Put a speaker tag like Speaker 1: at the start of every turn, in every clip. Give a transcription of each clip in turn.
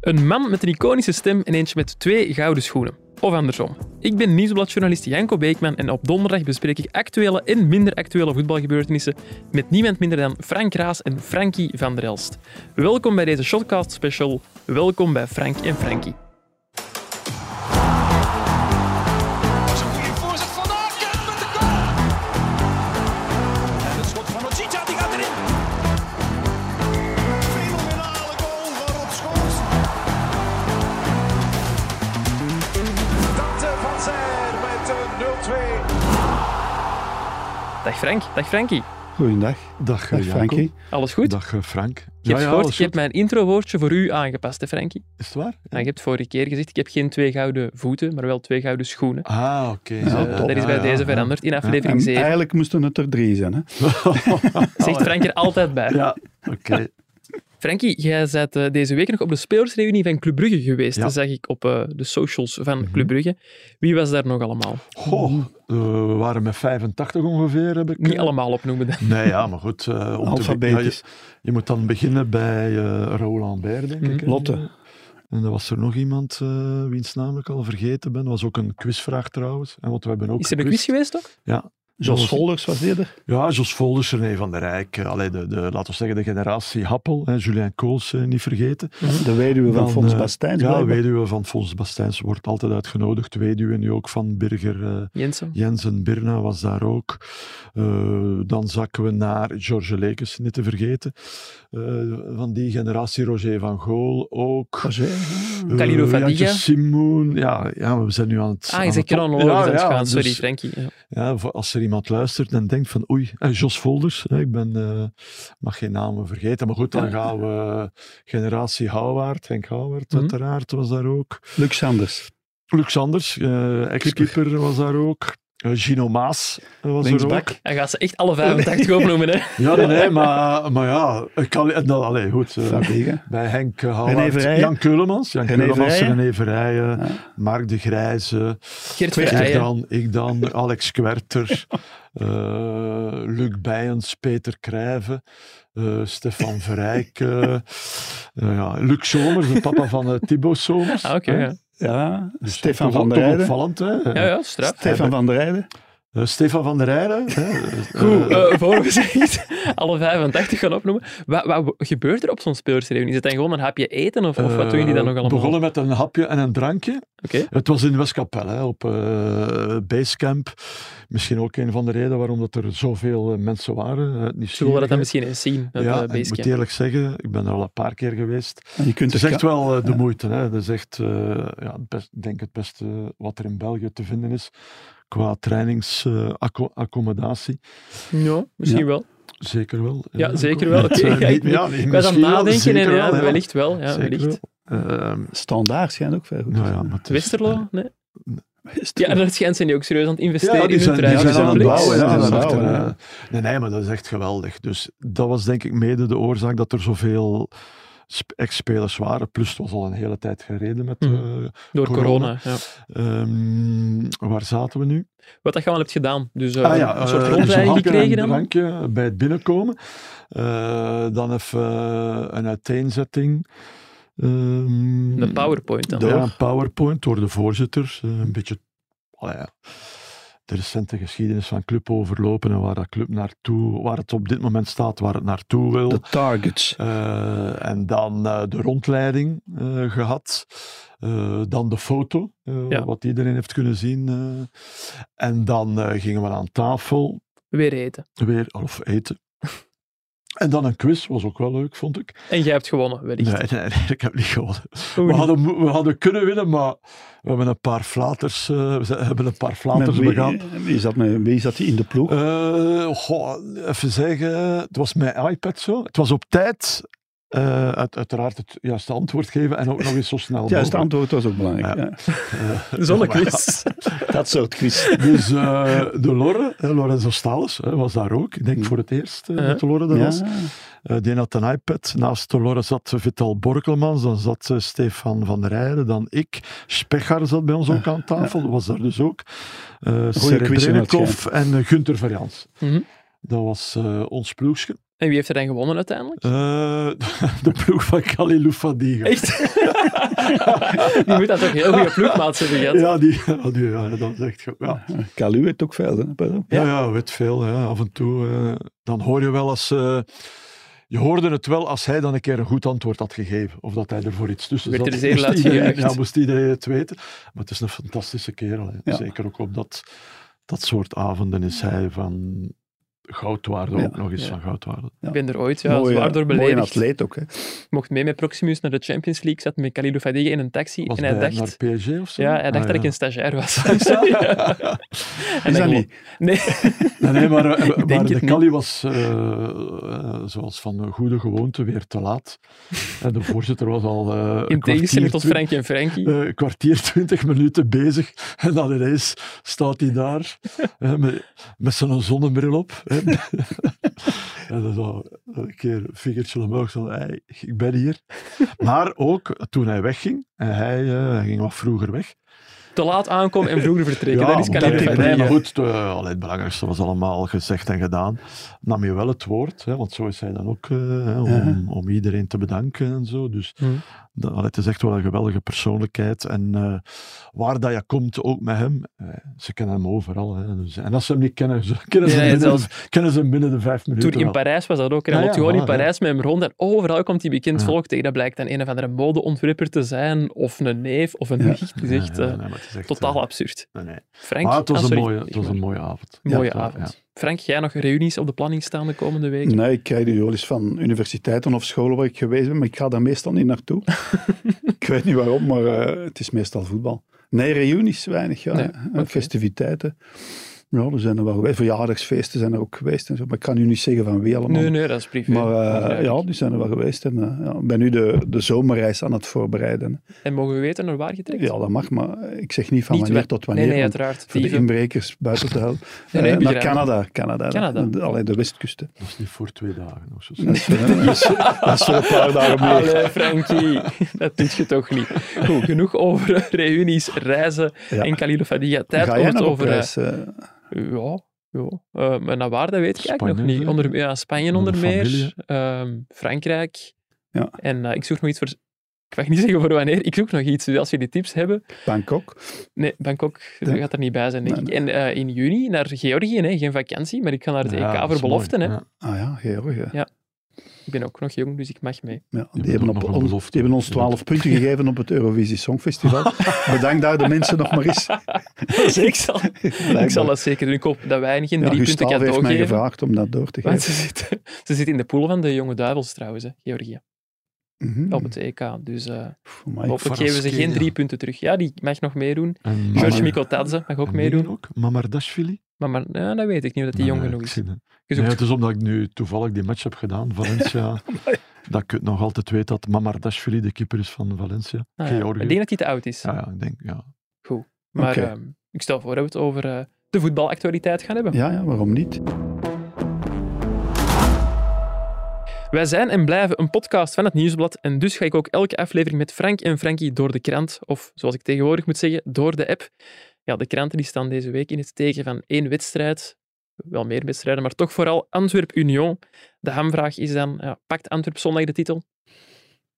Speaker 1: Een man met een iconische stem en eentje met twee gouden schoenen. Of andersom. Ik ben nieuwsbladjournalist Janko Beekman en op donderdag bespreek ik actuele en minder actuele voetbalgebeurtenissen met niemand minder dan Frank Raas en Frankie van der Elst. Welkom bij deze Shotcast special. Welkom bij Frank en Frankie.
Speaker 2: Is een goede voorzet van Aken met de goal. En het schot van Ochita, die gaat erin. Fenomenale goal van Rob Schoors.
Speaker 3: Dante van Zijl met een 0-2.
Speaker 1: Dag Frank, dag Frankie.
Speaker 4: Goedendag.
Speaker 5: Dag,
Speaker 4: Dag
Speaker 5: eh, Janko.
Speaker 4: Frankie.
Speaker 1: Alles goed?
Speaker 5: Dag, eh, Frank.
Speaker 1: je hebt gehoord,
Speaker 5: alles
Speaker 1: ik heb
Speaker 5: goed.
Speaker 1: mijn introwoordje voor u aangepast, hè Frankie.
Speaker 5: Is het waar?
Speaker 1: Nou, je hebt vorige keer gezegd, ik heb geen twee gouden voeten, maar wel twee gouden schoenen.
Speaker 5: Ah, oké.
Speaker 1: Dus,
Speaker 5: Ja,
Speaker 1: eh,
Speaker 5: top.
Speaker 1: dat is bij
Speaker 5: Ja,
Speaker 1: deze
Speaker 5: ja,
Speaker 1: veranderd in
Speaker 4: En
Speaker 1: aflevering 7.
Speaker 4: eigenlijk moesten het er drie zijn. Hè?
Speaker 1: Zegt Frank er altijd bij.
Speaker 5: Ja, oké.
Speaker 1: Frankie, jij bent eh, deze week nog op de spelersreunie van Club Brugge geweest.
Speaker 5: Ja. Mhm.
Speaker 1: Dat zag ik op eh, de socials van Club Brugge. Wie was daar nog allemaal?
Speaker 5: Goh,
Speaker 4: Mm.
Speaker 5: eh, we waren met 85 ongeveer, heb ik...
Speaker 1: Niet
Speaker 5: eh,
Speaker 1: allemaal opnoemen. dan.
Speaker 5: Nee, ja, maar goed. eh, om te be-
Speaker 4: Alfabetisch.
Speaker 5: ja, je, je moet dan beginnen bij eh Roland Baer,
Speaker 1: Mm.
Speaker 5: denk ik. hè.
Speaker 4: Lotte.
Speaker 5: En dan was er nog iemand eh, wiens naam ik al vergeten ben. was ook een quizvraag trouwens. En wat we hebben ook
Speaker 1: Is er een quiz geweest toch?
Speaker 5: Ja.
Speaker 4: Jos
Speaker 5: Jos-
Speaker 4: Volders was eerder.
Speaker 5: Ja, Jos Volders, René van der Rijk. eh, allee, de, de, laten we zeggen de generatie Happel. Hè, Julien Kools, eh, niet vergeten.
Speaker 4: De weduwe van
Speaker 5: Dan,
Speaker 4: Fons
Speaker 5: eh,
Speaker 4: Bastijns.
Speaker 5: Ja,
Speaker 4: blijkbaar.
Speaker 5: weduwe van Fons Bastijns wordt altijd uitgenodigd. Weduwe nu ook van Birger eh,
Speaker 1: Jensen.
Speaker 5: Jensen Birna was daar ook. Eh, dan zakken we naar George Lekes, niet te vergeten. Eh, van die generatie Roger van Gool ook.
Speaker 4: Dat is, eh,
Speaker 5: Eh,
Speaker 1: Khalilou
Speaker 5: Jantje
Speaker 1: Fadiga.
Speaker 5: Simoen. Ja, ja, we zijn nu aan het...
Speaker 1: Ah,
Speaker 5: aan
Speaker 1: je
Speaker 5: het
Speaker 1: zegt chronologisch
Speaker 5: op-
Speaker 1: aan het gaan.
Speaker 5: dus-
Speaker 1: Sorry, Frankie. Ja.
Speaker 5: ja, voor als er iemand luistert en denkt van oei, eh, Jos Volders, hè, ik ben, eh, mag geen namen vergeten. Maar goed, dan gaan we generatie Houwaard, Henk Houwaard
Speaker 1: Mhm.
Speaker 5: uiteraard was daar ook.
Speaker 4: Luc Sanders.
Speaker 5: Lux Anders, eh, ex-keeper was daar ook. Eh, Gino Maas eh, was er ook.
Speaker 4: Linksbak.
Speaker 1: Hij gaat ze echt alle 85 opnoemen. Hè?
Speaker 5: Ja, nee, nee, maar, maar ja, ik kan, eh, nou, allee, goed. eh,
Speaker 4: Fadiga.
Speaker 5: bij Henk eh,
Speaker 4: René
Speaker 5: Houwaard,
Speaker 4: Verheyen.
Speaker 5: Jan Keulemans, Jan
Speaker 4: René
Speaker 5: Keulemans,
Speaker 4: Verheyen.
Speaker 5: René Verheyen,
Speaker 4: Ja.
Speaker 5: Mark de Grijze,
Speaker 1: Geert
Speaker 5: Ik
Speaker 1: Verheijen.
Speaker 5: dan, ik dan, Alex Kwerter, eh, Luc Bijens, Peter Krijven, eh, Stefan Verrijk, eh, eh, ja, Luc Somers, de papa van eh, Thibaut Somers.
Speaker 1: Ah, oké.
Speaker 5: hè.
Speaker 1: ja.
Speaker 4: Ja,
Speaker 5: Dus
Speaker 4: Stefan
Speaker 5: toch-
Speaker 4: van der
Speaker 5: toch
Speaker 4: Rijden.
Speaker 5: opvallend, hè?
Speaker 1: ja, ja, straf.
Speaker 4: Stefan van der Rijden.
Speaker 5: Eh, Stefan van der Rijden. hè.
Speaker 1: Goed,
Speaker 5: Eh,
Speaker 1: eh, voor we zegt, alle 85 gaan opnoemen. Wat, wat gebeurt er op zo'n spelersreunie? Is het dan gewoon een hapje eten of, of wat doen jullie dan nog
Speaker 5: eh,
Speaker 1: allemaal?
Speaker 5: begonnen met een hapje en een drankje.
Speaker 1: Oké.
Speaker 5: Het was in Westkapel, hè, op eh, Basecamp. Misschien ook een van de redenen waarom dat er zoveel eh, mensen waren. eh,
Speaker 1: Ze willen dat dan
Speaker 5: nieuwsgierigheid.
Speaker 1: misschien eens zien. Dat, eh,
Speaker 5: Ja,
Speaker 1: ja,
Speaker 5: en ik moet eerlijk zeggen, ik ben er al een paar keer geweest.
Speaker 4: En je kunt
Speaker 5: Het is
Speaker 4: er
Speaker 5: echt
Speaker 4: ka-
Speaker 5: wel eh, de moeite. Hè. Het is echt, eh, ja, het best, ik denk het beste wat er in België te vinden is qua trainingsaccommodatie.
Speaker 1: Ja, misschien
Speaker 4: Ja.
Speaker 1: wel.
Speaker 5: zeker wel.
Speaker 1: Ja, zeker wel.
Speaker 5: Het,
Speaker 1: Oké,
Speaker 5: eh,
Speaker 1: ja,
Speaker 5: niet-
Speaker 1: ik ben-
Speaker 5: ja, niet-
Speaker 1: Ik was aan het
Speaker 5: misschien wel,
Speaker 1: nadenken en
Speaker 5: zeker
Speaker 1: ja,
Speaker 5: wel, ja.
Speaker 1: wellicht wel. Ja,
Speaker 5: Zeker
Speaker 1: wellicht.
Speaker 5: Ehm,
Speaker 4: Standaard schijnt ook veel goed.
Speaker 5: nou ja, maar het is-
Speaker 1: Westerlo? Nee.
Speaker 4: Westerlo.
Speaker 1: Ja, dat schijnt zijn die ook serieus aan het
Speaker 5: Ja,
Speaker 1: investeren
Speaker 5: die
Speaker 1: in hun Dus
Speaker 5: zijn, die
Speaker 1: prijzen.
Speaker 5: zijn aan het
Speaker 4: Netflix.
Speaker 5: bouwen. Ja,
Speaker 4: Ja,
Speaker 5: dat is
Speaker 4: aan het
Speaker 5: echt een,
Speaker 4: bouwen,
Speaker 5: eh, nee, nee, maar dat is echt geweldig. Dus dat was denk ik mede de oorzaak dat er zoveel sp- ex-spelers waren. Plus het was al een hele tijd gereden met...
Speaker 1: Mhm.
Speaker 5: eh,
Speaker 1: Door corona.
Speaker 5: corona.
Speaker 1: ja.
Speaker 5: ehm, waar zaten we nu?
Speaker 1: Wat dat je allemaal hebt gedaan. Dus eh,
Speaker 5: Ah ja,
Speaker 1: een soort
Speaker 5: eh,
Speaker 1: rondleiding
Speaker 5: zo'n
Speaker 1: gekregen dan.
Speaker 5: drankje en drankje bij het binnenkomen. Eh, dan even eh, een uiteenzetting. Ehm,
Speaker 1: Een powerpoint dan.
Speaker 5: Ja, een powerpoint door de voorzitter. Eh, een beetje allee, ja, de recente geschiedenis van club overlopen en waar dat club naartoe, waar het op dit moment staat, waar het naartoe wil.
Speaker 4: De targets.
Speaker 5: Eh, en dan eh, de rondleiding eh, gehad. Eh, dan de foto, eh,
Speaker 1: Ja.
Speaker 5: wat iedereen heeft kunnen zien. eh. en dan eh, gingen we aan tafel
Speaker 1: Weer eten.
Speaker 5: weer of eten. En dan een quiz, was ook wel leuk, vond ik.
Speaker 1: En jij hebt gewonnen, wellicht.
Speaker 5: Nee, nee, nee, ik heb niet gewonnen.
Speaker 1: Hoe
Speaker 5: We
Speaker 1: niet?
Speaker 5: hadden, mo- we hadden kunnen winnen, maar we hebben een paar flaters, eh, we zijn- hebben een paar
Speaker 4: Met
Speaker 5: flaters
Speaker 4: wie,
Speaker 5: begaan.
Speaker 4: wie zat met- wie zat die in de ploeg?
Speaker 5: Eh, goh, even zeggen, het was mijn iPad zo. Het was op tijd. eh, uit- uiteraard het juiste antwoord geven en ook nog eens zo snel
Speaker 4: Het juiste
Speaker 5: mogelijk.
Speaker 4: antwoord was ook belangrijk.
Speaker 5: Ja.
Speaker 4: Ja.
Speaker 5: Eh,
Speaker 1: Zonnequiz.
Speaker 4: Dat soort quiz.
Speaker 5: Dus eh, de Lorre, eh, Lorenzo Stalles, eh, was daar ook. Ik
Speaker 4: Mm.
Speaker 5: denk voor het eerst eh,
Speaker 1: Ja.
Speaker 5: dat de Lorre daar was.
Speaker 4: Ja.
Speaker 5: Eh, die had een iPad. Naast Dolores zat Vital Borkelmans, dan zat eh, Stefan van der Heijden, dan ik. Spechar zat bij ons ook aan tafel, was daar dus ook. Eh
Speaker 4: quiz,
Speaker 5: Serebrennikov en eh, Gunther Verjans.
Speaker 1: Mhm.
Speaker 5: Dat was eh, ons ploegje.
Speaker 1: En wie heeft er dan gewonnen uiteindelijk?
Speaker 5: Eh, de ploeg van Khalilou Fadiga.
Speaker 1: Echt? die moet dat toch heel goede ploegmaat hebben gehad.
Speaker 5: Ja, die, ja, die, ja, dat is echt... goed. Ja.
Speaker 4: Calu heeft ook veel, hè? pas op.
Speaker 5: Ja, ja, weet veel. Ja. Af en toe, eh, dan hoor je wel als... eh, je hoorde het wel als hij dan een keer een goed antwoord had gegeven. Of dat hij er voor iets tussen
Speaker 1: Werd
Speaker 5: zat.
Speaker 1: er zeer
Speaker 5: Moest
Speaker 1: laat
Speaker 5: iedereen-
Speaker 1: gejuicht.
Speaker 5: Ja, moest iedereen het weten. Maar het is een fantastische kerel. hè.
Speaker 4: Ja.
Speaker 5: Zeker ook op dat, dat soort avonden is hij van goudwaarde.
Speaker 4: Ja.
Speaker 5: Ook nog eens
Speaker 1: Ja.
Speaker 5: van goudwaarde.
Speaker 1: Ik ben er ooit ja, zwaar door
Speaker 4: mooi
Speaker 1: beledigd.
Speaker 4: atleet ook, hè?
Speaker 1: Ik mocht mee met Proximus naar de Champions League, zat met Khalilou Fadiga in een taxi
Speaker 5: Was
Speaker 1: en hij
Speaker 5: bij-
Speaker 1: dacht...
Speaker 5: naar PSG of zo?
Speaker 1: Ja, hij dacht
Speaker 5: Ah,
Speaker 1: dat ik een stagiair was. Ja. En
Speaker 4: Is
Speaker 1: dan
Speaker 4: dat
Speaker 1: gewoon-
Speaker 4: niet?
Speaker 1: Nee.
Speaker 5: Nee, nee, maar, eh, maar
Speaker 1: denk het
Speaker 5: de
Speaker 1: niet.
Speaker 5: Cali was, eh, eh, zoals van een goede gewoonte, weer te laat. En de voorzitter was al eh, een
Speaker 1: In tegenstelling tot
Speaker 5: kwartier,
Speaker 1: Frankie en Frankie.
Speaker 5: twi- eh, een kwartier, twintig minuten bezig. En dan ineens staat hij daar eh, met, met zijn zonnebril op. hè. en dan zo een keer vingertje omhoog. Zo, hey, ik ben hier. Maar ook toen hij wegging, en hij, eh, hij ging wat vroeger weg,
Speaker 1: Te laat aankomen en vroeger vertrekken. dat is
Speaker 5: maar
Speaker 1: Khalilou
Speaker 5: dat-
Speaker 1: Fadiga.
Speaker 5: nee, maar goed, eh, allee, het belangrijkste was allemaal gezegd en gedaan. Nam je wel het woord, hè, want zo is hij dan ook eh, hè, om,
Speaker 4: Ja.
Speaker 5: om iedereen te bedanken en zo. Dus
Speaker 1: Hm.
Speaker 5: dat, allee, het is echt wel een geweldige persoonlijkheid. En eh, waar dat je komt, ook met hem, eh, ze kennen hem overal. Hè, dus, en als ze hem niet kennen, ze, kennen, ze,
Speaker 1: Nee,
Speaker 5: hem binnen,
Speaker 1: zelfs-
Speaker 5: de- kennen ze hem binnen de vijf minuten.
Speaker 1: Toen in
Speaker 5: wel.
Speaker 1: Parijs was dat ook. En hij
Speaker 5: Ja,
Speaker 1: loopt
Speaker 5: ja,
Speaker 1: gewoon in
Speaker 5: voilà,
Speaker 1: Parijs met hem rond en overal komt hij bekend
Speaker 5: Ja.
Speaker 1: volk tegen. Dat blijkt dan een of andere modeontwerper te zijn, of een neef, of een
Speaker 4: Ja.
Speaker 1: nicht. Het is echt
Speaker 5: Nee,
Speaker 1: eh,
Speaker 5: nee, nee, maar het is echt,
Speaker 1: totaal
Speaker 5: eh,
Speaker 1: absurd.
Speaker 5: nee, nee.
Speaker 1: Frank,
Speaker 5: Maar het was,
Speaker 1: ah,
Speaker 5: een,
Speaker 1: sorry.
Speaker 5: mooie, het was een mooie avond.
Speaker 1: Mooie
Speaker 5: Ja,
Speaker 1: avond.
Speaker 5: ja.
Speaker 1: Frank, jij nog reunies op de planning staan de komende weken?
Speaker 4: Nee, ik krijg die wel eens van universiteiten of scholen waar ik geweest ben, maar ik ga daar meestal niet naartoe. ik weet niet waarom, maar eh, het is meestal voetbal. Nee, reunies weinig, ja.
Speaker 1: Nee,
Speaker 4: En
Speaker 1: oké.
Speaker 4: Festiviteiten. Ja, er zijn er wel geweest. Verjaardagsfeesten zijn er ook geweest en zo. Maar ik kan nu niet zeggen van wie allemaal.
Speaker 1: Nee, nee, dat is privé.
Speaker 4: Maar eh,
Speaker 1: Begrijpelijk.
Speaker 4: ja, die zijn er wel geweest. En, eh, ja, ik ben nu de, de zomerreis aan het voorbereiden.
Speaker 1: En mogen we weten naar waar je trekt?
Speaker 4: Ja, dat mag, maar ik zeg niet van
Speaker 1: Niet
Speaker 4: wanneer
Speaker 1: waar-
Speaker 4: tot wanneer.
Speaker 1: nee, nee,
Speaker 4: want
Speaker 1: uiteraard.
Speaker 4: voor de
Speaker 1: Dieven.
Speaker 4: inbrekers buiten te houden.
Speaker 1: Nee, nee,
Speaker 4: Eh, naar
Speaker 1: begrijp.
Speaker 4: Canada. Canada,
Speaker 1: Canada.
Speaker 4: De, alleen de westkust. hè.
Speaker 5: Dat is niet voor twee dagen. Of zo.
Speaker 4: Dat is, eh, dat is- dat is voor een paar dagen meer.
Speaker 1: Allee, Frankie, dat doet je toch niet. Goed, genoeg over eh, reunies, reizen
Speaker 4: Ja.
Speaker 1: en Khalilou Fadiga. Tijd
Speaker 4: Ga
Speaker 1: om
Speaker 4: jij
Speaker 1: het
Speaker 4: nog op
Speaker 1: over... eh,
Speaker 4: reis? eh?
Speaker 1: Ja, ja. Eh, maar naar waar, dat weet ik eigenlijk nog
Speaker 5: Spanje,
Speaker 1: niet.
Speaker 5: hè?
Speaker 1: Onder, ja, Spanje onder
Speaker 5: Onder
Speaker 1: meer,
Speaker 5: familie.
Speaker 1: ehm, Frankrijk.
Speaker 4: Ja.
Speaker 1: En eh, ik zoek nog iets voor... Ik mag niet zeggen voor wanneer, ik zoek nog iets. Dus als jullie tips hebben...
Speaker 4: Bangkok.
Speaker 1: Nee, Bangkok
Speaker 4: Nee.
Speaker 1: gaat er niet bij zijn, denk
Speaker 4: Nee,
Speaker 1: ik. En eh, in juni naar Georgië, hè. geen vakantie, maar ik ga naar het
Speaker 5: Ja,
Speaker 1: EK
Speaker 5: dat
Speaker 1: voor
Speaker 5: is mooi.
Speaker 1: beloften. Hè.
Speaker 5: Ja.
Speaker 4: Ah ja, Georgië. Ja.
Speaker 1: Ik ben ook nog jong, dus ik mag mee.
Speaker 5: Je
Speaker 4: die,
Speaker 5: moet
Speaker 4: hebben
Speaker 5: ook
Speaker 4: op,
Speaker 5: nog een
Speaker 4: on-
Speaker 5: belofte.
Speaker 4: die hebben ons
Speaker 5: Je
Speaker 4: 12 punten gegeven op het Eurovisie Songfestival. Bedank daar de mensen nog maar eens.
Speaker 1: ik, zal, ik zal dat zeker doen. Ik hoop dat wij geen
Speaker 4: Ja,
Speaker 1: drie punten
Speaker 4: Gustave
Speaker 1: cadeau
Speaker 4: heeft mij
Speaker 1: geven.
Speaker 4: gevraagd om dat door te
Speaker 1: Want
Speaker 4: geven.
Speaker 1: ze zitten, ze zitten in de pool van de jonge duivels trouwens, hè, Georgië,
Speaker 4: Mhm.
Speaker 1: op het EK. Dus eh
Speaker 4: Pff, amai.
Speaker 1: hopelijk geven ze geen
Speaker 5: Kenia.
Speaker 1: drie punten terug. Ja, die mag nog meedoen.
Speaker 5: En
Speaker 1: George
Speaker 5: Mama-
Speaker 1: Mikotadze mag ook
Speaker 5: en die
Speaker 1: meedoen.
Speaker 5: Ook? Mamardashvili?
Speaker 1: Maar, maar nou, dat weet ik niet, of dat die jong
Speaker 5: Ah, Nee,
Speaker 1: genoeg
Speaker 5: ik
Speaker 1: is.
Speaker 5: zie het.
Speaker 1: Je
Speaker 5: Nee,
Speaker 1: zoekt-
Speaker 5: het is omdat ik nu toevallig die match heb gedaan, Valencia. dat ik het nog altijd weet dat Mamardashvili de keeper is van Valencia.
Speaker 1: Ah, ja.
Speaker 5: Georgië.
Speaker 1: Ik denk dat hij te oud is.
Speaker 5: Ja, ja, ik denk, ja.
Speaker 1: Maar
Speaker 4: Oké.
Speaker 1: ehm, ik stel voor dat we het over eh, de voetbalactualiteit gaan hebben.
Speaker 4: Ja, ja, waarom niet?
Speaker 1: Wij zijn en blijven een podcast van het Nieuwsblad en dus ga ik ook elke aflevering met Frank en Frankie door de krant, of zoals ik tegenwoordig moet zeggen, door de app. Ja, de kranten die staan deze week in het teken van één wedstrijd, wel meer wedstrijden, maar toch vooral Antwerp-Union. De hamvraag is dan, ja, pakt Antwerp zondag de titel?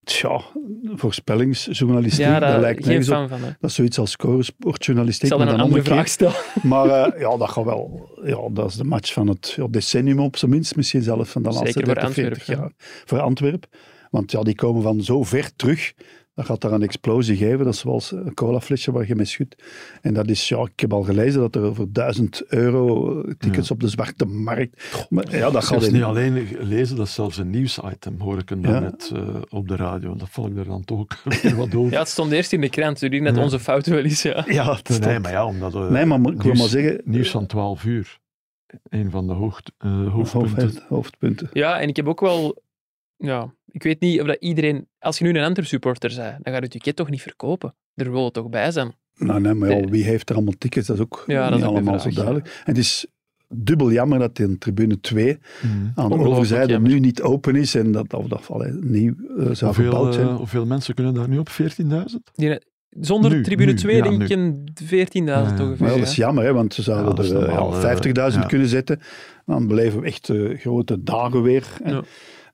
Speaker 4: Tja, voorspellingsjournalistiek,
Speaker 1: ja,
Speaker 4: dat, lijkt
Speaker 1: geen
Speaker 4: nergens op.
Speaker 1: fan van. Hè. Ik
Speaker 4: Dat is zoiets als scoresportjournalistiek.
Speaker 1: zal
Speaker 4: maar
Speaker 1: dan een
Speaker 4: dan
Speaker 1: andere
Speaker 4: omgekeerd.
Speaker 1: vraag stellen.
Speaker 4: Maar eh, ja, dat gaat wel. Ja, dat is de match van het ja, decennium op zijn minst. Misschien zelfs van de
Speaker 1: Zeker
Speaker 4: laatste
Speaker 1: voor
Speaker 4: 30, 40
Speaker 1: Antwerp,
Speaker 4: jaar. Voor Antwerp. Want ja, die komen van zo ver terug. Dat gaat daar een explosie geven. Dat is zoals een colaflesje waar je mee schudt. En dat is, ja, ik heb al gelezen dat er voor 1000 euro eh, tickets op de zwarte markt. Maar, ja, dat
Speaker 5: Dat
Speaker 4: gaat
Speaker 5: is
Speaker 4: in-
Speaker 5: niet alleen lezen, dat is zelfs een nieuwsitem, hoor ik hem
Speaker 4: Ja.
Speaker 5: daarnet eh, op de radio. Dat vond ik er dan toch ook weer wat over.
Speaker 1: Ja, het stond eerst in de krant, dus ik denk dat
Speaker 5: Ja.
Speaker 1: onze fout wel is. Ja.
Speaker 4: Ja, dat is
Speaker 5: nee,
Speaker 4: dat.
Speaker 5: maar ja, omdat... eh,
Speaker 4: Nee, maar mo- ik wil
Speaker 5: nieuws-
Speaker 4: maar zeggen.
Speaker 5: Nieuws van 12 uur. Een van de hoogd, eh, hoofdpunten.
Speaker 4: hoofd- hoofdpunten.
Speaker 1: ja, en ik heb ook wel... Ja, ik weet niet of dat iedereen... Als je nu een Antwerp supporter bent, dan gaat het ticket toch niet verkopen. Er wil het toch bij zijn.
Speaker 4: Nou, nee, maar
Speaker 1: Nee.
Speaker 4: ja, wie heeft er allemaal tickets? Dat is ook
Speaker 1: Ja, dat
Speaker 4: niet
Speaker 1: is ook de
Speaker 4: allemaal
Speaker 1: vraag,
Speaker 4: zo duidelijk. En het is dubbel jammer dat in tribune 2
Speaker 5: Mhm.
Speaker 4: aan de
Speaker 1: Ongelooflijk
Speaker 4: overzijde
Speaker 1: jammer.
Speaker 4: nu niet open is en dat of dat allee, nieuw eh, zou
Speaker 5: Hoeveel,
Speaker 4: verbouwd zijn.
Speaker 5: eh, hoeveel mensen kunnen daar nu op? 14.000?
Speaker 1: Die, Zonder
Speaker 5: Nu,
Speaker 1: tribune
Speaker 5: nu,
Speaker 1: 2
Speaker 5: ja,
Speaker 1: denk
Speaker 5: nu.
Speaker 1: ik een 14.000
Speaker 5: Ja, ja.
Speaker 1: ongeveer.
Speaker 4: Maar ja, dat
Speaker 1: ja.
Speaker 4: is jammer, hè, want ze
Speaker 5: Ja,
Speaker 4: zouden
Speaker 5: dat is
Speaker 4: er eh,
Speaker 5: normaal,
Speaker 4: ja,
Speaker 5: eh,
Speaker 4: 50.000
Speaker 5: ja.
Speaker 4: kunnen zetten. Dan beleven we echt eh, grote dagen weer. En-
Speaker 1: Ja.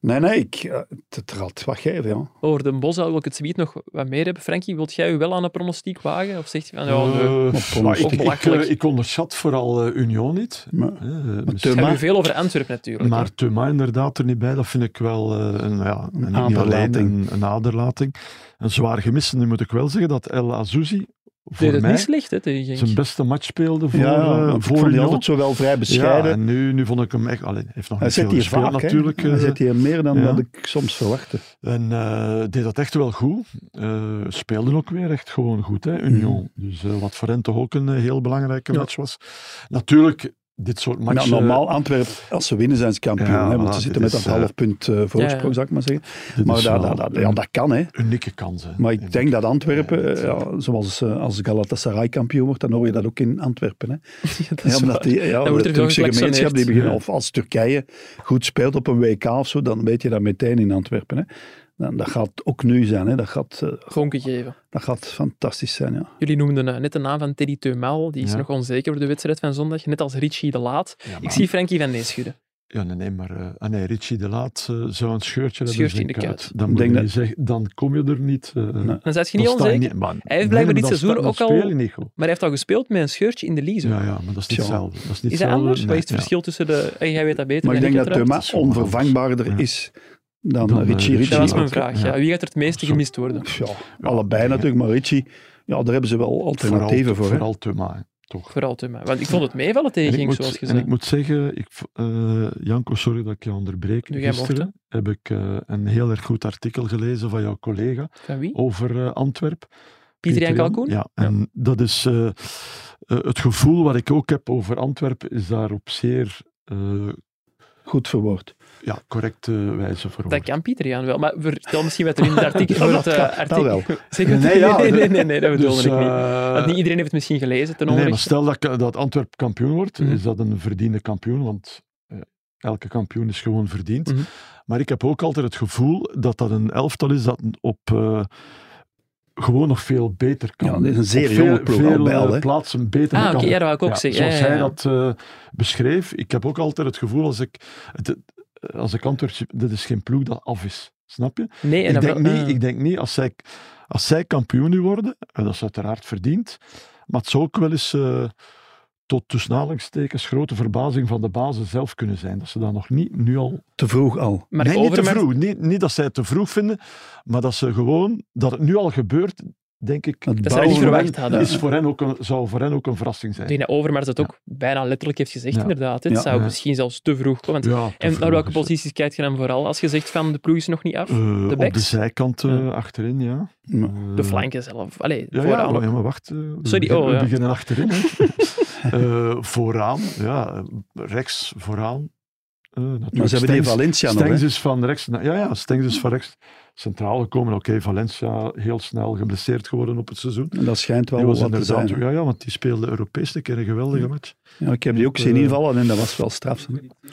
Speaker 4: Nee, nee, ik, eh, het, het gaat wat geven, ja.
Speaker 1: Over de bos wil ik het gebied nog wat meer hebben. Frankie, wilt jij je wel aan een pronostiek wagen? Of zegt je van, ja, nee.
Speaker 5: Eh,
Speaker 4: Maar
Speaker 5: maar ik, ik,
Speaker 1: opbelachelijk.
Speaker 5: eh, ik onderschat vooral eh, Union niet.
Speaker 4: Maar-
Speaker 5: Eh, misschien-
Speaker 1: Het gaat
Speaker 4: maar-
Speaker 1: nu veel over Antwerpen natuurlijk.
Speaker 5: Maar Thuma inderdaad er niet bij. Dat vind ik wel eh, een, ja, een, niet
Speaker 4: aderlating.
Speaker 5: alleen Een, een aderlating. Een zwaar gemis. En Nu moet ik wel zeggen dat El Azouzi
Speaker 1: hè.
Speaker 5: voor
Speaker 1: Deed het
Speaker 5: mij
Speaker 1: niet slecht, hè, tegen Genk.
Speaker 5: zijn beste match speelde voor,
Speaker 4: ja,
Speaker 5: eh,
Speaker 4: want
Speaker 5: voor
Speaker 4: ik vond die
Speaker 5: Union.
Speaker 4: altijd zo wel vrij bescheiden.
Speaker 5: Ja, en nu, nu vond ik hem echt... Alleen, hij heeft nog
Speaker 4: hij
Speaker 5: niet veel
Speaker 4: zit hier
Speaker 5: gespeeld
Speaker 4: vaak,
Speaker 5: natuurlijk.
Speaker 4: natuurlijk. Hij
Speaker 5: eh,
Speaker 4: zit hier meer dan
Speaker 5: ja.
Speaker 4: dat ik soms verwachtte.
Speaker 5: En eh, deed dat echt wel goed. Eh speelden ook weer echt gewoon goed, hè, Union.
Speaker 4: Mm.
Speaker 5: Dus eh, wat voor hen toch ook een eh, heel belangrijke
Speaker 1: Ja.
Speaker 5: match was. Natuurlijk, dit soort
Speaker 4: Maar
Speaker 5: matchen...
Speaker 4: normaal, Antwerpen, als ze winnen, zijn ze kampioen.
Speaker 5: eh, Ja,
Speaker 4: hè, want
Speaker 5: voilà,
Speaker 4: ze zitten
Speaker 5: dit
Speaker 4: met
Speaker 5: is,
Speaker 4: dat half punt eh, voorsprong,
Speaker 1: ja.
Speaker 4: zou ik maar zeggen.
Speaker 5: eh, dit
Speaker 4: Maar
Speaker 5: is
Speaker 4: dat,
Speaker 5: wel
Speaker 4: dat, dat, ja,
Speaker 5: een
Speaker 4: dat kan, hè.
Speaker 5: unieke kans. Hè,
Speaker 4: Maar ik denk dat Antwerpen,
Speaker 5: Ja,
Speaker 4: eh, ja, zoals eh, als Galatasaray kampioen wordt, dan hoor je dat ook in Antwerpen. Hè.
Speaker 1: Ja, dat
Speaker 4: Ja,
Speaker 1: is
Speaker 4: omdat
Speaker 1: waar.
Speaker 4: die, ja,
Speaker 1: Dan wordt
Speaker 4: de
Speaker 1: er
Speaker 4: Turkse
Speaker 1: gewoon
Speaker 4: gemeenschap, die
Speaker 1: geflexioneerd.
Speaker 4: beginnen,
Speaker 5: Ja.
Speaker 4: of als Turkije goed speelt op een WK of zo, dan weet je dat meteen in Antwerpen. Hè. Dan, dat gaat ook nu zijn, hè. Dat, gaat, eh,
Speaker 1: Gonken geven.
Speaker 4: dat gaat fantastisch zijn. Ja.
Speaker 1: Jullie noemden eh, net de naam van Teddy Teumel. Die is
Speaker 5: Ja.
Speaker 1: nog onzeker voor de wedstrijd van zondag. Net als Richie de Laat.
Speaker 5: Ja, maar-
Speaker 1: Ik zie Frankie van Neeschudden.
Speaker 5: Ja, nee, nee maar eh, ah, nee, Richie de Laat eh, zou een scheurtje hebben.
Speaker 1: Scheurtje in de
Speaker 5: denk ik,
Speaker 1: kuit.
Speaker 5: uit. Dan,
Speaker 4: Ik
Speaker 5: moet
Speaker 4: denk
Speaker 5: je
Speaker 4: dat-
Speaker 5: niet zeggen, dan kom je er niet. eh, dan
Speaker 1: Dan zet je niet
Speaker 5: sta
Speaker 1: onzeker.
Speaker 5: je niet- maar-
Speaker 1: Hij heeft
Speaker 5: nee,
Speaker 1: blijkbaar
Speaker 5: maar
Speaker 1: dit
Speaker 5: dan
Speaker 1: seizoen
Speaker 5: sta- dan
Speaker 1: ook al-
Speaker 5: speel je niet goed.
Speaker 1: Maar hij heeft al gespeeld met een scheurtje in de lease.
Speaker 5: Ja, ja, maar dat is niet
Speaker 4: Tja.
Speaker 5: hetzelfde. Dat is, niet
Speaker 1: Is dat
Speaker 5: hetzelfde,
Speaker 1: anders?
Speaker 5: nee,
Speaker 1: Wat is het
Speaker 5: ja.
Speaker 1: verschil tussen de... en jij weet dat beter
Speaker 4: Maar ik
Speaker 1: dan
Speaker 4: denk dat
Speaker 1: uiteraard.
Speaker 4: Thuma
Speaker 5: is wel anders.
Speaker 4: onvervangbaarder
Speaker 5: Ja.
Speaker 4: is dan,
Speaker 5: Dan,
Speaker 4: eh,
Speaker 5: eh,
Speaker 4: Richie.
Speaker 5: Richie
Speaker 4: Richie
Speaker 1: Dat was mijn
Speaker 5: Ja.
Speaker 1: vraag. Ja. Wie gaat er het meeste
Speaker 5: Zo.
Speaker 1: gemist worden?
Speaker 4: ja, allebei natuurlijk, maar Richie, ja, daar hebben ze wel alternatieven voor.
Speaker 5: vooral,
Speaker 4: hè.
Speaker 5: Vooral Thuma, hè, toch.
Speaker 1: Vooral Teuma. Want ik vond het meevallen tegen
Speaker 5: En ik,
Speaker 1: Genk,
Speaker 5: moet,
Speaker 1: zoals
Speaker 5: en
Speaker 1: gezegd.
Speaker 5: ik moet zeggen, ik, v- eh, Janko, sorry dat ik je onderbreek.
Speaker 1: Nu jij mocht,
Speaker 5: Gisteren heb ik eh, een heel erg goed artikel gelezen van jouw collega
Speaker 1: Van wie?
Speaker 5: over eh, Antwerp.
Speaker 1: Pieter Jan
Speaker 5: Jan.
Speaker 1: Kalkoen?
Speaker 5: Ja, en dat is eh, eh, het gevoel wat ik ook heb over Antwerpen, is daar op zeer eh,
Speaker 4: Goed verwoord.
Speaker 5: ja, correcte wijze voor.
Speaker 1: Dat kan Pieter Jan wel. Maar vertel misschien wat er in het artikel... voor het,
Speaker 4: dat
Speaker 1: eh,
Speaker 4: kan- dat
Speaker 1: artikel.
Speaker 4: wel.
Speaker 1: Zeg het-
Speaker 5: Nee, ja,
Speaker 1: nee, nee,
Speaker 5: dat-
Speaker 1: nee, nee, dat bedoelde
Speaker 5: Dus,
Speaker 1: ik niet.
Speaker 5: eh,
Speaker 1: Want niet iedereen heeft het misschien gelezen ten
Speaker 5: nee, maar
Speaker 1: onrechte.
Speaker 5: stel dat, eh, dat Antwerp kampioen wordt,
Speaker 1: Mhm.
Speaker 5: is dat een verdiende kampioen, want eh, elke kampioen is gewoon verdiend.
Speaker 1: Mhm.
Speaker 5: Maar ik heb ook altijd het gevoel dat dat een elftal is dat op... eh, gewoon nog veel beter kan.
Speaker 4: Ja, dit is een zeer
Speaker 5: Op veel-
Speaker 4: jonge ploeg,
Speaker 5: veel,
Speaker 4: al bij al,
Speaker 5: eh,
Speaker 4: hè.
Speaker 5: plaatsen beter
Speaker 1: Ah,
Speaker 5: kan.
Speaker 1: oké, ja, dat wou ik ook zeggen. Ja,
Speaker 5: Zoals
Speaker 1: ja,
Speaker 5: hij
Speaker 1: ja.
Speaker 5: dat eh, beschreef, ik heb ook altijd het gevoel als ik, het- als ik Antwerp zie, dit is geen ploeg dat af is. Snap je?
Speaker 1: Nee, en
Speaker 5: ik,
Speaker 1: dat
Speaker 5: denk
Speaker 1: wel-
Speaker 5: niet,
Speaker 1: ah.
Speaker 5: ik denk niet, als zij, als zij kampioen nu worden, en dat is uiteraard verdiend, maar het zou ook wel eens eh, tot tussen aanhalingstekens grote verbazing van de bazen zelf kunnen zijn. Dat ze dat nog niet nu al...
Speaker 4: Te vroeg al.
Speaker 1: Maar
Speaker 5: nee, niet te
Speaker 1: Overmars-
Speaker 5: vroeg. Niet, niet dat zij het te vroeg vinden, maar dat ze gewoon... Dat het nu al gebeurt, denk ik...
Speaker 4: Het
Speaker 1: Dat ze dat niet
Speaker 4: bouwen-
Speaker 1: verwacht hadden.
Speaker 5: Is voor hen ook een, zou voor hen ook een verrassing
Speaker 1: Ik
Speaker 5: zijn.
Speaker 1: denk dat Overmars dat ook bijna letterlijk heeft gezegd,
Speaker 5: Ja.
Speaker 1: inderdaad. Het
Speaker 4: Ja.
Speaker 1: zou
Speaker 5: Ja.
Speaker 1: misschien zelfs te vroeg komen. Want-
Speaker 5: Ja, te
Speaker 1: en naar
Speaker 5: vroeg
Speaker 1: welke
Speaker 5: is het.
Speaker 1: posities kijk je dan vooral? als je zegt van de ploeg is nog niet af?
Speaker 5: Eh,
Speaker 1: de
Speaker 5: op de
Speaker 1: backs?
Speaker 5: zijkanten achterin, ja.
Speaker 4: Ja.
Speaker 5: Eh,
Speaker 1: De flanken zelf. Allee,
Speaker 5: Ja, ja,
Speaker 1: vooraan.
Speaker 5: maar- ja, maar wacht. eh, we
Speaker 1: Sorry,
Speaker 5: beginnen,
Speaker 1: oh,
Speaker 5: we
Speaker 1: ja.
Speaker 5: beginnen achterin. hè. Eh, vooraan, ja, eh, rechts vooraan. Eh, natuurlijk
Speaker 4: Maar ze hebben die
Speaker 5: Stengs-
Speaker 4: Valencia nog, hè.
Speaker 5: Stengs is van rechts. naar- Ja, ja, Stengs is van rechts. Centraal gekomen. Oké, Valencia heel snel geblesseerd geworden op het seizoen.
Speaker 4: En dat schijnt
Speaker 5: Die
Speaker 4: wel
Speaker 5: was
Speaker 4: wat te
Speaker 5: inderdaad,
Speaker 4: zijn.
Speaker 5: ja, ja, want die speelde Europees een keer een geweldige match.
Speaker 4: Ja, ik heb die ook zien
Speaker 5: Eh,
Speaker 4: invallen en dat was wel straf.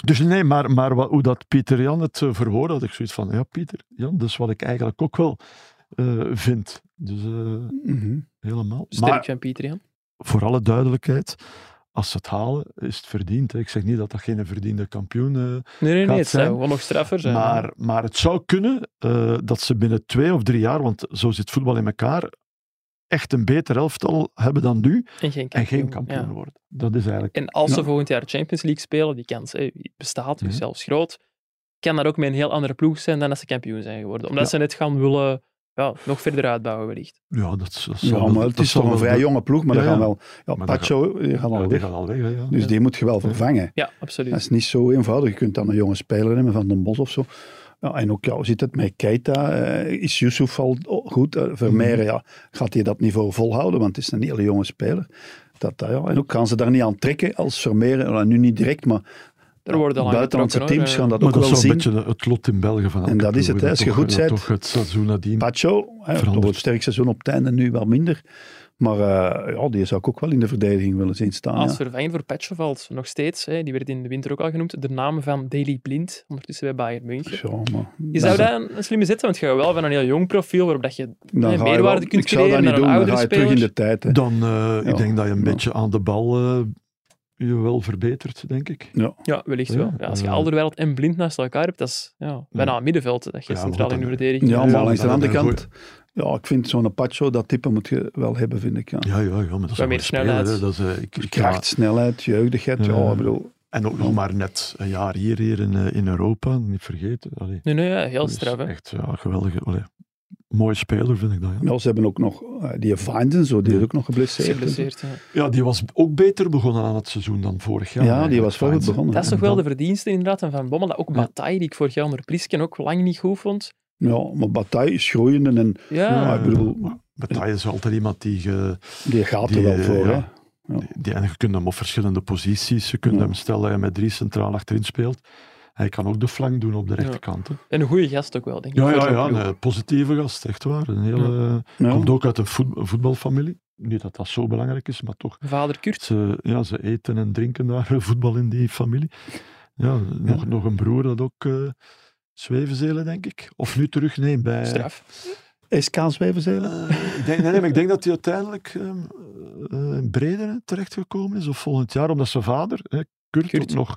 Speaker 5: Dus nee, maar, maar wat, hoe dat Pieter Jan het eh, verwoord had, ik zoiets van, ja Pieter Jan, dat is wat ik eigenlijk ook wel eh, vind. Dus eh,
Speaker 4: Mhm.
Speaker 5: helemaal.
Speaker 1: Sterk
Speaker 5: Maar
Speaker 1: van Pieter Jan.
Speaker 5: voor alle duidelijkheid, als ze het halen, is het verdiend. hè. Ik zeg niet dat dat geen verdiende kampioen is.
Speaker 1: Nee, nee, nee.
Speaker 5: Gaat
Speaker 1: Het zou
Speaker 5: zijn.
Speaker 1: gewoon nog straffer zijn.
Speaker 5: maar, maar het zou kunnen eh, dat ze binnen twee of drie jaar, want zo zit voetbal in elkaar, echt een beter elftal hebben dan nu
Speaker 1: en geen
Speaker 5: en
Speaker 1: kampioen.
Speaker 5: geen kampioen
Speaker 1: Ja.
Speaker 5: worden. Dat is eigenlijk...
Speaker 1: En als ze
Speaker 4: Ja.
Speaker 1: volgend jaar Champions League spelen, die kans eh, bestaat, dus
Speaker 5: Mhm.
Speaker 1: zelfs groot, kan dat ook met een heel andere ploeg zijn dan als ze kampioen zijn geworden. Omdat ze
Speaker 5: Ja.
Speaker 1: het gaan willen ja, nog verder uitbouwen, wellicht.
Speaker 5: Ja, dat, is- dat zal
Speaker 4: Ja,
Speaker 5: wel-
Speaker 4: maar het
Speaker 5: dat
Speaker 4: is
Speaker 5: zal
Speaker 4: toch een
Speaker 5: wel
Speaker 4: vrij
Speaker 5: de-
Speaker 4: jonge ploeg, maar
Speaker 5: Ja,
Speaker 4: dan gaan
Speaker 5: ja.
Speaker 4: wel... Ja,
Speaker 5: Maar dat
Speaker 4: Pacho, die gaat
Speaker 5: Ja,
Speaker 4: al
Speaker 5: die
Speaker 4: weg.
Speaker 5: gaat al weg, hè, ja.
Speaker 4: Dus die moet je wel vervangen.
Speaker 1: Ja,
Speaker 4: Dat
Speaker 1: absoluut.
Speaker 4: is niet zo eenvoudig. Je kunt dan een jonge speler nemen van Den Bos of zo. Ja, en ook, ja, hoe zit het met Keita? Eh, is Yusuf al goed? Eh, Vermeer,
Speaker 5: Mhm.
Speaker 4: ja, gaat hij dat niveau volhouden? Want het is een hele jonge speler. Dat, dat, ja. En ook gaan ze daar niet aan trekken als Vermeer. Nou, nu niet direct, maar
Speaker 1: Er worden al aan
Speaker 4: buitenlandse
Speaker 1: getrokken, hoor.
Speaker 4: teams gaan dat
Speaker 5: Maar
Speaker 4: ook
Speaker 5: dat is
Speaker 4: wel
Speaker 5: wel
Speaker 4: zien.
Speaker 5: een beetje het lot in België van elke
Speaker 4: En dat
Speaker 5: ploeg,
Speaker 4: is het,
Speaker 5: hè.
Speaker 4: hè. Als je
Speaker 5: Toch-
Speaker 4: goed
Speaker 5: dat
Speaker 4: bent-
Speaker 5: Toch het seizoen nadien.
Speaker 4: Pacho, hè, door
Speaker 5: Veranderd.
Speaker 4: het sterk seizoen op het einde nu wel minder. Maar eh, ja, die zou ik ook wel in de verdediging willen zien staan.
Speaker 1: Als
Speaker 4: ja.
Speaker 1: vervanger voor Petjevald, nog steeds, hè, die werd in de winter ook al genoemd, de naam van Daley Blind, ondertussen bij Bayern München.
Speaker 4: Ja, maar
Speaker 1: Je zou daar een, een slimme zet, want je gaat wel van een heel jong profiel, waarop dat je
Speaker 4: dan
Speaker 1: Nee,
Speaker 4: ga je
Speaker 1: meerwaarde
Speaker 4: wel-
Speaker 1: kunt
Speaker 4: ik zou dat
Speaker 1: creëren
Speaker 4: niet
Speaker 1: naar een
Speaker 4: doen,
Speaker 1: oudere
Speaker 4: dan ga je terug in
Speaker 1: speler.
Speaker 4: de tijd. Hè.
Speaker 5: Dan, eh,
Speaker 4: Ja,
Speaker 5: ik denk dat je een
Speaker 4: ja.
Speaker 5: beetje aan de bal eh, je wel verbetert, denk ik.
Speaker 1: Ja, wellicht
Speaker 5: Ja,
Speaker 1: wel. Ja, als je
Speaker 5: eh.
Speaker 1: Alderweireld en Blind naast elkaar hebt, dat is ja, bijna een middenveld. hè, Dat je
Speaker 5: Ja,
Speaker 1: centraal
Speaker 5: goed,
Speaker 1: in de
Speaker 5: dan-
Speaker 1: verdediging
Speaker 4: Ja,
Speaker 1: hebt.
Speaker 4: maar
Speaker 5: Ja,
Speaker 4: langs de
Speaker 5: maar
Speaker 4: andere
Speaker 5: dat-
Speaker 4: kant, ja, ik vind zo'n Apache, dat type moet je wel hebben, vind ik. Ja.
Speaker 5: Ja, ja, ja, maar dat is
Speaker 1: meer
Speaker 5: een speler,
Speaker 1: snelheid.
Speaker 5: hè. Dat is, eh, ik, ik-
Speaker 4: Kracht, snelheid, jeugdigheid, ja,
Speaker 5: Ja.
Speaker 4: ik bedoel,
Speaker 5: En ook nog maar net een jaar hier, hier in, eh, in Europa, niet vergeten. Allee,
Speaker 1: Nee, nee, ja, heel
Speaker 5: dat is
Speaker 1: straf. Hè.
Speaker 5: Echt ja, geweldige, allee, mooie speler vind ik dat. Ja.
Speaker 4: ja, ze hebben ook nog, eh, die Vinden zo, die is ook nog geblesseerd.
Speaker 1: Geblesseerd, ja.
Speaker 5: ja, die was ook beter begonnen aan het seizoen dan vorig jaar.
Speaker 4: Ja, die
Speaker 5: eigenlijk,
Speaker 4: was wel goed
Speaker 5: Feyenoord.
Speaker 4: begonnen.
Speaker 1: Dat is toch
Speaker 5: en
Speaker 1: wel de
Speaker 5: dan-
Speaker 1: verdienste inderdaad en van Bommel. Dat ook
Speaker 5: Ja.
Speaker 1: Bataille, die ik vorig jaar onder Plisken ook lang niet goed vond.
Speaker 4: Ja, maar Bataille is groeiende en
Speaker 1: Ja,
Speaker 4: Ja, ik bedoel-
Speaker 5: maar Bataille eh, is altijd iemand die, je-
Speaker 4: die gaat er
Speaker 5: Die, eh,
Speaker 4: wel voor.
Speaker 5: ja.
Speaker 4: hè.
Speaker 5: die en je kunt hem op verschillende posities. Je kunt
Speaker 4: Ja.
Speaker 5: hem stellen dat je met drie centraal achterin speelt. Hij kan ook de flank doen op de rechterkant. hè.
Speaker 1: en een goede gast ook wel, denk ik.
Speaker 5: Ja,
Speaker 1: voor
Speaker 5: ja,
Speaker 1: zo'n
Speaker 5: ja,
Speaker 1: ploeg.
Speaker 5: een positieve gast, echt waar. Een hele,
Speaker 4: Ja.
Speaker 5: Komt ook uit een voet- een voetbalfamilie. Niet dat dat zo belangrijk is, maar toch.
Speaker 1: Vader Kurt.
Speaker 5: Ze, ja, ze eten en drinken daar eh, voetbal in die familie. Ja, Nog, nog een broer dat ook eh zwevenzelen, denk ik. Of nu terug, nee, bij...
Speaker 1: Straf.
Speaker 4: SK Zwevenzelen?
Speaker 5: Eh, ik denk, nee, nee, maar ik denk dat hij uiteindelijk ehm, eh, in Bredene terechtgekomen is, of volgend jaar, omdat zijn vader, eh, Kurt,
Speaker 1: Kurt.
Speaker 5: ook nog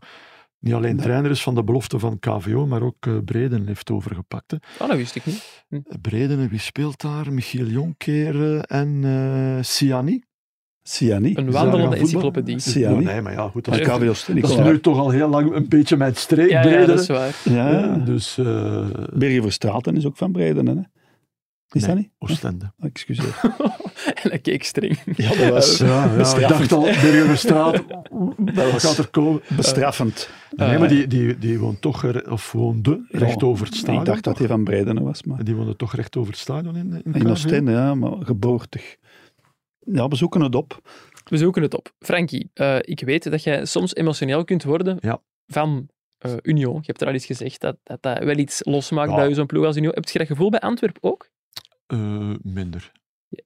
Speaker 5: niet alleen
Speaker 4: Ja.
Speaker 5: trainer is van de belofte van KVO, maar ook eh, Bredene heeft overgepakt. hè.
Speaker 1: Oh, dat wist ik niet.
Speaker 5: Bredene, wie speelt daar? Michiel Jonker eh, en eh Siani.
Speaker 4: Siani.
Speaker 1: Een
Speaker 5: Is
Speaker 1: wandelende
Speaker 5: dat voetbal?
Speaker 1: encyclopedie.
Speaker 5: Dus-
Speaker 4: Siani.
Speaker 5: Nee, maar ja, goed, dat
Speaker 4: Maar
Speaker 5: is,
Speaker 1: Ja,
Speaker 5: dat
Speaker 4: KVO Stijn,
Speaker 5: is
Speaker 4: Nicola.
Speaker 5: nu toch al heel lang een beetje mijn streek,
Speaker 1: Ja, ja,
Speaker 5: Bredene.
Speaker 1: dat is waar.
Speaker 4: Ja,
Speaker 5: Ja,
Speaker 4: ja.
Speaker 5: dus eh
Speaker 4: Birger Verstraeten is ook van Breiden, hè? Is
Speaker 5: Nee.
Speaker 4: dat niet?
Speaker 5: Oostende.
Speaker 4: Ah, excuseer.
Speaker 1: en dat keek streng.
Speaker 4: Ja, dat was
Speaker 5: ik
Speaker 4: bestraffend.
Speaker 5: dacht al, Bergenstraat, dat gaat er komen.
Speaker 4: bestraffend.
Speaker 5: nee,
Speaker 1: Eh,
Speaker 5: maar die, die, die woont toch, er- of woonde, recht over het stadion.
Speaker 4: Ah, Ik dacht dat hij van Breiden was, maar...
Speaker 5: Die woonde toch recht over het stadion in, in,
Speaker 4: In
Speaker 5: KV?
Speaker 4: Oostende, ja, maar geboortig. Ja, we zoeken het op.
Speaker 1: We zoeken het op. Frankie, eh, ik weet dat jij soms emotioneel kunt worden
Speaker 5: Ja.
Speaker 1: van eh, Union. Je hebt er al eens gezegd dat dat, dat wel iets losmaakt
Speaker 5: Ja.
Speaker 1: bij zo'n ploeg als Union. Heb je dat gevoel bij Antwerpen ook?
Speaker 5: Eh, minder.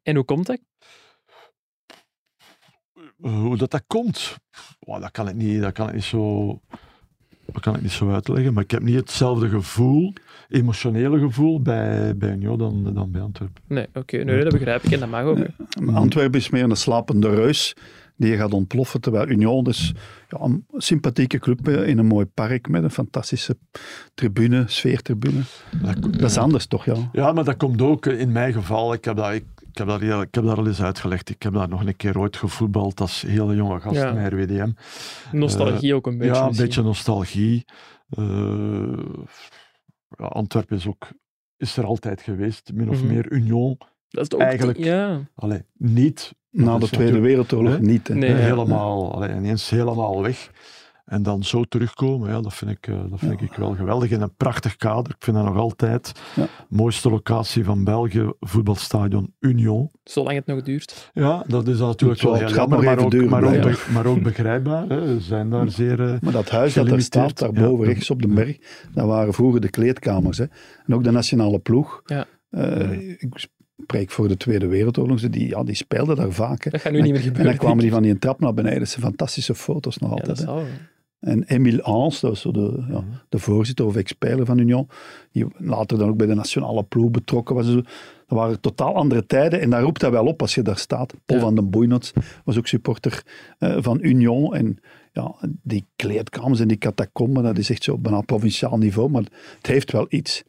Speaker 1: En hoe komt dat?
Speaker 5: Eh, hoe dat, dat komt, Wauw, dat, kan ik niet, dat kan ik niet zo... Dat kan ik niet zo uitleggen, maar ik heb niet hetzelfde gevoel, emotionele gevoel bij, bij Union dan, dan bij Antwerpen.
Speaker 1: Nee, oké, nee, dat begrijp ik en dat mag ook. hè.
Speaker 5: Eh, Mhm.
Speaker 4: Antwerpen is meer een slapende reus die je gaat ontploffen, terwijl Union dus ja, een sympathieke club eh, in een mooi park met een fantastische tribune, sfeertribune.
Speaker 5: Dat,
Speaker 4: Dat is anders toch, ja?
Speaker 5: Ja, maar dat komt ook eh, in mijn geval. Ik heb dat, ik, ik heb dat, heel- ik heb dat al eens uitgelegd. Ik heb daar nog een keer ooit gevoetbald als hele jonge gast
Speaker 1: Ja.
Speaker 5: met RWDM.
Speaker 1: Nostalgie ook een beetje.
Speaker 5: ja, een
Speaker 1: misschien.
Speaker 5: beetje nostalgie. Eh, ja, Antwerpen is ook is er altijd geweest, min of
Speaker 1: Mhm.
Speaker 5: meer Union.
Speaker 1: Dat is toch
Speaker 5: eigenlijk-
Speaker 1: Ja.
Speaker 5: Allee, niet
Speaker 4: Na
Speaker 5: dat
Speaker 4: de
Speaker 5: is
Speaker 4: Tweede
Speaker 5: natuurlijk-
Speaker 4: Wereldoorlog
Speaker 5: Hè?
Speaker 4: niet. Hè.
Speaker 1: Nee.
Speaker 5: eh,
Speaker 1: ja.
Speaker 5: helemaal, allee, ineens helemaal weg. En dan zo terugkomen, ja, dat vind, ik, eh, dat vind ik wel geweldig. En een prachtig kader, ik vind dat nog altijd.
Speaker 4: Ja.
Speaker 5: Mooiste locatie van België, voetbalstadion Union.
Speaker 1: Zolang het nog duurt.
Speaker 5: Ja, dat is natuurlijk
Speaker 4: Het
Speaker 5: wel
Speaker 4: zal-
Speaker 5: heel
Speaker 4: het gaat
Speaker 5: jammer,
Speaker 4: nog
Speaker 5: maar
Speaker 4: even
Speaker 5: ook,
Speaker 4: duren,
Speaker 5: maar, ook
Speaker 4: blijkbaar.
Speaker 5: be- maar ook begrijpbaar. Hè. Ze zijn daar zeer... eh,
Speaker 4: Maar dat huis dat daar
Speaker 5: Gelimiteerd,
Speaker 4: staat, daarboven
Speaker 5: ja. Mhm.
Speaker 4: rechts op de berg, dat waren vroeger de kleedkamers. Hè. En ook de nationale ploeg.
Speaker 1: Ja.
Speaker 4: Eh, Ik spreek voor de Tweede Wereldoorlog, ze die, ja, die speelden daar vaak. hè.
Speaker 1: Dat gaat nu niet meer
Speaker 4: En
Speaker 1: gebeuren.
Speaker 4: dan kwamen
Speaker 1: denk
Speaker 4: die
Speaker 1: ik.
Speaker 4: van die trap naar beneden. Dat zijn fantastische foto's nog
Speaker 1: Ja, dat
Speaker 4: altijd. hè.
Speaker 1: zal wel.
Speaker 4: En Emile Hans, dat was zo de, ja, de voorzitter of ex-speler van Union, die later dan ook bij de nationale ploeg betrokken was. en zo. Dat waren totaal andere tijden en daar roept dat wel op als je daar staat. Paul
Speaker 1: Ja.
Speaker 4: van den Boeinots was ook supporter eh, van Union. En ja, die kleedkamers en die catacomben, dat is echt zo op bijna provinciaal niveau, maar het heeft wel iets.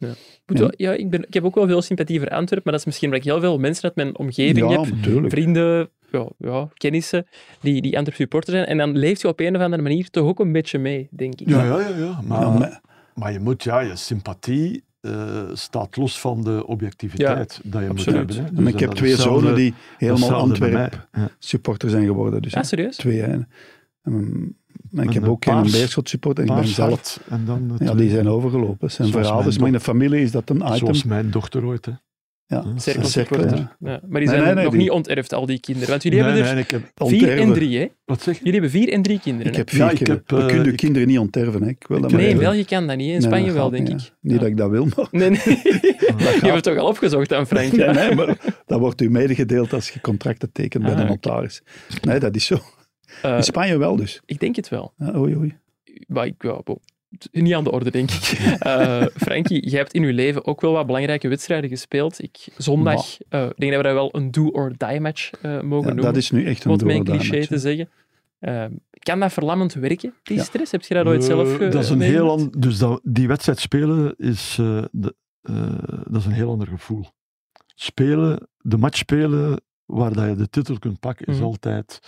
Speaker 1: Moet wel-
Speaker 4: Hm.
Speaker 1: Ja, ik, ben, ik heb ook wel veel sympathie voor Antwerpen, maar dat is misschien omdat ik heel veel mensen uit mijn omgeving
Speaker 4: ja,
Speaker 1: heb
Speaker 4: natuurlijk.
Speaker 1: vrienden, ja, ja, kennissen, die, die Antwerp supporter zijn. En dan leeft je op een of andere manier toch ook een beetje mee, denk ik. Ah,
Speaker 5: Ja, ja, ja. ja. Maar,
Speaker 4: Ja,
Speaker 5: maar...
Speaker 4: maar-
Speaker 5: je moet, ja, je sympathie eh, staat los van de objectiviteit dat je
Speaker 1: absoluut.
Speaker 5: moet hebben. Hè.
Speaker 4: en
Speaker 5: Dus
Speaker 4: ik heb
Speaker 5: dat
Speaker 4: twee
Speaker 5: is
Speaker 4: zonen
Speaker 5: hetzelfde-
Speaker 4: die helemaal
Speaker 5: hetzelfde bij
Speaker 4: Antwerp
Speaker 5: mij. Ja.
Speaker 4: supporter zijn geworden. Dus
Speaker 1: Ja, serieus?
Speaker 4: twee. hè. En, en ik
Speaker 5: Een
Speaker 4: heb ook geen
Speaker 5: paars-
Speaker 4: Beerschot supporter en ik ben
Speaker 5: Paars
Speaker 4: zelf
Speaker 5: hart en dan het-
Speaker 4: Ja, die zijn overgelopen. Het zijn
Speaker 5: Zoals
Speaker 4: verhaal.
Speaker 5: mijn
Speaker 4: Dus maar in de familie is dat een item.
Speaker 5: Zoals mijn dochter ooit. Hè.
Speaker 4: Ja.
Speaker 1: Cirkel
Speaker 4: Cirkel,
Speaker 1: supporter.
Speaker 4: ja.
Speaker 1: Ja, Maar die
Speaker 4: Nee,
Speaker 1: zijn
Speaker 4: nee, nee,
Speaker 1: nog
Speaker 4: die-
Speaker 1: niet onterfd, al die kinderen. Want jullie
Speaker 5: Nee,
Speaker 1: hebben er
Speaker 5: nee, ik heb,
Speaker 1: vier
Speaker 4: Onterven.
Speaker 1: en drie, hè?
Speaker 5: wat zeg je?
Speaker 1: Jullie hebben vier en drie kinderen.
Speaker 4: Ik
Speaker 1: hè?
Speaker 4: heb vier
Speaker 5: Ja, ik
Speaker 4: kinderen.
Speaker 5: heb, eh,
Speaker 4: We kunnen je
Speaker 5: ik-
Speaker 4: kinderen niet onterven, hè. Ik
Speaker 5: heb-
Speaker 4: wil dat maar
Speaker 1: Nee, in
Speaker 4: even.
Speaker 1: België kan dat niet. hè. In
Speaker 4: Nee,
Speaker 1: Spanje
Speaker 4: dat
Speaker 1: wel,
Speaker 4: gaat
Speaker 1: denk
Speaker 4: niet,
Speaker 1: ik.
Speaker 4: hè. Niet dat ik dat wil, maar...
Speaker 1: Nee, nee. Je hebt het toch al opgezocht aan Frank.
Speaker 4: Nee,
Speaker 1: ja?
Speaker 4: nee, maar dat wordt u medegedeeld als je contracten tekent bij
Speaker 1: Ah,
Speaker 4: de
Speaker 1: oké.
Speaker 4: notaris. Nee, dat is zo.
Speaker 1: Eh,
Speaker 4: In Spanje wel dus.
Speaker 1: ik denk het wel.
Speaker 4: Ja, oei, oei.
Speaker 1: Maar ik, ja, bo- t- niet aan de orde, denk ik. Eh Frankie, jij hebt in je leven ook wel wat belangrijke wedstrijden gespeeld. Ik, zondag, eh, ik denk dat we dat wel een do-or-die match eh, mogen
Speaker 4: Ja,
Speaker 1: noemen.
Speaker 4: dat is nu echt
Speaker 1: om
Speaker 4: een
Speaker 1: het met een
Speaker 4: doordaad
Speaker 1: cliché
Speaker 4: match, hè.
Speaker 1: te zeggen. Eh, kan dat verlammend werken, die
Speaker 4: Ja.
Speaker 1: stress? Heb je dat ooit zelf
Speaker 5: Eh,
Speaker 1: ge-
Speaker 5: dat is een
Speaker 1: meegemaakt?
Speaker 5: heel an- Dus dat, die wedstrijd spelen is, eh, de- eh, dat is een heel ander gevoel. Spelen, de match spelen waar dat je de titel kunt pakken, is
Speaker 1: Mhm.
Speaker 5: altijd,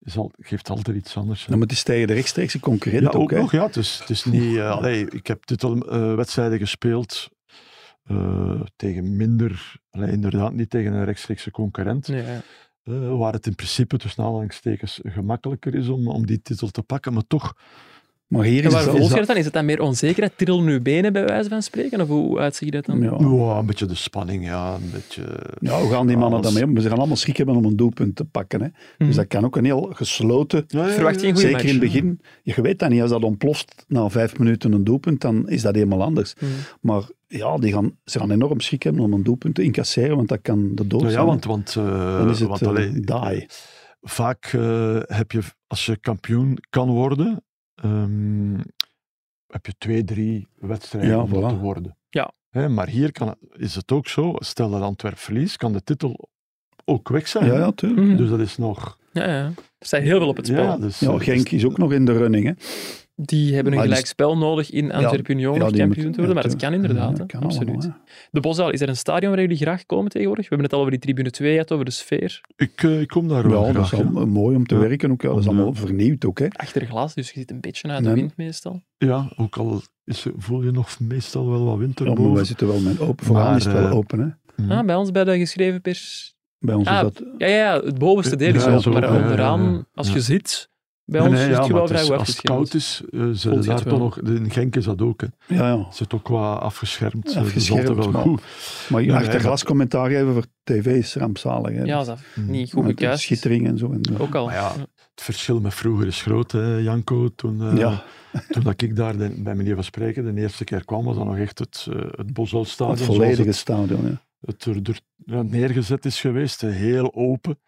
Speaker 5: is al, geeft altijd iets anders. hè.
Speaker 4: Nou, maar het is tegen de rechtstreekse concurrent
Speaker 5: Ja,
Speaker 4: ook,
Speaker 5: ook
Speaker 4: hè.
Speaker 5: nog, ja. Het is, het is niet... eh, allee, ik heb titelwedstrijden gespeeld eh, tegen minder... allee, inderdaad, niet tegen een rechtstreekse concurrent.
Speaker 1: Ja, ja.
Speaker 5: eh, waar het in principe tussen aanhalingstekens gemakkelijker is om, om die titel te pakken. Maar toch...
Speaker 4: Maar hier
Speaker 1: En
Speaker 4: is
Speaker 1: waar
Speaker 4: het
Speaker 1: volg je
Speaker 4: wel-
Speaker 1: dat dan? Is het dan meer onzekerheid? Trillen uw benen bij wijze van spreken? Of hoe uitziet dat dan?
Speaker 4: Ja.
Speaker 5: ja, een beetje de spanning, ja. Een beetje...
Speaker 4: Ja, hoe Nou, gaan die mannen
Speaker 5: Alles.
Speaker 4: dan mee om? Ze gaan allemaal schrik hebben om een doelpunt te pakken. Hè.
Speaker 1: Mhm.
Speaker 4: Dus dat kan ook een heel gesloten...
Speaker 5: Ja, ja, ja,
Speaker 1: Verwacht je een
Speaker 5: ja.
Speaker 1: goeie
Speaker 4: Zeker in het
Speaker 1: match.
Speaker 4: begin. Je weet dat niet. Als dat ontploft na vijf minuten een doelpunt, dan is dat helemaal anders.
Speaker 1: Mhm.
Speaker 4: Maar ja, die gaan, ze gaan enorm schrik hebben om een doelpunt te incasseren, want dat kan de dood
Speaker 5: Nou
Speaker 4: zijn.
Speaker 5: ja, want... want eh,
Speaker 4: dan is het
Speaker 5: want,
Speaker 4: eh,
Speaker 5: allee,
Speaker 4: die.
Speaker 5: vaak eh, heb je, als je kampioen kan worden, ehm, heb je twee, drie wedstrijden
Speaker 4: Ja,
Speaker 5: om dat
Speaker 4: voilà.
Speaker 5: te worden.
Speaker 1: Ja.
Speaker 5: Hè, maar hier kan, is het ook zo, stel dat Antwerp verliest, kan de titel ook weg zijn.
Speaker 4: Ja, ja, tuurlijk.
Speaker 1: Mhm.
Speaker 5: Dus dat is nog...
Speaker 1: Ja, ja. Er staat heel veel op het spel.
Speaker 5: Ja, dus,
Speaker 4: Ja,
Speaker 5: eh,
Speaker 4: Genk
Speaker 5: dus-
Speaker 4: is ook nog in de running. Hè.
Speaker 1: Die hebben een
Speaker 4: Maar die-
Speaker 1: gelijk spel nodig in Antwerpen Union
Speaker 4: Ja,
Speaker 1: om
Speaker 4: die
Speaker 1: kampioen
Speaker 4: moet-
Speaker 1: te worden, maar
Speaker 4: ja,
Speaker 1: dat kan
Speaker 4: tuurlijk.
Speaker 1: inderdaad.
Speaker 4: Ja,
Speaker 1: hè.
Speaker 4: dat kan
Speaker 1: Absoluut.
Speaker 4: allemaal, hè.
Speaker 1: de Boszaal, is er een stadion waar jullie graag komen tegenwoordig? We hebben het al over die tribune 2 gehad, over de sfeer.
Speaker 5: Ik, eh, ik kom daar wel
Speaker 4: Ja, dat
Speaker 5: graag,
Speaker 4: is allemaal mooi om te
Speaker 5: Ja.
Speaker 4: werken. Ook, ja, dat is
Speaker 5: Ja.
Speaker 4: allemaal vernieuwd ook. Hè.
Speaker 1: Achter glas, dus je zit een beetje uit de
Speaker 4: Nee.
Speaker 1: wind meestal.
Speaker 5: ja. Ja, ook al is, voel je nog meestal wel wat winter
Speaker 4: Ja, maar wij
Speaker 5: boven.
Speaker 4: zitten wel met open. Vooraan
Speaker 5: Maar,
Speaker 4: is het wel
Speaker 5: eh,
Speaker 4: open. Hè.
Speaker 5: Mm.
Speaker 1: Ah, bij ons bij de geschreven pers.
Speaker 4: Bij ons
Speaker 1: ah,
Speaker 4: is dat...
Speaker 1: Ja, ja, ja het bovenste deel is
Speaker 5: Ja,
Speaker 1: open,
Speaker 5: zo,
Speaker 1: maar
Speaker 5: ja, ja,
Speaker 1: onderaan,
Speaker 5: ja.
Speaker 1: als je
Speaker 5: Ja.
Speaker 1: zit, bij
Speaker 5: Nee,
Speaker 1: ons
Speaker 5: nee,
Speaker 1: is
Speaker 5: ja,
Speaker 1: het wel
Speaker 5: maar
Speaker 1: vrij
Speaker 5: is-
Speaker 1: goed
Speaker 5: als het koud
Speaker 1: afgeschermd.
Speaker 5: is, eh, zijn
Speaker 1: Voelt
Speaker 5: ze
Speaker 1: je het
Speaker 5: daar
Speaker 1: wel.
Speaker 5: toch nog... In Genk is dat ook, hè.
Speaker 4: Ja, ja.
Speaker 5: zit ook qua afgeschermd. eh,
Speaker 4: Afgeschermd,
Speaker 5: dat is altijd
Speaker 4: maar-
Speaker 5: wel goed.
Speaker 4: Maar
Speaker 5: Ja,
Speaker 4: achter
Speaker 5: nee,
Speaker 4: glas commentaar geven voor tv is rampzalig. Hè.
Speaker 1: Ja, dat is
Speaker 5: Mm.
Speaker 1: niet goed
Speaker 4: Met de
Speaker 1: gekuist.
Speaker 4: Schittering en eh, zo. En, ja.
Speaker 1: Ook al.
Speaker 5: Maar ja, het verschil met vroeger is groot, hè, Janko. Toen, eh,
Speaker 4: Ja.
Speaker 5: toen dat ik daar de- bij meneer van Spreken de eerste keer kwam, was dat nog echt het, eh het Bosuilstadion
Speaker 4: Het
Speaker 5: zoals
Speaker 4: volledige
Speaker 5: het,
Speaker 4: stadion. Ja.
Speaker 5: het er, er- ja, neergezet is geweest. eh, Heel open.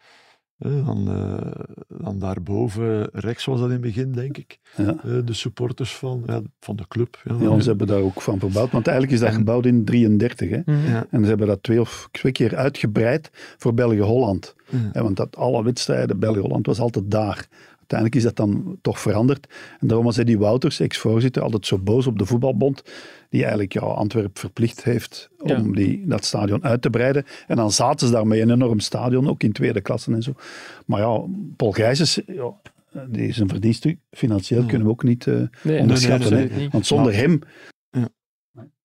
Speaker 5: Eh, dan, eh, dan daarboven rechts was dat in het begin, denk ik.
Speaker 4: Ja.
Speaker 5: Eh, de supporters van, ja, van de club. Ja,
Speaker 4: Ja, ze hebben daar ook van verbouwd. Want eigenlijk is dat
Speaker 5: En-
Speaker 4: gebouwd in 33. Hè.
Speaker 1: Mhm.
Speaker 5: Ja.
Speaker 4: En ze hebben dat twee of twee keer uitgebreid voor België-Holland.
Speaker 5: Ja.
Speaker 4: Hè, Want dat alle wedstrijden, België-Holland, was altijd daar. Uiteindelijk is dat dan toch veranderd. En daarom was die Wouters, ex-voorzitter, altijd zo boos op de voetbalbond, die eigenlijk ja, Antwerpen verplicht heeft
Speaker 1: Ja.
Speaker 4: om die, dat stadion uit te breiden. En dan zaten ze daarmee een enorm stadion, ook in tweede klassen en zo. Maar ja, Paul Gijsens, ja, die is een verdienste. Financieel
Speaker 5: Ja. Dus-
Speaker 4: kunnen we ook niet eh,
Speaker 1: Nee,
Speaker 4: onderschatten.
Speaker 5: nee,
Speaker 4: hè.
Speaker 1: absoluut niet.
Speaker 4: Want zonder
Speaker 5: Maar-
Speaker 4: hem,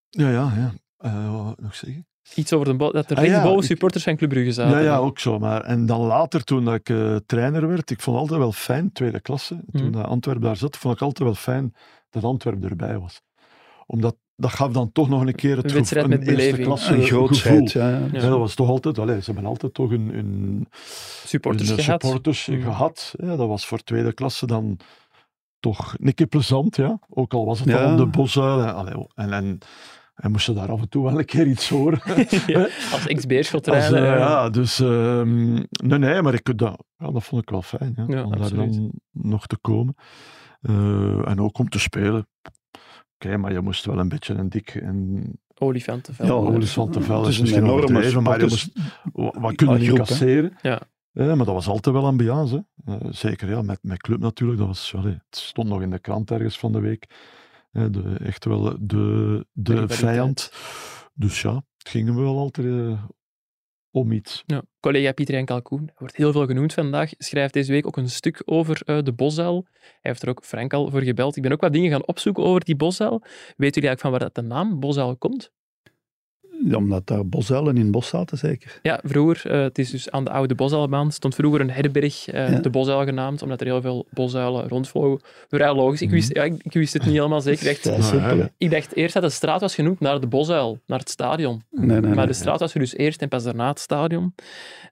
Speaker 5: ja, ja. ja. Eh, wat wou ik nog zeggen?
Speaker 1: Iets over de bo- dat er
Speaker 5: Ah, ja,
Speaker 1: rechtsboven
Speaker 5: ik-
Speaker 1: supporters van Club Brugge zaten.
Speaker 5: Ja, ja, ook zo. Maar, en dan later, toen dat ik eh, trainer werd, ik vond altijd wel fijn, tweede klasse, toen
Speaker 1: Mhm.
Speaker 5: dat Antwerpen daar zat, vond ik altijd wel fijn dat Antwerpen erbij was. Omdat dat gaf dan toch nog een keer het
Speaker 1: Een wedstrijd
Speaker 5: gevo-
Speaker 1: met
Speaker 5: eerste
Speaker 1: beleving.
Speaker 5: klasse
Speaker 4: een
Speaker 5: gevoel.
Speaker 4: grootheid. Ja, ja.
Speaker 1: Ja.
Speaker 5: Ja, dat was toch altijd, allee, ze hebben altijd toch een, een,
Speaker 1: supporters
Speaker 5: een
Speaker 1: gehad.
Speaker 5: supporters
Speaker 1: Mhm.
Speaker 5: gehad. Ja, dat was voor tweede klasse dan toch een keer plezant, ja. Ook al was het
Speaker 4: Ja.
Speaker 5: al op de bosuil. En, allee, en, en, en moest je daar af en toe wel een keer iets horen.
Speaker 1: Ja, als
Speaker 5: Als,
Speaker 1: ex-beerschotrijder.
Speaker 5: eh,
Speaker 1: ja.
Speaker 5: ja, dus ehm, nee, nee, maar ik, dat, ja, dat vond ik wel fijn. Ja,
Speaker 1: Ja,
Speaker 5: om daar
Speaker 1: absoluut.
Speaker 5: dan nog te komen. Eh, en ook om te spelen. Oké, maar je moest wel een beetje een dik en
Speaker 1: Olifantenveld.
Speaker 4: Ja,
Speaker 1: Ja,
Speaker 5: olis van te
Speaker 4: Het
Speaker 5: vellen.
Speaker 4: is
Speaker 5: is
Speaker 4: een
Speaker 5: misschien
Speaker 4: enorme
Speaker 5: overdreven, maar je moest
Speaker 4: supporters-
Speaker 5: wa- wat kunnen
Speaker 4: groep, hè.
Speaker 5: incasseren.
Speaker 1: Ja.
Speaker 5: Eh, maar dat was altijd wel ambiance. Hè. Eh, zeker ja, met, met club natuurlijk. Dat was, allee, het stond nog in de krant ergens van de week. Eh, de, echt wel de, de
Speaker 1: Rivaliteit.
Speaker 5: vijand. Dus ja, het ging wel altijd eh, om iets.
Speaker 1: Collega Pieter Jan Kalkoen, er wordt heel veel genoemd vandaag, schrijft deze week ook een stuk over eh, de bosuil. Hij heeft er ook Frank al voor gebeld. Ik ben ook wat dingen gaan opzoeken over die bosuil. Weet jullie eigenlijk van waar dat de naam bosuil komt?
Speaker 4: Ja, omdat daar bosuilen in het bos zaten, zeker.
Speaker 1: Ja, vroeger, eh, het is dus aan de oude bosuilbaan, stond vroeger een herberg, eh,
Speaker 4: Ja.
Speaker 1: de bosuil genaamd, omdat er heel veel bosuilen rondvlogen. Vrij logisch. Ik wist, ja, ik, ik wist het niet helemaal zeker. Ik
Speaker 4: Dat
Speaker 1: dacht,
Speaker 4: is
Speaker 5: Nou, ja,
Speaker 4: simpel, hè.
Speaker 5: ja.
Speaker 1: ik dacht eerst dat de straat was genoemd naar de bosuil, naar het stadion.
Speaker 4: Nee, nee,
Speaker 1: Maar
Speaker 4: nee.
Speaker 1: de straat was er dus eerst en pas daarna het stadion.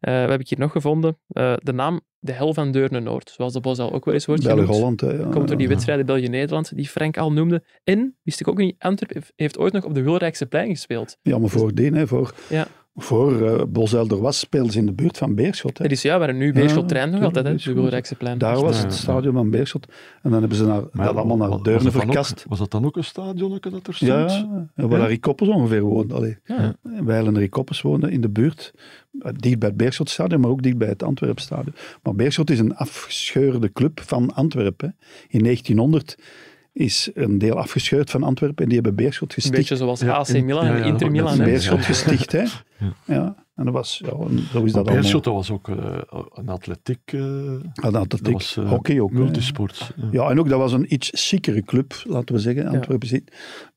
Speaker 1: Eh wat heb ik hier nog gevonden? Eh, de naam De Hel van Deurne-Noord, zoals de bosuil ook wel eens wordt genoemd.
Speaker 4: België-Holland, hè, ja.
Speaker 1: Komt door die
Speaker 5: Ja.
Speaker 1: wedstrijden België-Nederland, die Frank al noemde. En, wist ik ook niet, Antwerp heeft- heeft ooit nog op de Wilrijkse plein gespeeld.
Speaker 4: Ja, maar voordien, hè, voor,
Speaker 1: Dus Ja.
Speaker 4: voor eh, Bosuil er was, speelden ze in de buurt van Beerschot. Hè.
Speaker 1: Dat is ja, waar nu
Speaker 4: Ja,
Speaker 1: Beerschot trein nog
Speaker 4: ja,
Speaker 1: altijd, hè, de
Speaker 4: Beerschot.
Speaker 1: Wilrijkse plein.
Speaker 4: Daar was
Speaker 5: Ja,
Speaker 4: het
Speaker 5: ja, ja.
Speaker 4: stadion van Beerschot. En dan hebben ze naar,
Speaker 5: Maar
Speaker 4: dat allemaal
Speaker 5: wa-
Speaker 4: naar
Speaker 5: wa-
Speaker 4: Deurne
Speaker 5: was dat dan ook-
Speaker 4: verkast.
Speaker 5: Was dat dan ook een stadionnetje dat er stond?
Speaker 4: Ja, ja, waar
Speaker 5: Ja.
Speaker 4: Harry Koppers ongeveer woonde. Allee.
Speaker 1: Ja.
Speaker 4: En Wij en Harry Koppers woonden in de buurt. eh, Dicht bij het Beerschotstadion, maar ook dicht bij het Antwerpstadion. Maar Beerschot is een afgescheurde club van Antwerpen. hè. In 1900 is een deel afgescheurd van Antwerpen en die hebben Beerschot
Speaker 1: Een
Speaker 4: gesticht.
Speaker 1: beetje zoals
Speaker 5: Ja,
Speaker 1: AC
Speaker 5: in-
Speaker 1: Milan
Speaker 5: ja,
Speaker 1: en
Speaker 5: ja,
Speaker 1: Inter
Speaker 5: dat-
Speaker 1: Milan.
Speaker 5: dat-
Speaker 1: hè.
Speaker 4: Beerschot
Speaker 5: Ja.
Speaker 4: gesticht, hè.
Speaker 5: Ja.
Speaker 4: Ja. en dat was... Ja, en zo is dat
Speaker 5: Beerschot,
Speaker 4: allemaal.
Speaker 5: dat was ook eh, een atletiek, eh,
Speaker 4: Ja, Ah, dat, dat
Speaker 5: dat was eh,
Speaker 4: hockey ook. hè.
Speaker 5: multisport. Ja.
Speaker 4: Ja, en ook dat was een iets chickere club, laten we zeggen, Antwerpen. zit.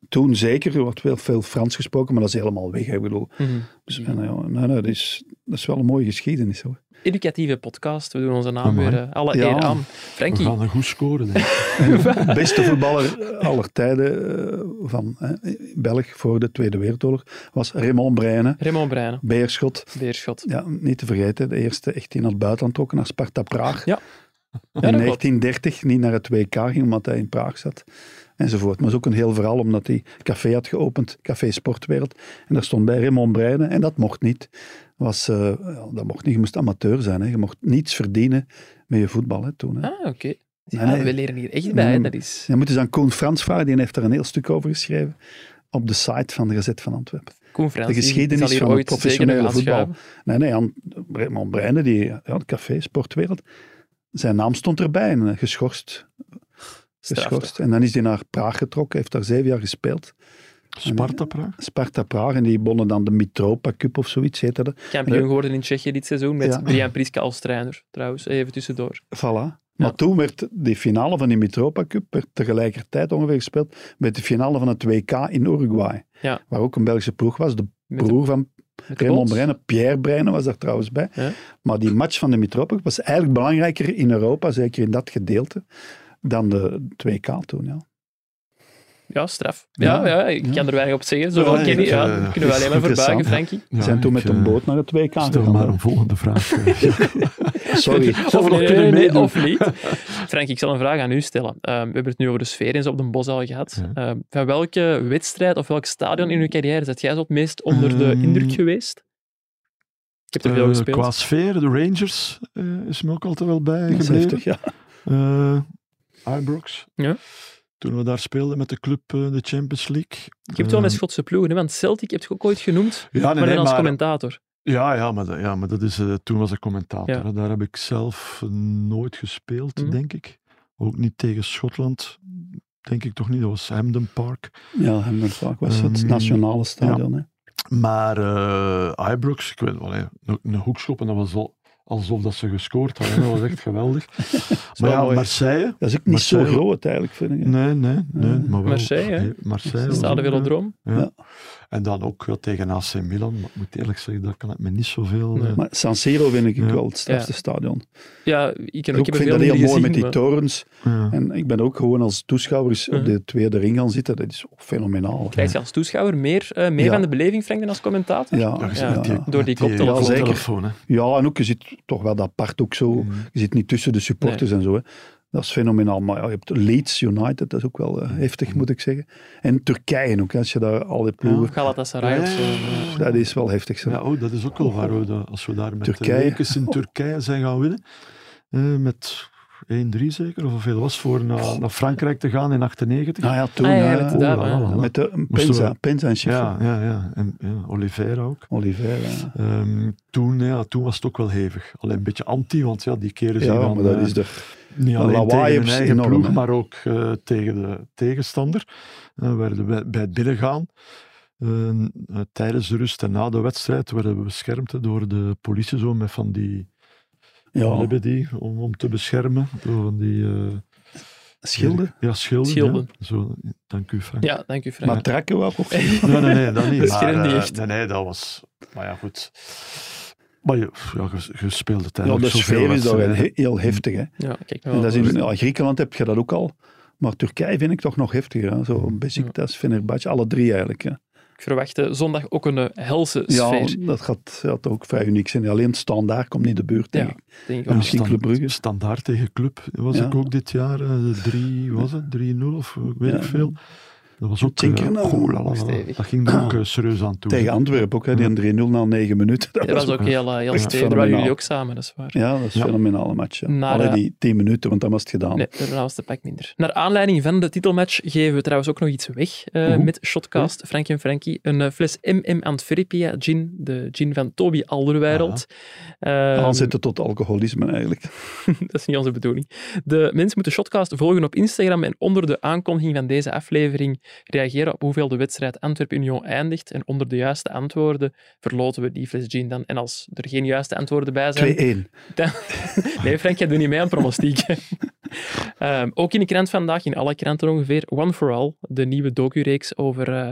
Speaker 4: Toen zeker, er wordt wel veel Frans gesproken, maar dat is helemaal weg. hè. Ik bedoel,
Speaker 1: Mhm.
Speaker 4: dus, ja, nou ja, nou, dat, is, dat is wel een mooie geschiedenis. Hoor.
Speaker 1: Educatieve podcast, we doen onze naam
Speaker 5: Amai.
Speaker 1: weer eh, alle
Speaker 4: Ja.
Speaker 1: eer aan.
Speaker 5: We
Speaker 1: Frankie,
Speaker 5: gaan een goed scoren. denk ik.
Speaker 4: Beste voetballer eh, aller tijden eh, van hè, Belg voor de Tweede Wereldoorlog was Raymond Breine,
Speaker 1: Raymond Breijnen,
Speaker 4: Beerschot.
Speaker 1: Beerschot.
Speaker 4: Ja, niet te vergeten, de eerste echt die naar het buitenland trok, naar Sparta Praag.
Speaker 1: Ja.
Speaker 4: In
Speaker 1: dat klopt.
Speaker 4: 1930 niet naar het WK ging, omdat hij in Praag zat. Enzovoort. Maar het is ook een heel verhaal, omdat hij café had geopend, Café Sportwereld. En daar stond bij Raymond Breijnen, en dat mocht niet. Was, eh, ja, dat mocht niet, je moest amateur zijn. Hè. Je mocht niets verdienen met je voetbal hè, toen. Hè.
Speaker 1: Ah, oké. Ja,
Speaker 4: nee.
Speaker 1: We leren hier echt bij, hè.
Speaker 4: Mm.
Speaker 1: dat is...
Speaker 4: Je moet eens aan Koen Frans vragen, die heeft daar een heel stuk over geschreven. Op de site van de Gazet van Antwerpen.
Speaker 1: Koen Frans,
Speaker 4: De
Speaker 1: die- die
Speaker 4: geschiedenis
Speaker 1: zal hier
Speaker 4: van het
Speaker 1: ooit zeker nog
Speaker 4: professionele
Speaker 1: aan
Speaker 4: voetbal.
Speaker 1: schuiven.
Speaker 4: Nee, nee, aan Raymond Breijnen, die ja, het café, Sportwereld. Zijn naam stond erbij en eh, geschorst.
Speaker 1: Straf,
Speaker 4: geschorst. En dan is hij naar Praag getrokken, heeft daar zeven jaar gespeeld.
Speaker 5: Sparta Praag.
Speaker 4: Sparta Praag en die wonnen dan de Mitropa Cup of zoiets heette dat.
Speaker 1: toch? Kampioen geworden in Tsjechië dit seizoen, met
Speaker 4: Ja.
Speaker 1: Brian Priska als trainer, trouwens. Even tussendoor.
Speaker 4: Voilà.
Speaker 1: Ja.
Speaker 4: Maar toen werd die finale van die Mitropa Cup werd tegelijkertijd ongeveer gespeeld met de finale van het WK in Uruguay.
Speaker 1: Ja.
Speaker 4: Waar ook een Belgische ploeg was. De
Speaker 1: Met de-
Speaker 4: broer van
Speaker 1: met de
Speaker 4: Raymond
Speaker 1: Bols.
Speaker 4: Breijnen, Pierre Breijnen was daar trouwens bij.
Speaker 1: Ja.
Speaker 4: Maar die match van de Mitropa was eigenlijk belangrijker in Europa, zeker in dat gedeelte, dan de 2K toen. Ja.
Speaker 1: Ja, straf. Ja,
Speaker 4: Ja.
Speaker 1: ja, ik kan er weinig op zeggen. Zoveel
Speaker 5: Ja,
Speaker 1: ken ik.
Speaker 5: ik,
Speaker 1: Ja,
Speaker 5: eh,
Speaker 1: daar kunnen we alleen maar
Speaker 4: interessant.
Speaker 1: verbuigen, Frankie.
Speaker 4: Die zijn toen met een boot naar het 2K
Speaker 5: Stel
Speaker 4: gegaan.
Speaker 5: maar een volgende vraag. eh. Ja.
Speaker 4: Sorry.
Speaker 5: Of
Speaker 1: Of,
Speaker 5: nog
Speaker 1: nee, nee,
Speaker 5: kunnen
Speaker 1: nee,
Speaker 5: meedoen.
Speaker 1: of niet. Frank, ik zal een vraag aan u stellen. Ehm, we hebben het nu over de sfeer eens op de bos al gehad.
Speaker 5: Ja.
Speaker 1: Ehm, van welke wedstrijd of welk stadion in uw carrière zat jij zo het meest onder de
Speaker 5: Ehm,
Speaker 1: indruk geweest? Ik heb er veel
Speaker 5: Eh,
Speaker 1: gespeeld.
Speaker 5: qua sfeer, de Rangers eh, is me ook altijd wel bij gebleven.
Speaker 4: 70, ja.
Speaker 5: Eh, Ibrox.
Speaker 1: Ja.
Speaker 5: Toen we daar speelden met de club eh, de Champions League.
Speaker 1: Je hebt wel met
Speaker 4: Mm.
Speaker 5: Eh,
Speaker 1: Schotse ploegen, hè, want Celtic heb je ook ooit genoemd,
Speaker 5: Ja, nee,
Speaker 1: maar
Speaker 5: nee,
Speaker 1: dan als
Speaker 5: maar-
Speaker 1: commentator.
Speaker 5: Ja, ja, maar, dat- ja, maar dat is, eh, toen was ik commentator.
Speaker 1: Ja.
Speaker 5: hè. Daar heb ik zelf nooit gespeeld,
Speaker 1: Mhm.
Speaker 5: denk ik. Ook niet tegen Schotland. Denk ik toch niet, dat was Hampden Park.
Speaker 4: Ja, Hamden Park was het
Speaker 5: Ehm,
Speaker 4: nationale stadion. Hè.
Speaker 5: Maar eh Ibrox, ik weet wel, hè, een, een hoekschop en dat was al, alsof dat ze gescoord hadden. Dat was echt geweldig. maar
Speaker 1: wel
Speaker 5: ja,
Speaker 1: mooi.
Speaker 5: Marseille.
Speaker 4: Dat is ook niet zo
Speaker 5: Marseille.
Speaker 4: groot eigenlijk, vind ik. hè.
Speaker 5: Nee, nee, nee. Maar wel,
Speaker 1: Marseille, hè?
Speaker 5: eh, Marseille was
Speaker 1: Stade
Speaker 5: ook, eh,
Speaker 1: Velodroom.
Speaker 5: Ja.
Speaker 4: Ja.
Speaker 5: En dan ook ja, tegen AC Milan. Maar ik moet eerlijk zeggen, daar kan ik me niet zoveel...
Speaker 1: Nee.
Speaker 5: eh,
Speaker 4: Maar San Siro vind ik
Speaker 5: Ja.
Speaker 4: wel het strafste stadion.
Speaker 1: Ja, ik, heb- ik
Speaker 4: Ik
Speaker 1: heb
Speaker 4: vind
Speaker 1: er
Speaker 4: dat
Speaker 1: veel
Speaker 4: heel
Speaker 1: minder
Speaker 4: mooi
Speaker 1: gezien,
Speaker 4: met die
Speaker 1: maar-
Speaker 4: torens.
Speaker 5: ja.
Speaker 4: En ik ben ook gewoon als toeschouwer eens
Speaker 1: Mhm.
Speaker 4: op de tweede ring gaan zitten. Dat is ook fenomenaal. hè.
Speaker 1: Krijg je als toeschouwer meer, eh, meer
Speaker 4: Ja.
Speaker 1: van de beleving, Frank, dan als commentator?
Speaker 5: Ja, je
Speaker 4: Ja,
Speaker 5: zit
Speaker 1: Ja,
Speaker 5: met die-
Speaker 4: ja.
Speaker 1: Door die
Speaker 5: met
Speaker 1: koptelefoon.
Speaker 5: eh,
Speaker 4: Ja, zeker.
Speaker 5: koptelefoon, hè.
Speaker 4: Ja, en ook, je zit toch wel dat part ook zo.
Speaker 5: Mhm.
Speaker 4: Je zit niet tussen de supporters en zo. Hè. Dat is fenomenaal. Maar ja, je hebt Leeds United, dat is ook wel
Speaker 5: Mhm.
Speaker 4: eh, heftig, moet ik zeggen. En Turkije ook, hè, als je daar al die ploegen...
Speaker 1: Galatasaray of zo. eh.
Speaker 4: Dat is wel heftig. Zo.
Speaker 5: Ja, oh, dat is ook wel waar. We, dat- als we daar met de
Speaker 4: Turkije.
Speaker 5: Lekers in Turkije zijn gaan winnen, eh, met 1-3 zeker, of hoeveel was voor naar, naar Frankrijk te gaan in 98.
Speaker 4: Nou ja, toen...
Speaker 1: Ah, ja,
Speaker 4: hè,
Speaker 1: met de Duiven,
Speaker 5: ja.
Speaker 4: oh, met de
Speaker 5: we-
Speaker 4: Penza, Penza en Schiffer.
Speaker 5: ja, ja, ja. En ja, Oliveira ook.
Speaker 4: Oliveira. ja.
Speaker 5: Ehm, toen, ja, toen was het ook wel hevig. Alleen een beetje anti, want ja, die keren zijn
Speaker 4: Ja,
Speaker 5: dan,
Speaker 4: maar dat
Speaker 5: eh,
Speaker 4: is de...
Speaker 5: niet
Speaker 4: dat
Speaker 5: alleen
Speaker 4: lawaai
Speaker 5: tegen hun
Speaker 4: op zich
Speaker 5: eigen
Speaker 4: enorm,
Speaker 5: ploeg,
Speaker 4: hè.
Speaker 5: maar ook eh, tegen de tegenstander. Eh, we werden bij, bij het binnengaan. Eh, eh, tijdens de rust en na de wedstrijd werden we beschermd hè, door de politie zo met van die
Speaker 4: Ja,
Speaker 5: hebben die om, om te beschermen. Door van die eh,
Speaker 4: Schilden?
Speaker 5: Ja, schilden.
Speaker 1: Schilden.
Speaker 5: ja. Zo, dank u, Frank.
Speaker 1: Ja, dank u, Frank.
Speaker 4: Matrakken wel? Of...
Speaker 5: Nee, nee, nee, dat niet.
Speaker 1: Dat is
Speaker 5: maar,
Speaker 1: geen
Speaker 5: eh,
Speaker 1: echt.
Speaker 5: nee, nee, dat was... Maar ja, goed. Maar je, ja, je, je speelde
Speaker 4: Ja,
Speaker 5: tijdens
Speaker 4: de sfeer is daar wel
Speaker 5: wedstrijden.
Speaker 4: he- heel heftig. Hè?
Speaker 1: Ja, kijk nou
Speaker 4: En
Speaker 1: wel.
Speaker 4: dat is in ja, Griekenland heb je dat ook al. Maar Turkije vind ik toch nog heftiger. Hè? Zo Besiktas, Fenerbahce, alle drie eigenlijk. Hè?
Speaker 1: Ik verwacht eh, zondag ook een eh, helse
Speaker 4: Ja,
Speaker 1: sfeer.
Speaker 4: dat gaat ja, toch ook vrij uniek zijn. Alleen standaard komt niet de buurt, denk
Speaker 1: Ja,
Speaker 4: ik.
Speaker 1: denk ik
Speaker 5: Ja,
Speaker 1: ook.
Speaker 4: misschien Club Brugge.
Speaker 5: Standaard tegen Club was
Speaker 4: Ja.
Speaker 5: ik ook dit jaar. eh, Drie, was het? 3-0 of eh, weet
Speaker 4: Ja.
Speaker 5: ik veel. Dat was ook...
Speaker 4: Tien keer
Speaker 5: eh,
Speaker 4: nou.
Speaker 5: goh, la, la, la.
Speaker 1: Stevig.
Speaker 5: dat ging er ook eh, serieus aan toe.
Speaker 4: Tegen Antwerpen ook, hè, die 3-0 na 9 minuten. Dat
Speaker 1: Ja,
Speaker 4: was
Speaker 1: dat is ook heel, eh, heel
Speaker 4: echt
Speaker 1: stevig. Daar waren
Speaker 4: fenomenaal.
Speaker 1: jullie ook samen, dat is waar.
Speaker 4: Ja, dat is
Speaker 5: Ja.
Speaker 4: een fenomenale match. Ja.
Speaker 1: Maar,
Speaker 4: Allee,
Speaker 1: eh,
Speaker 4: die 10 minuten, want dan was het gedaan.
Speaker 1: Nee, daarna was de pak minder. Naar aanleiding van de titelmatch geven we trouwens ook nog iets weg eh, met Shotcast, Frankie en Frankie. Een eh, fles MM Antwerpia gin, de gin van Toby Alderweireld. Ehm,
Speaker 4: Aanzetten tot alcoholisme eigenlijk.
Speaker 1: dat is niet onze bedoeling. De mensen moeten Shotcast volgen op Instagram en onder de aankondiging van deze aflevering reageren op hoeveel de wedstrijd Antwerp-Union eindigt. En onder de juiste antwoorden verloten we die fles gin dan. En als er geen juiste antwoorden bij zijn...
Speaker 4: 2-1.
Speaker 1: Dan- Nee, Frank, jij doet niet mee aan pronostiek. Ehm, ook in de krant vandaag, in alle kranten ongeveer, One for All, de nieuwe docu-reeks over eh,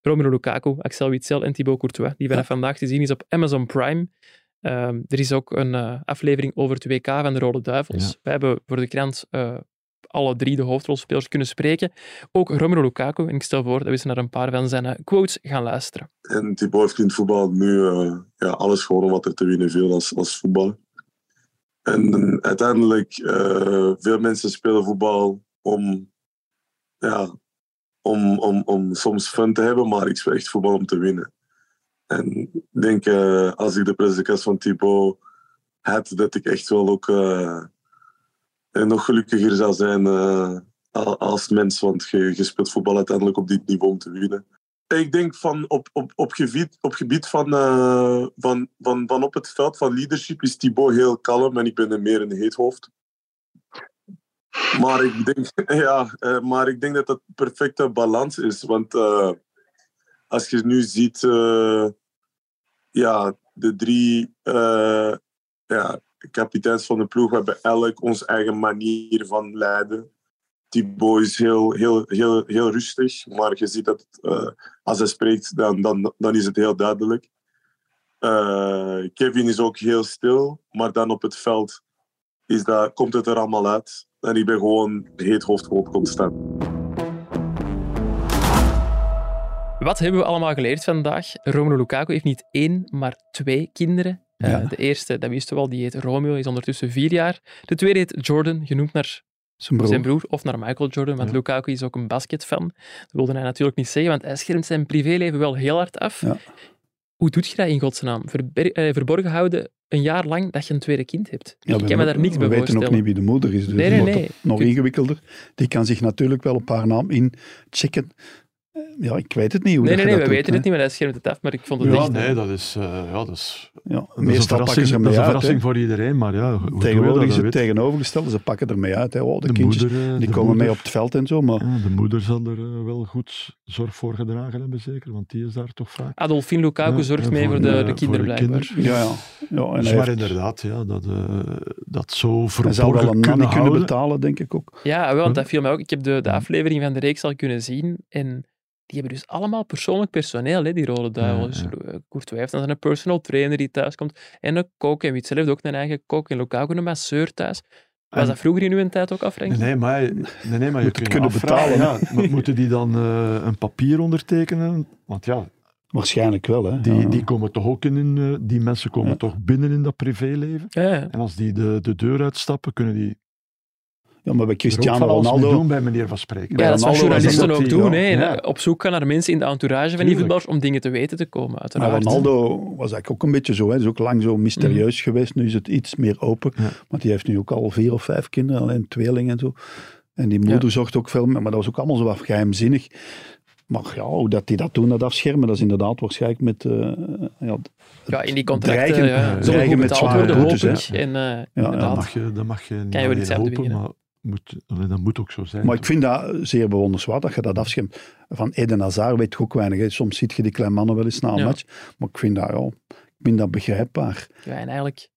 Speaker 1: Romelu Lukaku, Axel Witsel en Thibaut Courtois, die vanaf vandaag te zien is op Amazon Prime. Ehm, er is ook een eh, aflevering over het WK van de Rode Duivels.
Speaker 5: Ja.
Speaker 1: We hebben voor de krant eh, alle drie de hoofdrolspelers kunnen spreken. Ook Romelu Lukaku. En ik stel voor dat we eens naar een paar van zijn eh, quotes gaan luisteren.
Speaker 6: En Thibaut heeft in het voetbal nu eh, ja, alles gewonnen wat er te winnen viel als, als voetballer. En uiteindelijk, eh, veel mensen spelen voetbal om, ja, om, om, om soms fun te hebben, maar ik speel echt voetbal om te winnen. En ik denk, eh, als ik de presentatie van Thibaut had, dat ik echt wel ook eh, nog gelukkiger zou zijn eh, a- als mens. Want je, je speelt voetbal uiteindelijk op dit niveau om te winnen. Ik denk van op, op, op gebied, op gebied van, eh, van, van, van op het veld van leadership is Thibaut heel kalm en ik ben er meer een heet hoofd. Maar ik denk, ja, eh, maar ik denk dat dat perfecte balans is. Want eh, als je nu ziet, eh, ja, de drie eh, ja, kapiteins van de ploeg we hebben elk onze eigen manier van leiden. Thibaut is heel, heel, heel, heel rustig, maar je ziet dat het, eh, als hij spreekt, dan, dan, dan is het heel duidelijk. Eh, Kevin is ook heel stil, maar dan op het veld is dat, komt het er allemaal uit. En ik ben gewoon heet hoofd gewoon constant.
Speaker 1: Wat hebben we allemaal geleerd vandaag? Romelu Lukaku heeft niet één, maar twee kinderen. Eh,
Speaker 4: Ja.
Speaker 1: de eerste, dat wisten we al, die heet Romeo, is ondertussen vier jaar. De tweede heet Jordan, genoemd naar
Speaker 4: Zijn broer.
Speaker 1: zijn broer of naar Michael Jordan, want
Speaker 5: Ja.
Speaker 1: Lukaku is ook een basketfan. Dat wilde hij natuurlijk niet zeggen, want hij schermt zijn privéleven wel heel hard af.
Speaker 4: Ja.
Speaker 1: Hoe doet je dat in godsnaam? Verber- eh, verborgen houden een jaar lang dat je een tweede kind hebt.
Speaker 4: Ja,
Speaker 1: ik
Speaker 4: we-
Speaker 1: kan me daar niks bij
Speaker 4: We weten
Speaker 1: voorstellen.
Speaker 4: ook niet wie de moeder is, dus
Speaker 1: Nee,
Speaker 4: dat
Speaker 1: nee,
Speaker 4: wordt
Speaker 1: nee.
Speaker 4: het nog
Speaker 1: Kun-
Speaker 4: ingewikkelder. Die kan zich natuurlijk wel op haar naam inchecken. Eh, Ja, ik weet het niet hoe
Speaker 1: nee, nee,
Speaker 4: dat je
Speaker 1: nee, we
Speaker 4: dat doet,
Speaker 1: weten
Speaker 4: hè.
Speaker 1: het niet, maar hij schermt het af. Maar ik vond het
Speaker 5: Ja,
Speaker 1: echt...
Speaker 5: nee, dat is... eh, ja, dat is
Speaker 4: Ja,
Speaker 5: dat is een
Speaker 4: meestal pakken
Speaker 5: verrassing,
Speaker 4: ze
Speaker 5: dat is
Speaker 4: ermee
Speaker 5: een
Speaker 4: uit. hè.
Speaker 5: verrassing voor iedereen, maar ja, hoe- hoe
Speaker 4: Tegenwoordig
Speaker 5: doe
Speaker 4: is
Speaker 5: je dat,
Speaker 4: het
Speaker 5: dat weet-
Speaker 4: tegenovergestelde. Ze pakken ermee uit. Hè. Oh, de, kindjes
Speaker 5: moeder, eh,
Speaker 4: die
Speaker 5: de
Speaker 4: komen
Speaker 5: moeder-
Speaker 4: mee op het veld en zo. Maar
Speaker 5: Ja, de moeder zal er eh, wel goed zorg voor gedragen hebben, zeker, want die is daar toch vaak.
Speaker 1: Adolfine Lukaku
Speaker 5: Ja,
Speaker 1: zorgt
Speaker 5: ja,
Speaker 1: mee
Speaker 5: voor
Speaker 1: voor de,
Speaker 5: de-
Speaker 1: de
Speaker 5: voor
Speaker 1: kinderen,
Speaker 5: de
Speaker 1: blijkbaar.
Speaker 5: kinderen.
Speaker 4: ja, ja. ja en
Speaker 5: Dus
Speaker 4: hij,
Speaker 5: maar
Speaker 4: heeft-
Speaker 5: inderdaad, ja, dat, eh, dat zo
Speaker 4: hij
Speaker 5: verborgen
Speaker 4: zou wel een nanny
Speaker 5: kunnen
Speaker 4: kunnen
Speaker 5: houden.
Speaker 4: betalen, denk ik ook.
Speaker 1: Ja, wel, want
Speaker 5: Hm?
Speaker 1: dat viel mij ook. Ik heb de, de aflevering van de reeks al kunnen zien. En die hebben dus allemaal persoonlijk personeel, hè, die rode duivels.
Speaker 5: Ja,
Speaker 1: Eh, Courtois heeft dan een personal trainer die thuis komt. En een kok. En Witzel heeft ook een eigen kok. En Lukaku een masseur thuis. Was
Speaker 5: En-
Speaker 1: dat vroeger in uw tijd ook al, Frank?
Speaker 5: Nee, nee, maar, nee, nee, maar je
Speaker 4: Moet
Speaker 5: kunt je
Speaker 4: kunnen
Speaker 5: afvragen,
Speaker 4: betalen,
Speaker 5: Ja, maar moeten die dan eh, een papier ondertekenen? Want ja,
Speaker 4: Waarschijnlijk wel. Hè.
Speaker 5: die,
Speaker 4: Ja, ja.
Speaker 5: die komen toch ook in, hun, eh, die mensen komen
Speaker 4: Ja.
Speaker 5: toch binnen in dat privéleven.
Speaker 1: Ja, ja.
Speaker 5: En als die de, de deur uitstappen, kunnen die er
Speaker 4: ja, maar bij
Speaker 5: ook
Speaker 4: Cristiano
Speaker 5: van alles mee
Speaker 4: Ronaldo...
Speaker 5: doen bij meneer Van Spreken.
Speaker 1: Ja, dat is wat
Speaker 4: Ronaldo was
Speaker 1: journalisten
Speaker 4: dat
Speaker 1: ook
Speaker 4: die,
Speaker 1: doen.
Speaker 4: ja.
Speaker 1: hè.
Speaker 5: Ja.
Speaker 1: Op zoek gaan naar mensen in de entourage van die
Speaker 5: Tuurlijk.
Speaker 1: voetballers om dingen te weten te komen,
Speaker 4: Maar
Speaker 1: uiteraard.
Speaker 4: Ronaldo was eigenlijk ook een beetje zo. Hij is ook lang zo mysterieus geweest. Nu is het iets meer open.
Speaker 5: Mm. Ja.
Speaker 4: Want die heeft nu ook al vier of vijf kinderen, alleen tweelingen en zo. En die moeder zorgt ook veel meer. Maar dat was ook allemaal zo wat geheimzinnig. Maar ja, hoe dat die dat doen, dat afschermen, dat is inderdaad waarschijnlijk met... eh, ja,
Speaker 1: Ja, in die contracten
Speaker 4: Dreigen-
Speaker 1: ja,
Speaker 5: eh,
Speaker 1: zullen
Speaker 5: dreigen
Speaker 1: goed
Speaker 4: met
Speaker 1: betaald
Speaker 5: zware
Speaker 1: worden,
Speaker 4: boetes,
Speaker 1: hoop
Speaker 4: hè.
Speaker 1: ik. En, eh,
Speaker 5: Dat
Speaker 1: inderdaad.
Speaker 5: mag je, dat mag je niet
Speaker 1: Kan je wel
Speaker 5: alleen
Speaker 1: iets aan
Speaker 5: hopen,
Speaker 1: beginnen.
Speaker 5: maar moet, allee, dat moet ook zo zijn.
Speaker 4: Maar ik vind dat zeer bewonderenswaardig dat je dat afschermt. Van Eden Hazard weet je ook weinig. hè. Soms ziet je die kleine mannen wel eens na een
Speaker 1: Ja.
Speaker 4: match. Maar ik vind dat, ja, ik vind dat begrijpbaar.
Speaker 1: Ja, en eigenlijk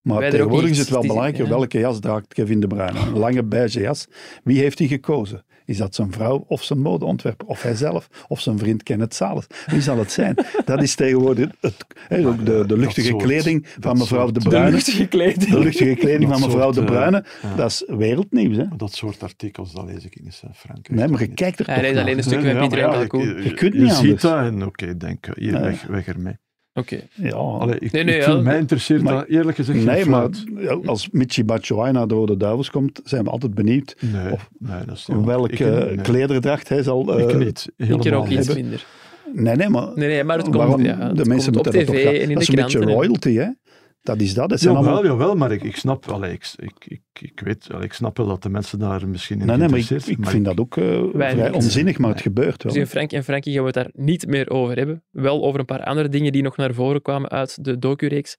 Speaker 1: Wij er
Speaker 4: Maar
Speaker 1: ook
Speaker 4: tegenwoordig
Speaker 1: niet.
Speaker 4: is het wel
Speaker 1: Het is-
Speaker 4: belangrijker
Speaker 1: ja.
Speaker 4: welke jas draagt Kevin De Bruyne. Een lange beige jas. Wie heeft die gekozen? Is dat zijn vrouw of zijn modeontwerper? Of hijzelf? Of zijn vriend Kenneth Salas? Wie zal het zijn? Dat is tegenwoordig het, hè, ook de, de
Speaker 5: dat
Speaker 4: luchtige
Speaker 5: soort-
Speaker 4: kleding
Speaker 5: dat
Speaker 4: van mevrouw
Speaker 5: soort-
Speaker 4: De
Speaker 5: De
Speaker 1: De
Speaker 4: Bruyne.
Speaker 1: luchtige kleding.
Speaker 4: De luchtige kleding van
Speaker 5: Dat
Speaker 4: mevrouw De
Speaker 5: soort, eh,
Speaker 4: Bruyne.
Speaker 5: ja.
Speaker 4: Dat is wereldnieuws, hè?
Speaker 5: Dat soort artikels, dat lees ik niet, hè, Frank.
Speaker 4: Nee,
Speaker 5: Echt
Speaker 4: maar je
Speaker 5: niet.
Speaker 4: kijkt er
Speaker 1: Hij
Speaker 4: toch
Speaker 1: leest
Speaker 4: naar.
Speaker 1: alleen een stukje
Speaker 5: Nee,
Speaker 1: bij
Speaker 5: ja,
Speaker 1: Pieter
Speaker 5: maar
Speaker 1: en
Speaker 5: ja,
Speaker 1: Kalkoen.
Speaker 5: ik-
Speaker 4: Je kunt
Speaker 5: je
Speaker 4: niet
Speaker 5: ziet
Speaker 4: anders.
Speaker 5: dat en oké, denk, eh, hier,
Speaker 4: Ja.
Speaker 5: weg, weg ermee.
Speaker 1: Oké.
Speaker 4: Ja.
Speaker 5: Allee, ik,
Speaker 1: Nee, nee,
Speaker 5: ik vind-
Speaker 1: ja,
Speaker 5: mij interesseert
Speaker 4: maar-
Speaker 5: dat eerlijk gezegd geen
Speaker 4: Nee, maar
Speaker 5: fluit.
Speaker 4: ja, als Michi Batshuayi naar de Rode Duivels komt, zijn we altijd benieuwd
Speaker 5: Nee,
Speaker 4: of-
Speaker 5: nee, dat is niet waar.
Speaker 4: welke
Speaker 5: Ik- nee,
Speaker 4: klederdracht hij zal... eh,
Speaker 5: ik niet.
Speaker 1: Ik keer
Speaker 5: helemaal
Speaker 1: ook iets
Speaker 5: niet.
Speaker 1: minder.
Speaker 4: Nee, nee, maar...
Speaker 1: Nee, nee, maar het komt,
Speaker 4: waarom?
Speaker 1: ja, het
Speaker 4: de mensen
Speaker 1: komt op
Speaker 4: moeten
Speaker 1: tv
Speaker 4: dat toch...
Speaker 1: en in
Speaker 4: dat
Speaker 1: de
Speaker 4: is een beetje
Speaker 1: kranten. en-
Speaker 4: royalty, hè? Dat is dat. Dat zijn
Speaker 5: Jawel,
Speaker 4: allemaal...
Speaker 5: jawel, maar ik, ik snap, allee, ik, ik, ik, ik weet, allee, ik snap wel dat de mensen daar misschien in
Speaker 4: Nee, nee, maar ik,
Speaker 5: geïnteresseerd
Speaker 4: ik
Speaker 5: zijn,
Speaker 4: vind dat ook eh, vrij
Speaker 1: niet.
Speaker 4: onzinnig, maar het gebeurt wel.
Speaker 1: Dus in Frank en Frankie gaan we het daar niet meer over hebben. Wel over een paar andere dingen die nog naar voren kwamen uit de docureeks.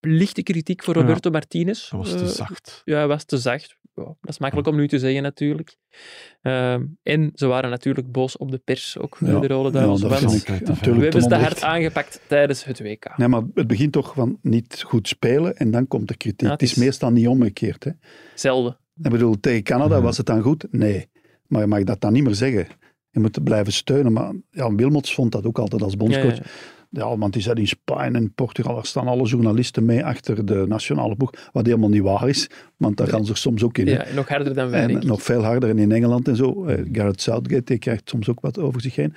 Speaker 1: Lichte kritiek voor
Speaker 5: Ja.
Speaker 1: Roberto Martinez.
Speaker 5: Dat was te
Speaker 1: Eh,
Speaker 5: zacht.
Speaker 1: Ja, hij was te zacht. Ja, dat is makkelijk om nu te zeggen, natuurlijk. Ehm, en ze waren natuurlijk boos op de pers, ook
Speaker 4: Ja.
Speaker 1: de rode
Speaker 4: Ja,
Speaker 1: duivels.
Speaker 4: dat
Speaker 1: want
Speaker 5: is
Speaker 4: vind
Speaker 5: wel
Speaker 4: ik
Speaker 5: altijd te
Speaker 4: natuurlijk
Speaker 5: veel.
Speaker 1: we
Speaker 5: We
Speaker 1: hebben
Speaker 4: ten
Speaker 1: ze te
Speaker 4: onrechte.
Speaker 1: hard aangepakt tijdens het WK.
Speaker 4: Nee, maar het begint toch van niet goed spelen en dan komt de kritiek.
Speaker 1: Ja, het
Speaker 4: het is
Speaker 1: is-
Speaker 4: meestal niet omgekeerd. Hè?
Speaker 1: Zelden.
Speaker 4: Ik bedoel, tegen Canada
Speaker 5: Ja.
Speaker 4: was het dan goed? Nee. Maar je mag dat dan niet meer zeggen. Je moet blijven steunen. Maar Jan Wilmots vond dat ook altijd als
Speaker 1: Ja,
Speaker 4: bondscoach.
Speaker 1: ja.
Speaker 4: Ja, want die zat in Spanje en Portugal, daar staan alle journalisten mee achter de nationale boeg, wat helemaal niet waar is, want daar gaan ze er soms ook in. hè.
Speaker 1: Ja, nog harder dan wij,
Speaker 4: En
Speaker 1: denk ik.
Speaker 4: nog veel harder en in Engeland en zo. Eh, Gareth Southgate die krijgt soms ook wat over zich heen.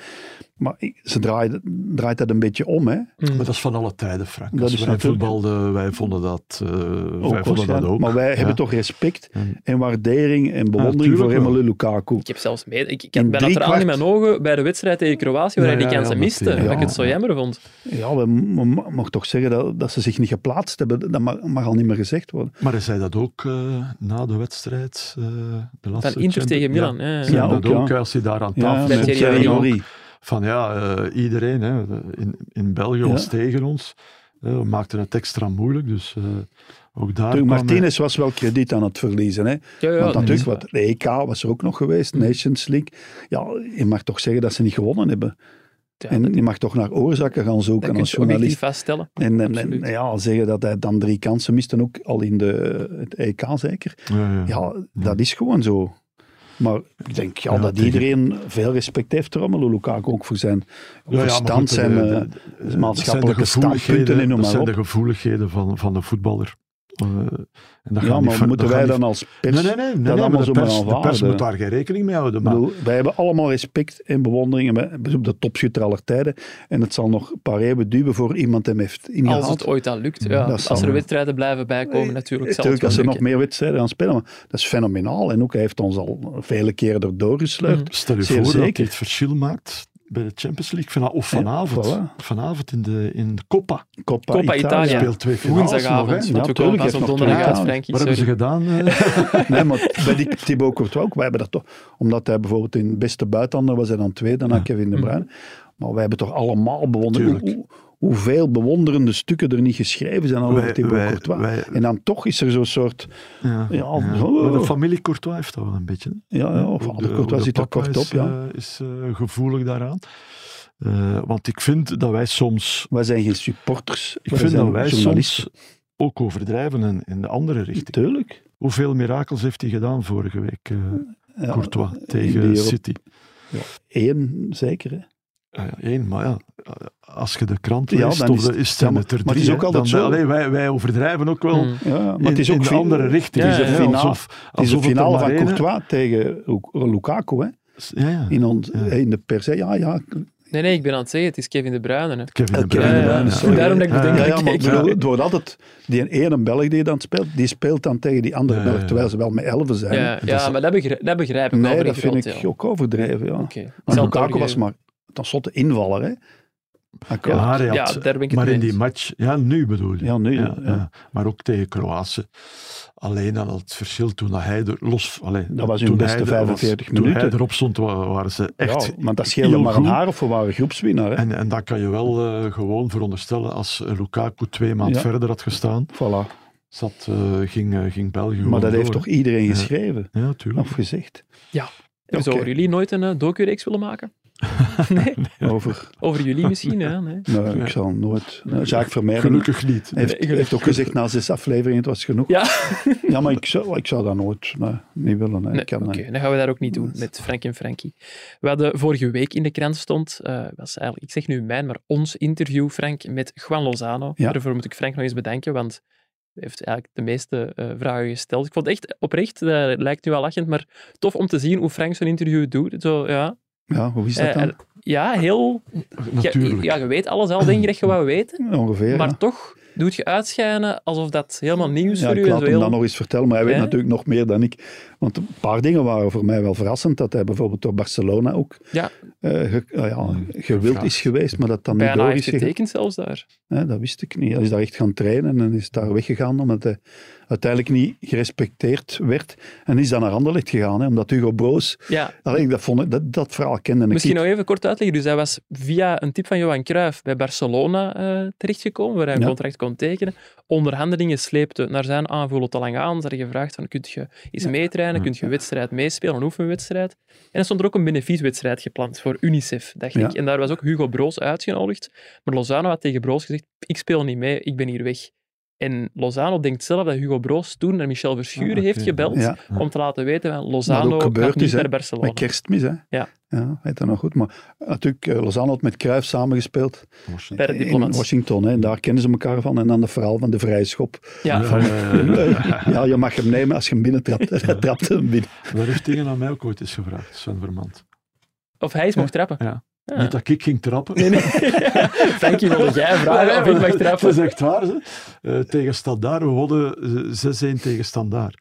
Speaker 4: Maar ik- ze draait, draait dat een beetje om. Hè?
Speaker 1: Mm.
Speaker 5: Maar dat is van alle tijden, Frank.
Speaker 4: Dat
Speaker 5: Als
Speaker 4: is
Speaker 5: wij
Speaker 4: natuurlijk-
Speaker 5: voetbalden, wij vonden dat, eh, wij vonden dat
Speaker 4: waarschijnlijk.
Speaker 5: ook.
Speaker 4: Maar wij
Speaker 5: Ja.
Speaker 4: hebben toch respect
Speaker 5: En-
Speaker 4: en waardering en bewondering
Speaker 5: tuurlijk
Speaker 4: voor
Speaker 5: wel.
Speaker 4: Emile Lukaku.
Speaker 1: Ik heb zelfs mee... Ik, ik
Speaker 4: In
Speaker 1: ben dat
Speaker 4: drie
Speaker 1: verhaal in
Speaker 4: kwart-
Speaker 1: mijn ogen bij de wedstrijd tegen Kroatië, waar
Speaker 5: Ja,
Speaker 1: hij die
Speaker 5: ja,
Speaker 1: kansen
Speaker 5: ja, dat
Speaker 1: miste.
Speaker 5: die-
Speaker 1: Dat ik
Speaker 4: ja.
Speaker 1: het zo jammer vond.
Speaker 4: Ja, we mo- mo- mogen toch zeggen dat, dat ze zich niet geplaatst hebben. Dat mag, mag al niet meer gezegd worden.
Speaker 5: Maar hij zei dat ook eh, na de wedstrijd. eh, de laatste
Speaker 1: Van Inter
Speaker 5: Champions-
Speaker 1: tegen
Speaker 5: Ja.
Speaker 1: Milan. Ja.
Speaker 5: Zei
Speaker 4: Ja,
Speaker 5: dat
Speaker 4: ook,
Speaker 5: ook,
Speaker 4: ja.
Speaker 5: als hij daar aan
Speaker 4: Ja,
Speaker 1: met
Speaker 5: tafel
Speaker 4: met eh,
Speaker 5: zit,
Speaker 1: Thierry
Speaker 5: zei hij
Speaker 1: Henry.
Speaker 5: ook
Speaker 4: Thierry
Speaker 5: van ja, eh, iedereen hè, in, in België was tegen ons. Eh, we maakten het extra moeilijk, dus eh, ook daar
Speaker 4: Toen
Speaker 5: kwam hij-
Speaker 4: Martinez was wel krediet aan het verliezen. Hè?
Speaker 1: Ja, dus- Mm. ja, dat
Speaker 4: Want natuurlijk,
Speaker 1: is-
Speaker 4: wat, de EK was er ook nog geweest, Nations League. Ja, je mag toch zeggen dat ze niet gewonnen hebben.
Speaker 1: Ja,
Speaker 4: en je mag toch naar oorzaken gaan
Speaker 1: Dat
Speaker 4: zoeken
Speaker 1: kun
Speaker 4: als
Speaker 1: je ook niet
Speaker 4: journalist.
Speaker 1: vaststellen.
Speaker 4: En, en- en,
Speaker 1: absoluut.
Speaker 4: ja, zeggen dat hij dan drie kansen mist, en ook al in de, het EK zeker.
Speaker 5: Ja, ja.
Speaker 4: Ja, dat is gewoon zo. Maar ik denk ja,
Speaker 5: Ja,
Speaker 4: dat
Speaker 5: tegen-
Speaker 4: iedereen veel respect heeft voor Romelu Lukaku, ook voor zijn
Speaker 5: Ja, ja, maar
Speaker 4: verstand,
Speaker 5: goed,
Speaker 4: zijn...
Speaker 5: de- de-
Speaker 4: eh,
Speaker 5: de- dat
Speaker 4: maatschappelijke
Speaker 5: zijn de
Speaker 4: standpunten en noem
Speaker 5: gevoeligheden- Dat
Speaker 4: maar
Speaker 5: zijn
Speaker 4: op.
Speaker 5: de gevoeligheden van, van de voetballer. Eh, en dat
Speaker 4: ja,
Speaker 5: gaan
Speaker 4: maar moeten wij dan als pers...
Speaker 5: Nee, nee, nee. nee, nee,
Speaker 4: allemaal
Speaker 5: maar de,
Speaker 4: zomaar
Speaker 5: pers, de
Speaker 4: aanvaarden?
Speaker 5: pers moet daar geen rekening mee houden.
Speaker 4: Ik
Speaker 5: Maar
Speaker 4: bedoel, wij hebben allemaal respect en bewondering en we- we zijn op de topschutter aller tijden. En het zal nog een paar eeuwen duwen voor iemand hem heeft ingehaald.
Speaker 1: Als het ooit al lukt.
Speaker 5: Ja,
Speaker 1: Ja.
Speaker 5: dat
Speaker 1: als
Speaker 4: zal
Speaker 1: er
Speaker 4: wel.
Speaker 1: wedstrijden blijven bijkomen, natuurlijk. Zal
Speaker 4: Natuurlijk,
Speaker 1: het
Speaker 4: eh, als er
Speaker 1: wel
Speaker 4: nog
Speaker 1: lukken.
Speaker 4: meer wedstrijden gaan spelen. Maar dat is fenomenaal. En ook, hij heeft ons al vele keren erdoor gesleurd.
Speaker 1: Mhm.
Speaker 5: stel je
Speaker 4: Zeer
Speaker 5: voor dat
Speaker 4: zeker.
Speaker 5: dit het verschil maakt bij de Champions League. Van, of vanavond.
Speaker 4: voilà.
Speaker 5: Vanavond in de, in de Coppa.
Speaker 4: Coppa,
Speaker 1: Copa Italia.
Speaker 5: Speelt twee finales nog, hè.
Speaker 1: Woensdagavond. Want we
Speaker 4: Ja,
Speaker 1: komen
Speaker 4: tuurlijk,
Speaker 1: pas
Speaker 4: heeft
Speaker 1: op
Speaker 4: nog
Speaker 1: donderdag
Speaker 4: twee
Speaker 1: uit,
Speaker 4: dagen.
Speaker 1: Frankie.
Speaker 5: Wat hebben ze
Speaker 1: Sorry.
Speaker 5: gedaan? eh?
Speaker 4: Nee, maar bij die Thibaut Courtois ook. Wij hebben dat toch, omdat hij bijvoorbeeld in beste buitenlander was hij dan tweede na Kevin De Bruyne. Maar wij hebben toch allemaal bewonderd. hoe-
Speaker 5: Mm. Tuurlijk.
Speaker 4: hoe- hoeveel bewonderende stukken er niet geschreven zijn over
Speaker 5: Wij-
Speaker 4: Thibaut
Speaker 5: wij-
Speaker 4: Courtois.
Speaker 5: wij-
Speaker 4: en dan toch is er zo'n soort...
Speaker 5: Ja,
Speaker 4: Ja,
Speaker 5: ja.
Speaker 4: zo.
Speaker 5: Maar de familie Courtois heeft dat wel een beetje. hè.
Speaker 4: Ja, ja of
Speaker 5: Hoe
Speaker 4: Ander
Speaker 5: de- hoe
Speaker 4: Courtois
Speaker 5: de
Speaker 4: zit er
Speaker 5: papa
Speaker 4: kort op,
Speaker 5: is,
Speaker 4: ja.
Speaker 5: eh, is eh, gevoelig daaraan. Eh, want ik vind dat wij soms,
Speaker 4: Wij zijn geen supporters.
Speaker 5: ik
Speaker 4: wij
Speaker 5: vind
Speaker 4: zijn
Speaker 5: dat wij
Speaker 4: journalisten.
Speaker 5: soms ook overdrijven in, in de andere richting.
Speaker 4: Tuurlijk.
Speaker 5: Hoeveel mirakels heeft hij gedaan vorige week, eh,
Speaker 4: Ja,
Speaker 5: Courtois,
Speaker 4: die
Speaker 5: tegen
Speaker 4: Euro-
Speaker 5: City?
Speaker 4: Eén, zeker. Hè.
Speaker 5: Ah ja, één, maar ja, als je de krant
Speaker 4: Ja,
Speaker 5: leest,
Speaker 4: dan
Speaker 5: of
Speaker 4: is
Speaker 5: de-
Speaker 4: het-
Speaker 5: is het
Speaker 4: ja,
Speaker 5: er
Speaker 4: maar-
Speaker 5: net er
Speaker 4: maar het
Speaker 5: drie,
Speaker 4: is
Speaker 5: hè.
Speaker 4: ook altijd
Speaker 5: Dan-
Speaker 4: zo.
Speaker 5: allee, wij, wij overdrijven ook wel
Speaker 1: Mm.
Speaker 4: Ja, maar
Speaker 5: in,
Speaker 4: het is ook
Speaker 5: in de
Speaker 4: fin-
Speaker 5: andere richting.
Speaker 1: het is
Speaker 5: hè,
Speaker 4: een finale.
Speaker 5: alsof,
Speaker 4: Het is
Speaker 5: alsof
Speaker 4: de
Speaker 5: er
Speaker 4: finale
Speaker 5: maar
Speaker 4: van
Speaker 5: één-
Speaker 4: Courtois tegen Lu- Lukaku. Hè.
Speaker 5: Ja, ja.
Speaker 4: In, ons,
Speaker 5: Ja.
Speaker 4: in de pers. hè. Ja, ja.
Speaker 1: Nee, nee, ik ben aan het zeggen, het is Kevin De Bruyne. hè.
Speaker 5: Kevin De
Speaker 4: Oké,
Speaker 5: Bruyne.
Speaker 1: ja, ja,
Speaker 5: ja.
Speaker 1: sorry. Daarom dat ik
Speaker 5: Ja,
Speaker 1: bedenk
Speaker 4: Ja,
Speaker 1: dat
Speaker 4: ja, maar ik
Speaker 1: ik-
Speaker 4: bedoel, het wordt altijd die ene Belg die dan speelt, die speelt dan tegen die andere
Speaker 5: Ja,
Speaker 4: Belg,
Speaker 5: ja.
Speaker 4: terwijl ze wel met elven zijn. hè.
Speaker 1: Ja, ja, maar dat begrijp, dat begrijp ik wel.
Speaker 4: nee,
Speaker 1: voor
Speaker 4: dat
Speaker 1: die
Speaker 4: vind
Speaker 1: grote,
Speaker 4: ik
Speaker 1: ja.
Speaker 4: ook overdreven. Ja.
Speaker 1: Oké. Ik
Speaker 4: Maar
Speaker 1: zal het
Speaker 4: Lukaku was
Speaker 1: doorgeven.
Speaker 4: maar tenslotte invaller. Hè. Akkoord.
Speaker 5: Maar hij
Speaker 1: Ja,
Speaker 5: had-
Speaker 1: daar ben ik het
Speaker 5: maar
Speaker 1: mee
Speaker 5: in die
Speaker 1: eens.
Speaker 5: match, ja, nu bedoel je.
Speaker 4: Ja, nu, ja, ja.
Speaker 5: Maar ook tegen Kroatië. Alleen al het verschil toen dat hij er los. Allee,
Speaker 4: Dat was hun
Speaker 5: toen hij
Speaker 4: beste
Speaker 5: er was-
Speaker 4: 45
Speaker 5: Toen hij
Speaker 4: minuten.
Speaker 5: erop stond, wa- waren ze echt.
Speaker 4: ja, want dat scheelde
Speaker 5: heel
Speaker 4: maar een
Speaker 5: goed.
Speaker 4: haar of we waren groepswinnaar. Hè.
Speaker 5: En, en dat kan je wel eh, gewoon veronderstellen. Als eh, Lukaku twee maanden
Speaker 4: Ja.
Speaker 5: verder had gestaan,
Speaker 4: Voilà.
Speaker 5: zat, eh, ging, eh, ging België gewoon
Speaker 4: Maar dat heeft
Speaker 5: door.
Speaker 4: toch iedereen
Speaker 5: Ja.
Speaker 4: geschreven
Speaker 5: Ja, tuurlijk.
Speaker 4: of gezegd?
Speaker 1: Zouden
Speaker 4: Oké.
Speaker 1: jullie nooit een eh, docu-reeks willen maken? Nee,
Speaker 4: over.
Speaker 1: over jullie misschien, hè? Nee.
Speaker 4: Nee, ik zal nooit. Nee, Jacques Vermeijden
Speaker 5: Gelukkig niet.
Speaker 4: heeft,
Speaker 1: gelukkig.
Speaker 4: heeft ook gezegd na zes afleveringen, het was genoeg.
Speaker 1: Ja,
Speaker 4: Ja, maar ik zou, ik zou dat nooit nee, niet willen. Hè.
Speaker 1: nee,
Speaker 4: ik kan,
Speaker 1: oké,
Speaker 4: dat niet.
Speaker 1: dan gaan we dat ook niet doen met Frank en Frankie. We hadden vorige week in de krant stond, eh, was eigenlijk, ik zeg nu mijn, maar ons interview, Frank, met Juan Lozano.
Speaker 4: Ja.
Speaker 1: Daarvoor moet ik Frank nog eens bedanken, want hij heeft eigenlijk de meeste eh, vragen gesteld. Ik vond het echt oprecht, dat lijkt nu wel lachend, maar tof om te zien hoe Frank zo'n interview doet. Zo, ja.
Speaker 4: Ja, hoe is dat
Speaker 1: Eh,
Speaker 4: dan?
Speaker 1: ja, heel... Ja,
Speaker 5: Natuurlijk.
Speaker 1: ja, je weet alles al, denk je dat je wat weet.
Speaker 4: Ongeveer.
Speaker 1: Maar
Speaker 4: ja.
Speaker 1: toch doet je uitschijnen alsof dat helemaal nieuws
Speaker 4: Ja,
Speaker 1: voor
Speaker 4: ik
Speaker 1: u is.
Speaker 4: laat hem
Speaker 1: Heel...
Speaker 4: dan nog eens vertellen, maar hij weet
Speaker 1: Hè?
Speaker 4: natuurlijk nog meer dan ik. Want een paar dingen waren voor mij wel verrassend. Dat hij bijvoorbeeld door Barcelona ook
Speaker 1: Ja.
Speaker 4: eh, ge- ah ja, gewild is
Speaker 5: Gevraagd.
Speaker 4: geweest, maar dat dan niet
Speaker 1: Bijna
Speaker 4: door
Speaker 1: heeft
Speaker 4: is gegaan.
Speaker 1: getekend zelfs daar.
Speaker 4: Hè, dat wist ik niet. Hij is daar echt gaan trainen en is daar weggegaan omdat hij uiteindelijk niet gerespecteerd werd. En is dan naar Anderlecht gegaan, hè, omdat Hugo Broos...
Speaker 1: Ja,
Speaker 4: Allee, dat, vond ik, dat, dat verhaal kende ik
Speaker 1: misschien
Speaker 4: niet.
Speaker 1: nog even kort uitleggen. Dus hij was via een tip van Johan Cruijff bij Barcelona eh, terechtgekomen, waar hij een
Speaker 4: Ja.
Speaker 1: contract kon tekenen. Onderhandelingen sleepte naar zijn aanvoelen te lang aan. Ze hadden gevraagd van, kunt je eens meetrainen? Kunt je een wedstrijd meespelen, een oefenwedstrijd? En er stond er ook een benefietwedstrijd gepland voor UNICEF, dacht
Speaker 4: Ja.
Speaker 1: ik. En daar was ook Hugo Broos uitgenodigd. Maar Lozano had tegen Broos gezegd, ik speel niet mee, ik ben hier weg. En Lozano denkt zelf dat Hugo Broos toen naar Michel Verschuren
Speaker 5: Ah, oké.
Speaker 1: heeft gebeld
Speaker 4: Ja.
Speaker 1: om te laten weten van
Speaker 4: Wat
Speaker 1: Lozano
Speaker 4: ook gebeurd
Speaker 1: gaat niet
Speaker 4: is, hè,
Speaker 1: naar Barcelona.
Speaker 4: Met kerstmis, hè?
Speaker 1: Ja.
Speaker 4: weet dat nog goed. Maar natuurlijk, eh, Lozano had met Cruijff samengespeeld
Speaker 1: Bij de
Speaker 4: in
Speaker 1: diplomats.
Speaker 4: Washington. Hè, en daar kennen ze elkaar van. En dan het verhaal van de vrije schop.
Speaker 1: Ja,
Speaker 5: Ja, ja, ja.
Speaker 4: ja, je mag hem nemen als je hem binnentrapt. Hij trapte hem binnen.
Speaker 5: Dat heeft tegen aan mij ook ooit eens gevraagd, Sven Vermand.
Speaker 1: Of hij eens mocht trappen.
Speaker 5: Ja.
Speaker 1: Ja.
Speaker 5: Niet dat ik ging trappen.
Speaker 1: Nee, nee. Frank, je wilde jij vragen of ik mag
Speaker 5: Dat is
Speaker 1: trappen.
Speaker 5: echt waar. Hè? Eh, tegen Standaard, we wonnen eh, 6-1 tegen Standaard.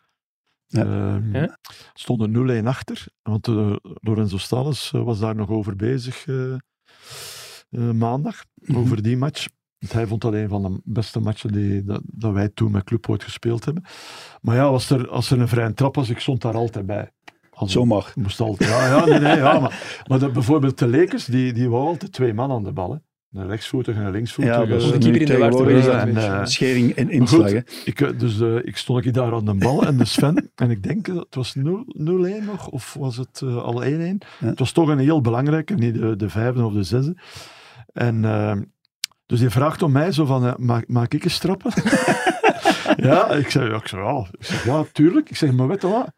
Speaker 4: Ja.
Speaker 5: Ehm,
Speaker 1: Ja.
Speaker 5: stonden 0-1 achter, want eh, Lorenzo Stalles eh, was daar nog over bezig eh, eh, maandag, over die match. Want hij vond dat een van de beste matchen die, dat, dat wij toen met Club ooit gespeeld hebben. Maar ja, was er, als er een vrije trap was, ik stond daar altijd bij. Als een
Speaker 4: Zomaar.
Speaker 5: Moest altijd, ja, ja, nee, nee, ja. Maar, maar dat, bijvoorbeeld de Lekers, die, die wou altijd twee man aan de bal. Hè. Een rechtsvoetige en een
Speaker 4: Ja,
Speaker 5: linksvoetige.
Speaker 4: dat is
Speaker 1: de
Speaker 5: Eh,
Speaker 1: keeper
Speaker 4: nu
Speaker 1: in de war te
Speaker 4: tegenwoordig is
Speaker 5: brengen.
Speaker 4: dat
Speaker 5: En, eh,
Speaker 4: schering en
Speaker 5: maar
Speaker 4: inslag.
Speaker 5: goed,
Speaker 4: hè.
Speaker 5: ik, eh, dus eh, ik stond ik daar aan de bal en de Sven, en ik denk, eh, het was 0 0-1 nog, of was het eh, al 1-1? Het was toch een heel belangrijke, niet de, de vijfde of de zesde. En eh, dus die vraagt om mij zo van, eh, maak, maak ik eens trappen? ja, ik zei, ja, ik zei, ja. Ik zeg, ja, tuurlijk. Ik zeg, maar weet je wat?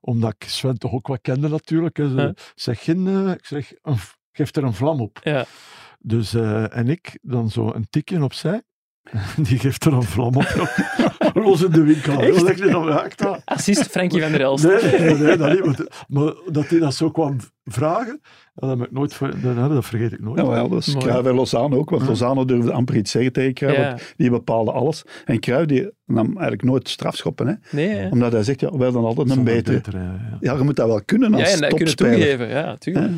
Speaker 5: Omdat ik Sven toch ook wat kende natuurlijk. hè, ze-
Speaker 1: Ja.
Speaker 5: Zeg, geen, eh, ik zeg, een v- geef er een vlam op.
Speaker 1: Ja.
Speaker 5: Dus, eh, en ik dan zo een tikje opzij. Die geeft er een vlam op. Los in de winkel.
Speaker 1: Echt?
Speaker 5: Dat leg je dan raakt dat.
Speaker 1: Assist Frankie van der Elst.
Speaker 5: Nee, nee, nee, nee, dat niet. Maar, de- maar dat hij dat zo kwam vragen, dat, heb ik nooit, ver- dat, dat vergeet ik nooit.
Speaker 4: Ja, maar ja, dat is
Speaker 1: Mooi.
Speaker 4: Cruijff en Lozano ook. Want
Speaker 5: Ja.
Speaker 4: Lozano durfde amper iets zeggen tegen Cruijff.
Speaker 1: Ja.
Speaker 4: want Die bepaalde alles. En Cruijff die nam eigenlijk nooit strafschoppen. Hè?
Speaker 1: Nee, hè.
Speaker 4: Omdat hij zegt, ja, wij dan altijd een betere.
Speaker 5: ja.
Speaker 4: Ja, je moet dat wel kunnen als
Speaker 1: Ja, en dat kunnen
Speaker 4: topspeler.
Speaker 1: toegeven. Ja, tuurlijk.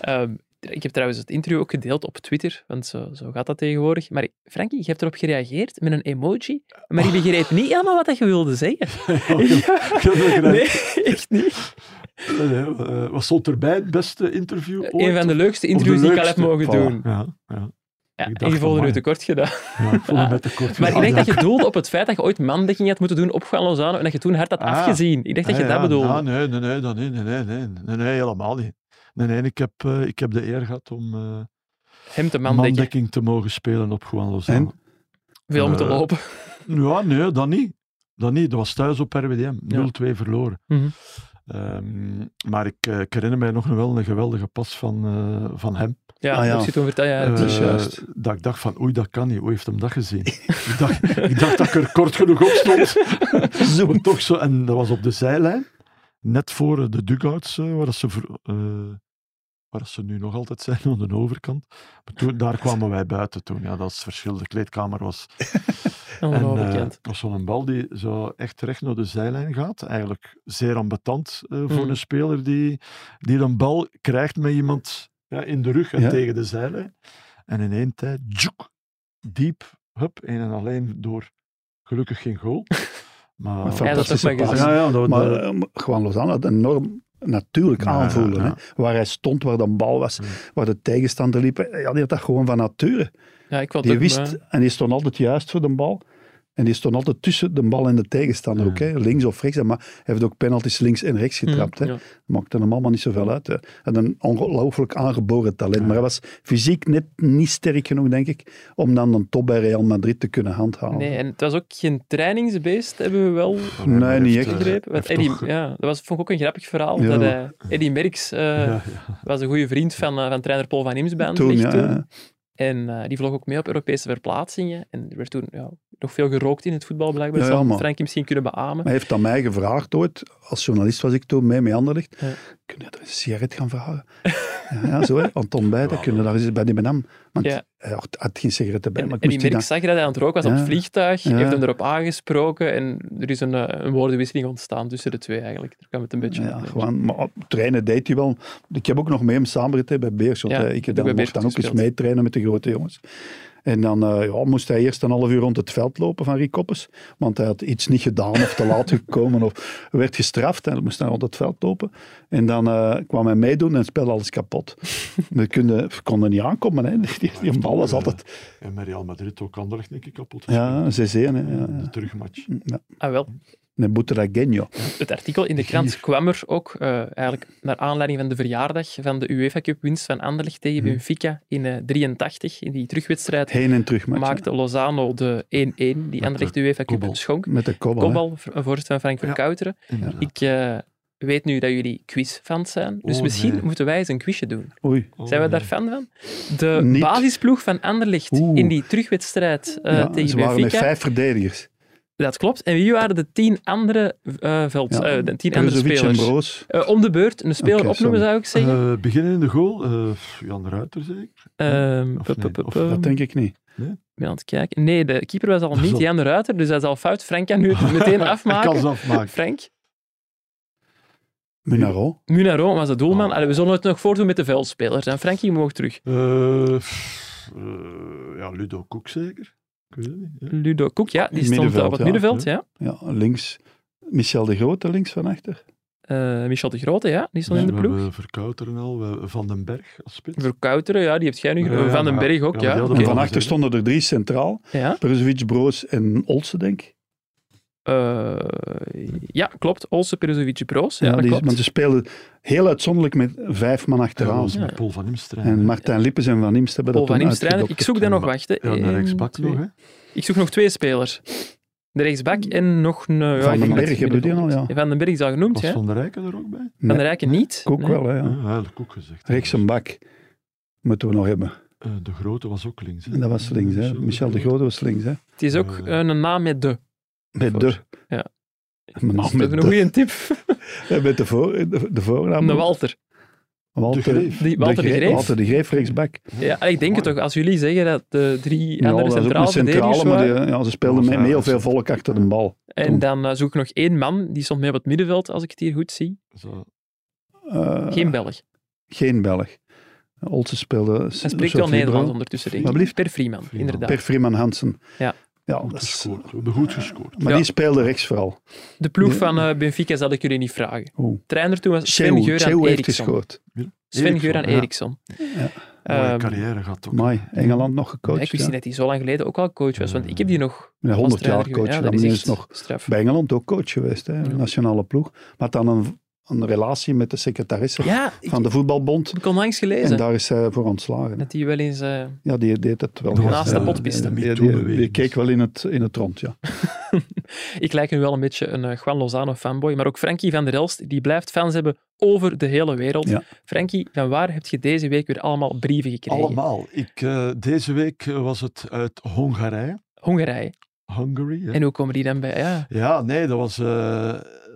Speaker 1: Ehm, ik heb trouwens het interview ook gedeeld op Twitter, want zo, zo gaat dat tegenwoordig. Maar Frankie, je hebt erop gereageerd met een emoji, maar je begreep niet helemaal wat dat je wilde zeggen.
Speaker 5: Ik heb er
Speaker 1: Nee,
Speaker 5: gelijk.
Speaker 1: echt niet.
Speaker 5: Nee, nee, eh, wat stond erbij? Het beste interview ooit?
Speaker 1: Een van de leukste
Speaker 5: Of de
Speaker 1: interviews die ik al heb
Speaker 5: leukste.
Speaker 1: mogen
Speaker 4: Voilà.
Speaker 1: doen.
Speaker 5: Ja, ja,
Speaker 1: Ja,
Speaker 5: Ik dacht,
Speaker 1: en je voelde nu
Speaker 5: amai.
Speaker 1: tekort gedaan.
Speaker 5: ja, ik vond het met te
Speaker 1: Maar
Speaker 5: kort.
Speaker 1: ik
Speaker 5: gedaan,
Speaker 1: denk dat
Speaker 5: ja.
Speaker 1: je doelde op het feit dat je ooit mandekking had moeten doen op Juan Lozano en dat je toen hard had
Speaker 5: Ah.
Speaker 1: afgezien. Ik dacht dat je
Speaker 5: Ah,
Speaker 1: dat
Speaker 5: ja,
Speaker 1: bedoelde.
Speaker 5: ja, nee, nee, nee, dat niet, nee, nee, nee, nee, nee, helemaal niet. Nee, nee, ik heb, eh, ik heb de eer gehad om eh
Speaker 1: Hem te mandekking.
Speaker 5: mandekking te mogen spelen op Juan Lozano.
Speaker 1: Veel moeten
Speaker 5: Eh,
Speaker 1: lopen.
Speaker 5: Ja, nee, dat niet. Dat niet. Dat was thuis op RWDM. 0-2 verloren.
Speaker 1: Mhm.
Speaker 5: Ehm, maar ik, eh, ik herinner mij nog wel een geweldige pas van, eh, van hem.
Speaker 1: Ja,
Speaker 4: Ah, ja.
Speaker 1: dat heb je toen verteld. Ja,
Speaker 4: is
Speaker 5: Eh,
Speaker 4: juist.
Speaker 5: Dat ik dacht van, oei, dat kan niet. Hoe heeft hem dat gezien? ik, dacht, ik dacht dat ik er kort genoeg op stond.
Speaker 4: Zo.
Speaker 5: Maar toch zo, en dat was op de zijlijn, net voor eh, de dugouts, eh, waar, dat ze, vro- eh, waar dat ze nu nog altijd zijn, aan de overkant. Maar toen, daar kwamen wij buiten toen. Ja, dat is het verschil. De kleedkamer was... En, eh,
Speaker 1: ongelooflijk.
Speaker 5: dat was zo'n bal die zo echt recht naar de zijlijn gaat. Eigenlijk zeer ambetant eh, voor
Speaker 1: Mm.
Speaker 5: een speler die, die een bal krijgt met iemand ja, in de rug en
Speaker 4: Ja.
Speaker 5: tegen de zijlijn. En in één tijd, tjoek, diep, hup, één en alleen door. Gelukkig geen goal.
Speaker 1: Ja,
Speaker 5: Maar,
Speaker 4: Een
Speaker 1: dat is ook
Speaker 4: fantastische
Speaker 1: wel
Speaker 4: paas.
Speaker 1: gezien.
Speaker 5: ja, ja, dat,
Speaker 4: Maar
Speaker 5: dat-
Speaker 4: eh, Juan Lozano had enorm natuurlijk
Speaker 5: Ja,
Speaker 4: aanvoelen.
Speaker 5: ja, ja.
Speaker 4: Hè? Waar hij stond, waar de bal was,
Speaker 5: Ja.
Speaker 4: waar de tegenstander liep. Ja, die had dat gewoon van nature.
Speaker 1: ja, ik vond het
Speaker 4: Die
Speaker 1: ook, eh,
Speaker 4: wist,
Speaker 1: maar-
Speaker 4: en die stond altijd juist voor de bal. En die stond altijd tussen de bal en de tegenstander,
Speaker 5: Ja.
Speaker 4: ook, hè, links of rechts. Maar hij heeft ook penalties links en rechts getrapt. hè.
Speaker 1: Mm, hm, ja.
Speaker 4: Maakte hem allemaal niet zoveel uit. Hè. En een ongelooflijk aangeboren talent. Maar hij was fysiek net niet sterk genoeg, denk ik, om dan een top bij Real Madrid te kunnen
Speaker 5: Oh.
Speaker 4: handhalen.
Speaker 1: Nee, en het was ook geen trainingsbeest, hebben we wel
Speaker 5: Maar
Speaker 4: nee,
Speaker 5: hij
Speaker 4: niet
Speaker 5: heeft,
Speaker 4: echt.
Speaker 5: eh,
Speaker 1: begrepen. Want
Speaker 5: heeft
Speaker 1: Eddie,
Speaker 5: toch-
Speaker 1: ja, dat was, vond ik ook een grappig verhaal.
Speaker 4: Ja.
Speaker 1: Dat hij, Eddie Merckx eh,
Speaker 5: ja,
Speaker 1: was een goede vriend van, eh, van trainer Paul van Imsbaan.
Speaker 4: Toen, ja, ja.
Speaker 1: En eh, die vlog ook mee op Europese verplaatsingen. En er werd toen ja, nog veel gerookt in het voetbal, blijkbaar.
Speaker 4: Ja,
Speaker 1: dat
Speaker 4: ja,
Speaker 1: zal
Speaker 4: maar-
Speaker 1: Frankie misschien kunnen beamen.
Speaker 4: Maar hij heeft aan mij gevraagd ooit, als journalist was ik toen mee met Anderlicht,
Speaker 1: Ja.
Speaker 4: kun je daar eens een sigaret gaan vragen? ja, ja, zo hè, Anton bij, dat kunnen daar eens bij die benam. Want
Speaker 1: Ja.
Speaker 4: hij had, had geen sigaretten bij,
Speaker 1: En,
Speaker 4: maar
Speaker 1: en
Speaker 4: ik
Speaker 1: die
Speaker 4: moest die
Speaker 1: merk
Speaker 4: dan...
Speaker 1: zag je dat hij aan het roken was op het
Speaker 4: Ja.
Speaker 1: vliegtuig,
Speaker 4: Ja.
Speaker 1: heeft hem erop aangesproken en er is een, eh, een woordenwisseling ontstaan tussen de twee eigenlijk. Daar kwam het een beetje op
Speaker 4: Ja,
Speaker 1: neer.
Speaker 4: gewoon, maar op trainen deed hij wel. Ik heb ook nog mee hem samengetraind bij Beerschot.
Speaker 1: Ja,
Speaker 4: hè.
Speaker 1: ik
Speaker 4: ik
Speaker 1: heb
Speaker 4: heb
Speaker 1: ook bij Beerschot
Speaker 4: dan, mocht dan ook eens
Speaker 1: gespeeld.
Speaker 4: meetrainen met de grote jongens. En dan eh, ja, moest hij eerst een half uur rond het veld lopen van Rick Koppes. Want hij had iets niet gedaan of te laat gekomen of werd gestraft. En moest hij rond het veld lopen. En dan eh, kwam hij meedoen en het spel alles kapot. We konden, we konden niet aankomen. Hè. Die, die, die bal was altijd...
Speaker 5: En met Real Madrid ook Anderlecht denk ik kapot
Speaker 4: Ja, 6-1. hè. Ja,
Speaker 5: De
Speaker 4: ja.
Speaker 5: terugmatch.
Speaker 1: Ah, wel.
Speaker 4: Een Boeteragenio.
Speaker 1: Het artikel in de krant kwam er ook eh, eigenlijk naar aanleiding van de verjaardag van de UEFA Cup winst van Anderlecht
Speaker 4: Hm.
Speaker 1: tegen Benfica in eh 83. In die terugwedstrijd
Speaker 4: Heen en terug. match, hè.
Speaker 1: maakte Lozano de 1-1 die Anderlecht de UEFA Cup
Speaker 5: kopbal.
Speaker 1: schonk.
Speaker 4: Met de kobbel. hè.
Speaker 1: Kopbal, v- een voorzet van Frank Verkouteren.
Speaker 5: Inderdaad.
Speaker 1: Ik eh, weet nu dat jullie quizfans zijn, dus
Speaker 5: Oh,
Speaker 1: misschien
Speaker 5: nee.
Speaker 1: moeten wij eens een quizje doen.
Speaker 4: Oei.
Speaker 5: Oh,
Speaker 1: Zijn we
Speaker 5: nee.
Speaker 1: daar fan van? De
Speaker 4: Niet.
Speaker 1: basisploeg van Anderlecht
Speaker 4: Oeh.
Speaker 1: in die terugwedstrijd eh,
Speaker 4: Ja,
Speaker 1: tegen
Speaker 4: ze waren met
Speaker 1: Benfica.
Speaker 4: vijf verdedigers.
Speaker 1: Dat klopt. En wie waren de tien andere, eh veld,
Speaker 4: Ja.
Speaker 1: eh, de tien andere
Speaker 4: Brozovic
Speaker 1: spelers?
Speaker 4: en Broos.
Speaker 1: Eh, om de beurt een speler
Speaker 4: Oké,
Speaker 1: opnoemen,
Speaker 4: sorry.
Speaker 1: zou ik zeggen.
Speaker 5: Eh, beginnen in de goal. eh, Jan Ruiter, zeg ik.
Speaker 4: Eh,
Speaker 1: Ehm,
Speaker 5: of
Speaker 1: pup,
Speaker 5: nee,
Speaker 1: pup, pup,
Speaker 5: of
Speaker 1: pup.
Speaker 4: Dat denk ik niet.
Speaker 1: Ben aan het kijken. Nee, de keeper was al niet
Speaker 5: Zo.
Speaker 1: Jan de Ruiter, dus hij is al fout. Frank kan nu het meteen
Speaker 5: Ik kan
Speaker 1: afmaken.
Speaker 5: ze afmaken.
Speaker 1: Frank,
Speaker 4: Munaro.
Speaker 1: Munaro was de doelman.
Speaker 4: Ah.
Speaker 5: Oh.
Speaker 1: Allee, we zullen het nog voordoen met de veldspelers. En Frank, je mag terug.
Speaker 5: Eh, pff, eh, ja, Ludo Koek zeker. Ik weet het niet. ja.
Speaker 1: Ludo Koek, ja, die stond
Speaker 4: Middenveld,
Speaker 1: op het
Speaker 4: ja.
Speaker 1: middenveld. Ja.
Speaker 4: Ja, links. Michel de Grote links van achter.
Speaker 1: Eh, Michel de Grote, ja, die stond
Speaker 5: Ja,
Speaker 1: in de
Speaker 5: we
Speaker 1: ploeg.
Speaker 5: hebben Verkouteren al, we hebben Van den Berg als spits.
Speaker 1: Verkouteren, ja, die heeft jij nu.
Speaker 5: Ja, ja,
Speaker 1: Van den
Speaker 5: maar-
Speaker 1: Berg ook,
Speaker 5: ja,
Speaker 1: ja.
Speaker 5: maar die
Speaker 1: Oké.
Speaker 5: hadden
Speaker 4: En
Speaker 5: wel
Speaker 4: van
Speaker 5: gezien,
Speaker 4: achter
Speaker 5: hè.
Speaker 4: stonden er drie centraal.
Speaker 1: Ja.
Speaker 4: Brozovic, Broos en Olsen, denk ik.
Speaker 1: Eh, ja, klopt. Olsen, Peruzovic, Broos. Ja, dat
Speaker 4: die,
Speaker 1: klopt.
Speaker 4: want ze speelden heel uitzonderlijk met vijf man
Speaker 5: Ja, dat
Speaker 4: achteraan.
Speaker 5: was met
Speaker 1: Ja.
Speaker 5: Paul van Imstrijn.
Speaker 4: En Martijn Lippens en Van Imst hebben dat
Speaker 1: Paul van
Speaker 4: toen
Speaker 1: Imstrijnen. Ik
Speaker 4: uitgedokterd.
Speaker 1: zoek daar nog,
Speaker 5: En-
Speaker 1: wachten.
Speaker 5: ja, en de
Speaker 1: Eén,
Speaker 5: rechtsbak
Speaker 1: twee.
Speaker 5: nog, hè.
Speaker 1: Ik zoek nog twee spelers. De rechtsbak en nog een... eh, ja, ik
Speaker 4: Van
Speaker 1: denk
Speaker 4: den
Speaker 1: dat
Speaker 4: Berg
Speaker 1: het
Speaker 4: hebben we die al, ja.
Speaker 1: Van den Berg is al genoemd,
Speaker 5: Was
Speaker 1: hè?
Speaker 5: Van der Rijken er ook bij?
Speaker 1: Van der
Speaker 4: Nee,
Speaker 1: Rijken niet.
Speaker 4: Koek
Speaker 1: Nee.
Speaker 4: wel, hè, ja.
Speaker 5: Ja, ja de Koek gezegd.
Speaker 4: Rechts een bak. Moeten we nog hebben.
Speaker 5: Eh, de Grote was ook links. Hè? dus, eh,
Speaker 4: En dat was links, hè.
Speaker 5: Michel de
Speaker 4: Michel de
Speaker 5: Grote.
Speaker 4: Grote was links, hè.
Speaker 1: Het is ook
Speaker 5: Eh.
Speaker 1: eh, een naam met de.
Speaker 4: Met
Speaker 1: Voor.
Speaker 4: de.
Speaker 1: Ja.
Speaker 4: Mijn
Speaker 1: Dus
Speaker 4: naam
Speaker 1: dat is
Speaker 4: met
Speaker 1: een
Speaker 4: de.
Speaker 1: goede tip.
Speaker 4: En Met de, voor, de, de voornaam.
Speaker 1: Een Walter.
Speaker 5: De
Speaker 4: Walter
Speaker 5: Greef.
Speaker 1: Die, Walter de
Speaker 4: Gre-
Speaker 1: Greef.
Speaker 4: Walter de Greef, rechtsbak.
Speaker 1: Ja, ik denk het toch. Als jullie zeggen dat de drie
Speaker 4: Ja,
Speaker 1: andere
Speaker 4: dat is ook een
Speaker 1: centrale verdedigers
Speaker 4: centrale,
Speaker 1: waren...
Speaker 4: maar die- ja, ze speelden met, met heel veel volk achter de bal.
Speaker 1: En
Speaker 4: Tom.
Speaker 1: dan eh, zoek ik nog één man. Die stond mee op het middenveld, als ik het hier goed zie.
Speaker 5: Zo,
Speaker 4: Eh,
Speaker 1: Geen Belg.
Speaker 4: geen Belg. Olsen speelde...
Speaker 1: Hij spreekt wel Nederlands ondertussen, denk ik.
Speaker 4: Alsjeblieft.
Speaker 1: Per Freeman, inderdaad.
Speaker 4: Per Freeman Hansen.
Speaker 1: Ja.
Speaker 4: Ja,
Speaker 5: goed
Speaker 4: dat is-
Speaker 5: gescoord. We hebben goed gescoord.
Speaker 4: maar
Speaker 1: Ja.
Speaker 4: die speelde rechts vooral.
Speaker 1: De ploeg
Speaker 4: Nee.
Speaker 1: van eh, Benfica zal ik jullie niet vragen.
Speaker 4: Oeh.
Speaker 1: Trainer toen was Sven
Speaker 4: Chew,
Speaker 1: Geuran
Speaker 4: Chew Oh. heeft
Speaker 1: Eriksson.
Speaker 4: gescoord.
Speaker 1: Sven
Speaker 5: Eriksson,
Speaker 1: Geuran
Speaker 5: ja.
Speaker 1: Eriksson.
Speaker 5: Mooie
Speaker 1: Ehm,
Speaker 5: carrière gaat ook.
Speaker 4: Mai, Engeland nog
Speaker 1: ja,
Speaker 4: gecoacht.
Speaker 1: ik wist
Speaker 4: ja.
Speaker 1: niet dat hij zo lang geleden ook al coach was, want ik heb die nog
Speaker 4: Met
Speaker 1: als
Speaker 4: 100
Speaker 1: trainer
Speaker 4: jaar
Speaker 1: geweest.
Speaker 4: coach.
Speaker 1: Ja,
Speaker 4: dan
Speaker 1: dat is echt
Speaker 4: is nog
Speaker 1: straf.
Speaker 4: bij Engeland ook coach geweest, hè, nationale ploeg. Maar dan een, een relatie met de secretaresse
Speaker 1: Ja, ik
Speaker 4: van de voetbalbond.
Speaker 1: heb ik onlangs
Speaker 4: En
Speaker 1: gelezen
Speaker 4: daar is hij voor ontslagen.
Speaker 1: dat hij wel eens... eh,
Speaker 4: Ja, die deed het wel.
Speaker 5: Dat was,
Speaker 1: Naast de
Speaker 5: eh,
Speaker 1: potpiste.
Speaker 5: de
Speaker 4: Die, die,
Speaker 5: MeToo-beweging.
Speaker 4: die keek wel in het, in het rond, ja.
Speaker 1: ik lijk nu wel een beetje een eh, Juan Lozano fanboy, maar ook Frankie van der Elst, die blijft fans hebben over de hele wereld.
Speaker 4: Ja.
Speaker 1: Frankie, van waar heb je deze week weer allemaal brieven gekregen?
Speaker 5: Allemaal. Ik, eh, deze week eh, was het uit Hongarije.
Speaker 1: Hongarije.
Speaker 5: Hungary. hè.
Speaker 1: En hoe komen die dan bij? Ja,
Speaker 5: Ja, nee, dat was eh,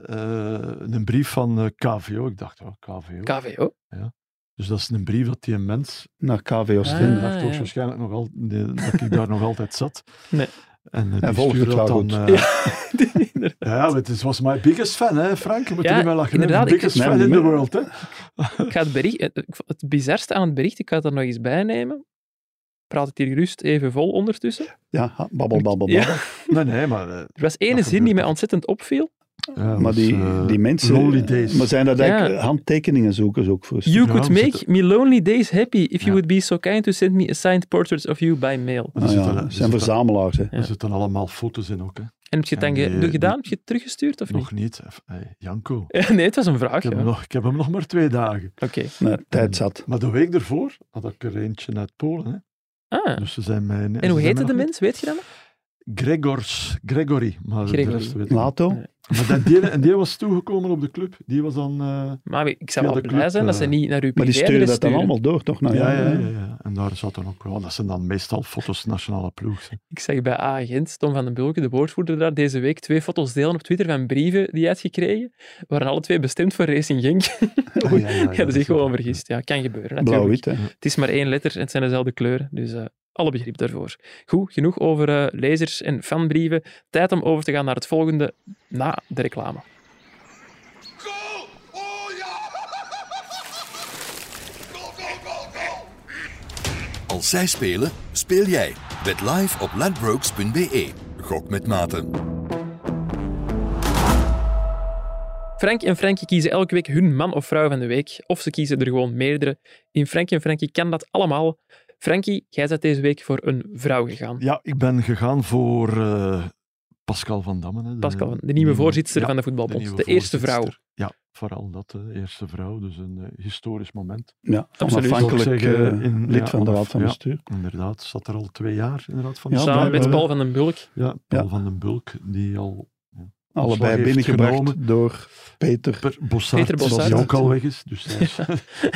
Speaker 5: eh, een brief van eh, KVO. Ik dacht, oh, KVO.
Speaker 1: KVO.
Speaker 5: dus dat is een brief dat die een mens
Speaker 4: Naar KVO
Speaker 1: Ah,
Speaker 5: En
Speaker 4: Stendal.
Speaker 5: dacht ook
Speaker 1: ja.
Speaker 5: waarschijnlijk nog al, nee, dat ik daar nog altijd zat.
Speaker 1: Nee.
Speaker 5: En eh,
Speaker 4: Hij
Speaker 5: die
Speaker 4: volgt
Speaker 5: stuurde
Speaker 4: het wel
Speaker 5: dat dan...
Speaker 4: goed.
Speaker 5: eh,
Speaker 1: Ja. Inderdaad.
Speaker 5: ja, maar het is- was my biggest fan, hè, Frank. Je moet
Speaker 1: Ja,
Speaker 5: er niet mee lachen. hè.
Speaker 1: inderdaad, ik-
Speaker 5: biggest
Speaker 4: Nee,
Speaker 5: fan
Speaker 4: niet
Speaker 5: in the
Speaker 4: meer.
Speaker 5: world, hè.
Speaker 1: Ik ga het, bericht, het, ik vond het bizarste aan het bericht, ik ga het er nog eens bij nemen. Praat het hier gerust even vol ondertussen.
Speaker 4: Ja, babbel, babbel, babbel.
Speaker 1: Ja.
Speaker 5: Nee, nee, maar... eh,
Speaker 1: Er was één
Speaker 5: Dat
Speaker 1: zin die
Speaker 5: gebeurt
Speaker 1: mij
Speaker 5: toch.
Speaker 1: ontzettend opviel.
Speaker 5: Ja,
Speaker 4: maar
Speaker 5: dat is,
Speaker 4: die,
Speaker 5: eh,
Speaker 4: die mensen...
Speaker 5: Lonely Days.
Speaker 4: Maar zijn dat eigenlijk
Speaker 1: Ja.
Speaker 4: handtekeningen zoekers ook voor?
Speaker 1: You
Speaker 5: Ja,
Speaker 1: could
Speaker 5: we
Speaker 1: make me lonely days happy if you
Speaker 5: Ja.
Speaker 1: would be so kind to send me a signed portrait of you by mail.
Speaker 5: Er
Speaker 4: Ah,
Speaker 5: zitten-
Speaker 4: ja.
Speaker 5: er
Speaker 4: dat zijn
Speaker 5: zitten-
Speaker 4: verzamelaars, hè.
Speaker 1: Ja.
Speaker 5: Er zitten allemaal foto's in ook. Hè.
Speaker 1: En heb je het dan
Speaker 5: En
Speaker 1: ge-
Speaker 5: die-
Speaker 1: doe- gedaan?
Speaker 5: die-
Speaker 1: Heb je het teruggestuurd of niet?
Speaker 5: Nog niet. F- hey, Janko.
Speaker 1: Nee, het was een
Speaker 5: Ik
Speaker 1: vraag.
Speaker 5: heb,
Speaker 1: ja.
Speaker 5: hem nog, Dus ik heb hem nog maar twee dagen.
Speaker 1: Oké.
Speaker 4: Nee, tijd zat.
Speaker 5: Maar de week ervoor had ik er eentje uit Polen. Hè.
Speaker 1: Ah.
Speaker 5: Dus ze zijn mij,
Speaker 1: En hoe heette de mens? Weet je dat nog?
Speaker 5: Gregors, Gregory. Maar de
Speaker 1: Gregory.
Speaker 5: rest weet ik niet.
Speaker 4: Lato?
Speaker 1: Nee.
Speaker 5: Maar dat, die, en die was toegekomen op de club. Die was dan... eh,
Speaker 1: Maar ik zou
Speaker 5: Ja,
Speaker 1: wel
Speaker 5: de
Speaker 1: blij
Speaker 5: club,
Speaker 1: zijn dat ze
Speaker 5: eh,
Speaker 1: niet naar uw
Speaker 4: Maar die
Speaker 1: privéadres
Speaker 4: sturen dat dan
Speaker 1: sturen.
Speaker 4: allemaal door, toch? Nou,
Speaker 5: Ah, ja,
Speaker 4: ja,
Speaker 5: ja, ja, ja. En daar zat dan ook wel... Dat zijn dan meestal foto's nationale ploeg. hè.
Speaker 1: Ik zeg bij A-agent Tom van den Bulke, de woordvoerder daar, deze week twee foto's delen op Twitter van brieven die hij had gekregen. Waren alle twee bestemd voor Racing Genk.
Speaker 5: Ah,
Speaker 1: Oei,
Speaker 5: ja, ja, ja,
Speaker 1: ja, dat is
Speaker 5: is
Speaker 1: echt gewoon
Speaker 5: waar.
Speaker 1: vergist. Ja, kan gebeuren. Natuurlijk.
Speaker 4: Blauw-wit, hè.
Speaker 1: Het is maar één letter en het zijn dezelfde kleuren. Dus eh, alle begrip daarvoor. Goed, genoeg over eh, lezers en fanbrieven. Tijd om over te gaan naar het volgende na de reclame.
Speaker 2: Goal! Oh ja! Goal, goal, goal, goal!
Speaker 7: Als zij spelen, speel jij. Bet live op ladbrokes.be. E. Gok met maten.
Speaker 1: Frank en Frankie kiezen elke week hun man of vrouw van de week. Of ze kiezen er gewoon meerdere. In Frank en Frankie kan dat allemaal. Frankie, jij bent deze week voor een vrouw gegaan.
Speaker 5: Ja, ik ben gegaan voor eh, Pascal van Dammen. Hè, de,
Speaker 1: Pascal, de nieuwe voorzitter van de voetbalbond. De,
Speaker 5: Mm. nieuwe
Speaker 1: eerste
Speaker 5: voorzitter.
Speaker 1: vrouw.
Speaker 5: Ja, vooral dat, de eerste vrouw. Dus een eh, historisch moment.
Speaker 4: Ja,
Speaker 1: Absoluut.
Speaker 5: Zal ik
Speaker 4: onafhankelijk
Speaker 5: zeggen,
Speaker 4: eh,
Speaker 5: in-
Speaker 4: lid
Speaker 5: ja,
Speaker 4: van de Raad
Speaker 5: onaf-
Speaker 4: van
Speaker 5: ja.
Speaker 4: Bestuur.
Speaker 5: Inderdaad, zat er al twee jaar inderdaad, van
Speaker 4: Ja,
Speaker 5: de
Speaker 1: Samen
Speaker 4: blijkbaar
Speaker 1: met
Speaker 4: wel.
Speaker 1: Paul van den Bulk.
Speaker 5: Ja, Paul
Speaker 4: Ja.
Speaker 5: van den Bulk, die al
Speaker 4: Allebei
Speaker 5: heeft
Speaker 4: binnengebracht
Speaker 5: genomen.
Speaker 4: door Peter.
Speaker 5: per Bossaert,
Speaker 1: Peter
Speaker 5: zoals
Speaker 1: Bossaert.
Speaker 5: die ook al weg is. Dus hij is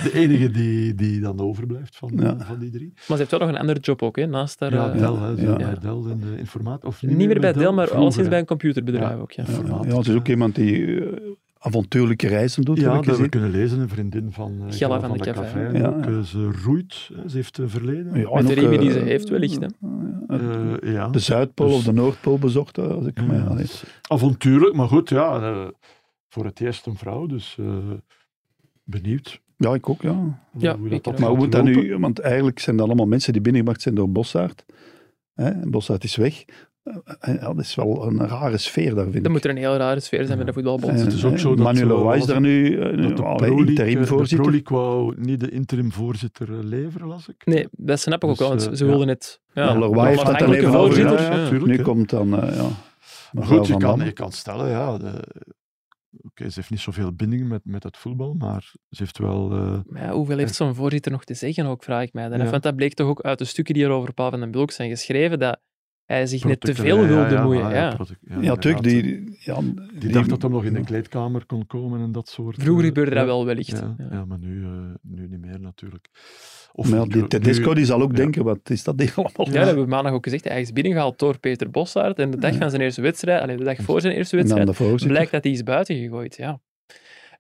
Speaker 5: de enige die, die dan overblijft van,
Speaker 4: Ja.
Speaker 5: van die drie.
Speaker 1: Maar ze heeft wel nog een andere job ook, hè, naast haar...
Speaker 5: Ja,
Speaker 1: eh,
Speaker 5: Del, hè, ze zijn
Speaker 4: ja.
Speaker 5: bij Del in de informatie. Of
Speaker 1: niet meer bij Del, maar
Speaker 5: vroeger,
Speaker 1: alleszins
Speaker 5: hè.
Speaker 1: bij een computerbedrijf ook. Ja.
Speaker 4: Ja,
Speaker 5: Formaat.
Speaker 4: ja, het is ook iemand die eh, avontuurlijke reizen doet,
Speaker 5: Ja,
Speaker 4: heb
Speaker 5: dat
Speaker 4: ik
Speaker 5: hebben we
Speaker 4: gezien.
Speaker 5: kunnen lezen. Een vriendin van eh, Gella van, de, Café.
Speaker 4: ja.
Speaker 5: ook. Eh, Ze roemt, hè, ze heeft eh, verleden.
Speaker 4: Ja, en
Speaker 1: Met de
Speaker 4: ook,
Speaker 1: riemen die
Speaker 4: eh,
Speaker 1: ze heeft wellicht. Hè.
Speaker 5: Eh, ja.
Speaker 4: De Zuidpool
Speaker 5: Dus-
Speaker 4: of de Noordpool bezocht. eh, Als ik
Speaker 5: Ja,
Speaker 4: me,
Speaker 5: dat
Speaker 4: allee.
Speaker 5: is avontuurlijk, maar goed, ja. eh, voor het eerst een vrouw, dus eh, benieuwd.
Speaker 4: ja, ik ook, ja.
Speaker 5: hoe-
Speaker 1: Ja,
Speaker 5: hoe
Speaker 1: ik
Speaker 5: dat,
Speaker 1: ook.
Speaker 5: dat
Speaker 4: Maar
Speaker 5: gaat
Speaker 4: hoe moet dat
Speaker 5: lopen.
Speaker 4: nu... Want eigenlijk zijn dat allemaal mensen die binnengebracht zijn door Bossaert. Hè? en Bossaert is weg. Eh, eh, ja, dat is wel een rare sfeer daar, vind
Speaker 1: Dat
Speaker 4: ik.
Speaker 1: moet er een heel rare sfeer zijn bij de voetbalbond.
Speaker 4: Eh,
Speaker 5: het is ook
Speaker 4: eh,
Speaker 5: zo dat,
Speaker 4: Manuel
Speaker 5: eh,
Speaker 4: Roy is daar nu eh, nu
Speaker 5: Dat de Pro
Speaker 4: allee,
Speaker 5: League, eh,
Speaker 4: interim
Speaker 5: de Pro
Speaker 4: voorzitter.
Speaker 5: League wou niet de interim voorzitter eh, leveren, las ik.
Speaker 1: Nee, dat snap ik ook
Speaker 5: Dus,
Speaker 1: wel, want
Speaker 5: eh,
Speaker 1: ze
Speaker 5: ja.
Speaker 1: wilden het... Ja,
Speaker 4: Ja, Leroy
Speaker 1: een
Speaker 4: heeft dat dan
Speaker 1: onafhankelijke
Speaker 4: even
Speaker 1: voorzitter,
Speaker 4: overgenomen.
Speaker 1: ja.
Speaker 5: tuurlijk,
Speaker 4: Nu
Speaker 5: hè.
Speaker 4: komt dan... eh, ja,
Speaker 5: Maar
Speaker 4: mevrouw
Speaker 5: goed, je
Speaker 4: Van
Speaker 5: kan,
Speaker 4: Damme.
Speaker 5: je kan stellen, ja. de- Oké, ze heeft niet zoveel bindingen met, met het voetbal, maar ze heeft wel... eh,
Speaker 1: Maar ja, hoeveel heeft zo'n voorzitter nog te zeggen ook, vraag ik mij dan. af.
Speaker 5: Ja.
Speaker 1: Want dat bleek toch ook uit de stukken die er over Paul van den Bulk zijn geschreven, dat hij zich net te
Speaker 5: protocolair,
Speaker 1: veel wil
Speaker 5: ja, ja,
Speaker 1: bemoeien.
Speaker 5: ah,
Speaker 1: Ja,
Speaker 5: protoc-
Speaker 4: Ja,
Speaker 5: inderdaad.
Speaker 4: natuurlijk. Die, ja,
Speaker 5: Die, dacht dat hem nog in de kleedkamer kon komen en dat soort...
Speaker 1: Vroeger
Speaker 5: eh,
Speaker 1: gebeurde dat
Speaker 5: ja.
Speaker 1: wel wellicht.
Speaker 5: Ja,
Speaker 1: Ja.
Speaker 5: ja, maar nu, eh, nu niet meer natuurlijk. Of
Speaker 4: Maar ja,
Speaker 5: nu-
Speaker 4: die Tedesco
Speaker 5: nu-
Speaker 4: die zal ook
Speaker 5: ja.
Speaker 4: denken, wat is dat ding allemaal?
Speaker 1: Ja, dat hebben we maandag ook gezegd. Hij is binnengehaald door Peter Bossaert. En de dag van zijn eerste wedstrijd, alleen de dag voor zijn eerste
Speaker 4: En dan
Speaker 1: wedstrijd,
Speaker 4: de voorzitter.
Speaker 1: blijkt dat hij is buiten gegooid. Ja.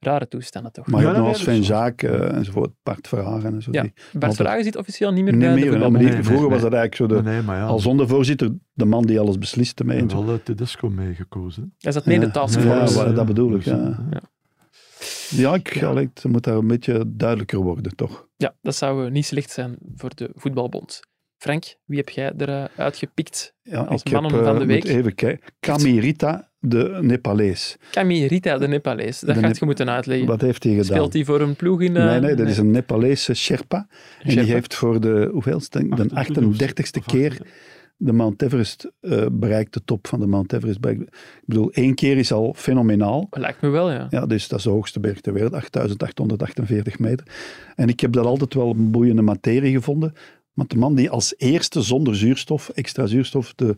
Speaker 1: Rare toestanden toch.
Speaker 4: Maar
Speaker 5: Ja,
Speaker 4: ook
Speaker 5: nee,
Speaker 4: nog
Speaker 5: nee,
Speaker 4: Sven
Speaker 5: dus-
Speaker 4: Zaak eh, enzovoort, Bart Verhagen en zo.
Speaker 1: Ja,
Speaker 4: die-
Speaker 1: Bart
Speaker 4: Want
Speaker 1: Vragen zit officieel niet meer
Speaker 4: niet
Speaker 1: bij
Speaker 4: meer,
Speaker 1: de
Speaker 4: hè, maar
Speaker 1: voetbalbond.
Speaker 4: die-
Speaker 5: nee,
Speaker 4: vroeger
Speaker 5: nee,
Speaker 4: was dat eigenlijk zo de,
Speaker 5: Maar nee, maar ja,
Speaker 4: al zonder voorzitter de man die alles besliste mee. en
Speaker 5: heeft
Speaker 4: zo.
Speaker 5: wel eh, Tedesco meegekozen.
Speaker 1: Hij zat mee in de
Speaker 4: Ja.
Speaker 5: Ja,
Speaker 1: taskforce.
Speaker 5: wel.
Speaker 4: wa-
Speaker 5: ja.
Speaker 4: eh, dat bedoel
Speaker 5: Dus,
Speaker 4: ik. Ja,
Speaker 1: ja.
Speaker 4: ja ik allee, het moet daar een beetje duidelijker worden, toch?
Speaker 1: Ja, dat zou eh, niet slecht zijn voor de voetbalbond. Frank, wie heb jij eruit uitgepikt?
Speaker 4: Ja,
Speaker 1: Als
Speaker 4: ik
Speaker 1: mannen
Speaker 4: heb, eh,
Speaker 1: van de
Speaker 4: moet
Speaker 1: week.
Speaker 4: Even kijken. Kamirita, de Nepalees.
Speaker 1: Camille Rita de Nepalees. Dat
Speaker 4: De
Speaker 1: gaat
Speaker 4: Nep-
Speaker 1: je moeten uitleggen.
Speaker 4: Wat heeft hij gedaan?
Speaker 1: Speelt hij voor een ploeg in... eh,
Speaker 4: Nee, nee, dat is een Nepalese Sherpa. En die
Speaker 1: Sherpa.
Speaker 4: heeft voor de, hoeveelste, de 38ste keer de Mount Everest eh, bereikt, de top van de Mount Everest bereikt. Ik bedoel, één keer is al fenomenaal.
Speaker 1: Lijkt me wel, ja.
Speaker 4: Ja, dus dat is de hoogste berg ter wereld, 8848 meter. En ik heb dat altijd wel een boeiende materie gevonden. Want de man die als eerste zonder zuurstof, extra zuurstof, de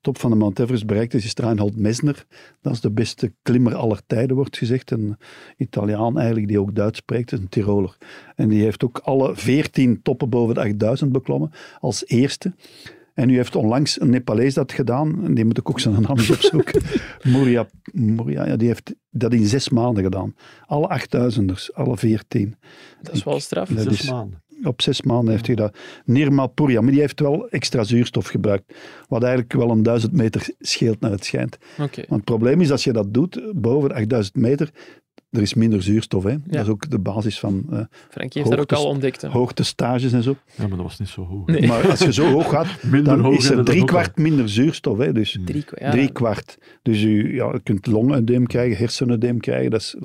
Speaker 4: top van de Mount Everest bereikt is, is Reinhold Messner. Dat is de beste klimmer aller tijden, wordt gezegd. Een Italiaan eigenlijk, die ook Duits spreekt, een Tiroler. En die heeft ook alle 14 toppen boven de 8000 beklommen, als eerste. En nu heeft onlangs een Nepalees dat gedaan. En die moet ik ook zijn naam eens opzoeken. Moria, Moria ja, die heeft dat in zes maanden gedaan. Alle 8000ers, alle 14.
Speaker 1: Dat is wel straf.
Speaker 4: Nee. dat
Speaker 5: Zes
Speaker 4: is-
Speaker 5: maanden.
Speaker 4: Op zes maanden heeft hij dat. Nirma Puria, maar die heeft wel extra zuurstof gebruikt. Wat eigenlijk wel een 1000 meter scheelt naar het schijnt.
Speaker 1: Oké.
Speaker 4: Want het probleem is, als je dat doet, boven de 8000 meter, er is minder zuurstof. Hè?
Speaker 1: Ja.
Speaker 4: Dat is ook de basis van eh,
Speaker 1: Frankie heeft dat ook
Speaker 4: Hoogtes-
Speaker 1: al ontdekt. hè.
Speaker 4: hoogtestages en zo.
Speaker 5: Ja, maar dat was niet zo hoog.
Speaker 1: Nee.
Speaker 4: Maar als je zo hoog gaat,
Speaker 5: Minder
Speaker 4: dan
Speaker 5: hoog
Speaker 4: is er
Speaker 5: inderdaad
Speaker 4: drie
Speaker 5: ook Hmm.
Speaker 4: kwart minder zuurstof. Hè? Dus
Speaker 1: Drie, kwa- ja.
Speaker 4: drie kwart. Dus u, ja, je kunt longedeem krijgen, hersenedeem krijgen. Dat is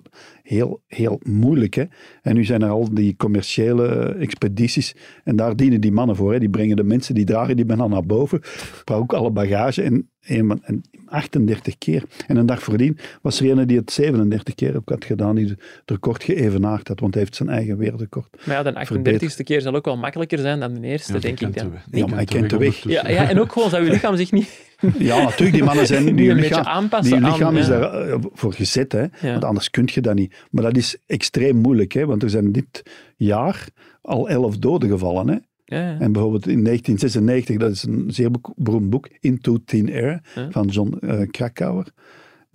Speaker 4: heel, heel moeilijk. Hè? En nu zijn er al die commerciële eh, expedities. En daar dienen die mannen voor. Hè? Die brengen de mensen, die dragen die bijna naar boven. Maar ook alle bagage. En, en, en 38 keer. En een dag voordien was er een die het 37 keer ook had gedaan. Die het record geëvenaard had. Want hij heeft zijn eigen wereldrecord.
Speaker 1: Maar ja, de 38e keer zal ook wel makkelijker zijn dan de eerste,
Speaker 5: Ja, die
Speaker 1: denk ik
Speaker 5: kent de
Speaker 1: dan.
Speaker 5: weg.
Speaker 4: Ja, maar hij
Speaker 5: Die
Speaker 4: kent de weg.
Speaker 1: Ja,
Speaker 5: ondertussen.
Speaker 1: ja, en ook gewoon dat je lichaam zich niet...
Speaker 4: Ja, natuurlijk. Die mannen zijn...
Speaker 1: Nu
Speaker 4: die
Speaker 1: een beetje
Speaker 4: lichaam,
Speaker 1: aanpassen
Speaker 4: Die
Speaker 1: aan,
Speaker 4: lichaam is
Speaker 1: ja.
Speaker 4: daar eh, voor gezet, hè.
Speaker 1: Ja.
Speaker 4: want anders kun je dat niet. Maar dat is extreem moeilijk, hè, want er zijn dit jaar al elf doden gevallen. Hè.
Speaker 1: Ja, ja.
Speaker 4: En bijvoorbeeld in 1996, dat is een zeer bek- beroemd boek, Into Thin Air,
Speaker 1: Ja.
Speaker 4: van John eh, Krakauer.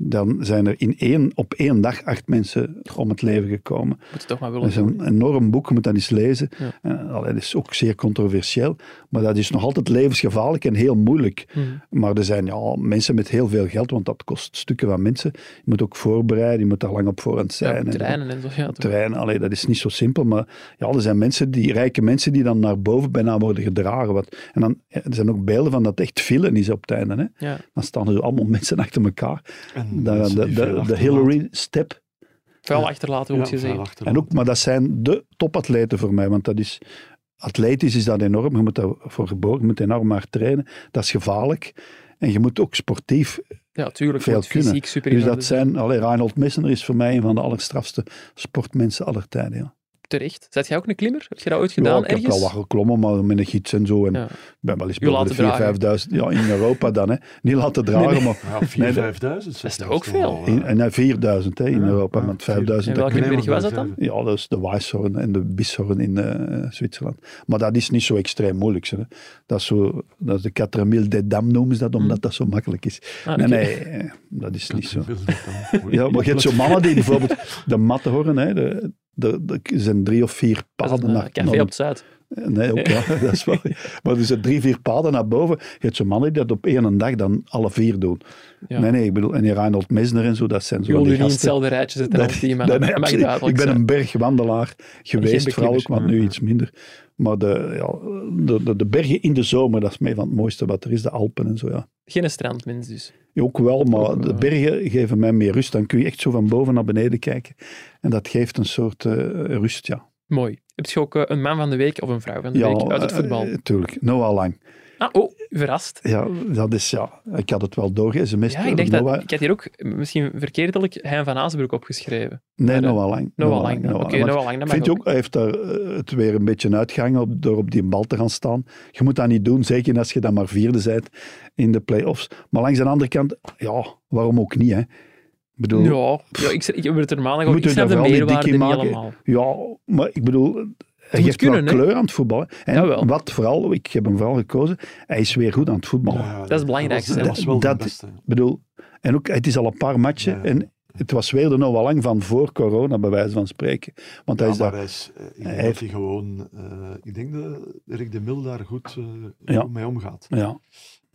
Speaker 4: Dan zijn er in één, op één dag acht mensen om het leven gekomen.
Speaker 1: Moet je toch maar
Speaker 4: Dat
Speaker 1: willen
Speaker 4: is een enorm boek, je moet dat eens lezen.
Speaker 1: Ja.
Speaker 4: Eh, allee, dat is ook zeer controversieel, maar dat is nog altijd levensgevaarlijk en heel moeilijk.
Speaker 1: Hm.
Speaker 4: Maar er zijn ja, mensen met heel veel geld, want dat kost stukken van mensen. Je moet ook voorbereiden, je moet daar lang op voorhand
Speaker 1: Ja,
Speaker 4: zijn. en,
Speaker 1: treinen en zo. Ja, toch.
Speaker 4: terrein, allee, dat is niet zo simpel, maar ja, er zijn mensen, die, rijke mensen, die dan naar boven bijna worden gedragen. Wat, en dan, eh, er zijn ook beelden van dat echt vielen is op het einde. Hè.
Speaker 1: ja.
Speaker 4: Dan staan er zo allemaal mensen achter elkaar.
Speaker 5: En
Speaker 4: Daar,
Speaker 5: Hmm, mensen
Speaker 4: de,
Speaker 5: die
Speaker 4: de-
Speaker 5: veel
Speaker 4: de
Speaker 5: achterlaten.
Speaker 4: Hillary Step
Speaker 1: Vuil achterlaten,
Speaker 5: Ja,
Speaker 1: moet je
Speaker 5: veel
Speaker 1: zeggen.
Speaker 5: achterlaten.
Speaker 4: en ook, maar dat zijn de topatleten voor mij, want dat is... Atletisch is dat enorm, je moet daarvoor geboren, je moet enorm hard trainen. Dat is gevaarlijk. En je moet ook sportief.
Speaker 1: Ja, tuurlijk.
Speaker 4: Veel
Speaker 1: moet
Speaker 4: kunnen.
Speaker 1: Fysiek super
Speaker 4: Dus
Speaker 1: in
Speaker 4: dat
Speaker 1: orde
Speaker 4: zijn... Allee, Reinhold Messner is voor mij een van de allerstrafste sportmensen aller tijden. Ja.
Speaker 1: Terecht. Zet jij ook een klimmer? Heb je dat ooit
Speaker 4: Ja,
Speaker 1: gedaan
Speaker 4: ik heb
Speaker 1: ergens?
Speaker 4: wel wat geklommen, maar met een gids en zo. En
Speaker 1: Ja.
Speaker 4: ik ben wel eens
Speaker 1: U
Speaker 4: boven
Speaker 1: laten
Speaker 4: de 4.000,
Speaker 1: dragen.
Speaker 4: 5.000. Ja, in Europa dan. Hè. Niet laten dragen,
Speaker 1: Nee, nee.
Speaker 4: maar...
Speaker 5: Ja, 4.000,
Speaker 4: Nee, dat-
Speaker 5: 5.000. Dat
Speaker 1: is toch ook veel?
Speaker 4: In, en naar 4.000 hè, in
Speaker 5: Ja,
Speaker 4: Europa,
Speaker 1: Ah,
Speaker 5: ja,
Speaker 4: want 5.000...
Speaker 1: En
Speaker 4: dat
Speaker 1: welke
Speaker 5: Nee,
Speaker 1: berg
Speaker 5: maar
Speaker 1: was dat dan?
Speaker 5: vijf-
Speaker 4: Ja, dat is de Weisshorn en de Bisshorn in eh, Zwitserland. Maar dat is niet zo extreem moeilijk. Hè. Dat, is zo, dat is de Catremil des Dam noemen ze dat, omdat dat zo makkelijk is.
Speaker 1: Mm. Ah,
Speaker 4: nee,
Speaker 1: oké.
Speaker 4: nee, eh, dat is niet zo.
Speaker 5: Wil dat dan? Moet
Speaker 4: Ja, maar je hebt zo'n mannen die bijvoorbeeld de Matterhorn, hè, de, de, de- er zijn drie of vier
Speaker 1: Dat is
Speaker 4: paden
Speaker 1: een eh,
Speaker 4: naar
Speaker 1: café op het zuid.
Speaker 4: Nee, ook ja, dat is wel. Maar er zijn drie, vier paden naar boven. Je hebt zo'n mannen die dat op één dag dan alle vier doen.
Speaker 1: Ja.
Speaker 4: Nee, nee, ik bedoel, en die Reinhold Messner en zo, dat zijn
Speaker 1: Je
Speaker 4: zo
Speaker 1: wil
Speaker 4: van
Speaker 1: nu
Speaker 4: die
Speaker 1: niet in
Speaker 4: gasten.
Speaker 1: hetzelfde rijtje zitten als die
Speaker 4: Nee,
Speaker 1: man.
Speaker 4: nee,
Speaker 1: Mag
Speaker 4: absoluut. ik
Speaker 1: duidelijk
Speaker 4: ben
Speaker 1: zijn. Mm.
Speaker 4: een bergwandelaar geweest,
Speaker 1: beklimmers.
Speaker 4: vooral ook, want nu iets minder. Maar de, ja, de, de, de bergen in de zomer, dat is mij van het mooiste wat er is, de Alpen en zo, ja.
Speaker 1: Geen strandmens dus.
Speaker 4: Ook wel, maar
Speaker 1: Ook wel.
Speaker 4: de bergen geven mij meer rust. Dan kun je echt zo van boven naar beneden kijken. En dat geeft een soort eh, rust, ja.
Speaker 1: Mooi. Heb je ook eh, een man van de week of een vrouw van de
Speaker 4: ja
Speaker 1: week uit het
Speaker 4: eh,
Speaker 1: voetbal?
Speaker 4: eh, tuurlijk, Noah Lang.
Speaker 1: ah, oh, verrast.
Speaker 4: Ja, dat is, ja, ik had het wel doorgesmest.
Speaker 1: Ja, ik dacht dat...
Speaker 4: Noah-
Speaker 1: Ik had hier ook misschien verkeerdelijk Hein van Azenbroek opgeschreven.
Speaker 4: Nee,
Speaker 1: Maar, eh,
Speaker 4: Noah Lang.
Speaker 1: Noah Lang. dan. Oké,
Speaker 4: Want
Speaker 1: Noah Lang, dat
Speaker 4: Ik
Speaker 1: mag
Speaker 4: vind ook, hij heeft daar, eh, het weer een beetje uitgehangen op, door op die bal te gaan staan. Je moet dat niet doen, zeker als je dan maar vierde bent in de play-offs. Maar langs de andere kant, ja, waarom ook niet, hè? Ik bedoel, ja,
Speaker 1: Ja, ja ik, ik heb het er maandag
Speaker 4: Je
Speaker 1: ook.
Speaker 4: moet
Speaker 1: Ik
Speaker 4: er
Speaker 1: snap de
Speaker 4: vooral niet dik
Speaker 1: meerwaarde
Speaker 4: in
Speaker 1: niet
Speaker 4: maken.
Speaker 1: helemaal.
Speaker 4: maar ik bedoel, hij
Speaker 1: moet
Speaker 4: geeft
Speaker 1: kunnen, hè?
Speaker 4: wel kleur aan het voetbal. En
Speaker 1: Jawel.
Speaker 4: wat vooral, ik heb hem vooral gekozen, hij is weer goed aan het voetballen.
Speaker 5: Ja, ja,
Speaker 1: is het belangrijkste,
Speaker 5: Dat
Speaker 4: hè.
Speaker 5: was wel de
Speaker 4: Oh. Dat-
Speaker 5: beste.
Speaker 4: Ik bedoel, en ook, het is al een paar matchen
Speaker 5: Ja.
Speaker 4: en het was weer de Noah Lang van voor corona, bij wijze van spreken. Want hij
Speaker 5: Ja,
Speaker 4: is
Speaker 5: maar
Speaker 4: daar
Speaker 5: hij is, eh, ik denk
Speaker 4: hij
Speaker 5: dat
Speaker 4: heeft-
Speaker 5: hij gewoon... eh, ik denk dat Rick de Mil daar goed eh,
Speaker 4: Ja.
Speaker 5: mee omgaat.
Speaker 4: Ja,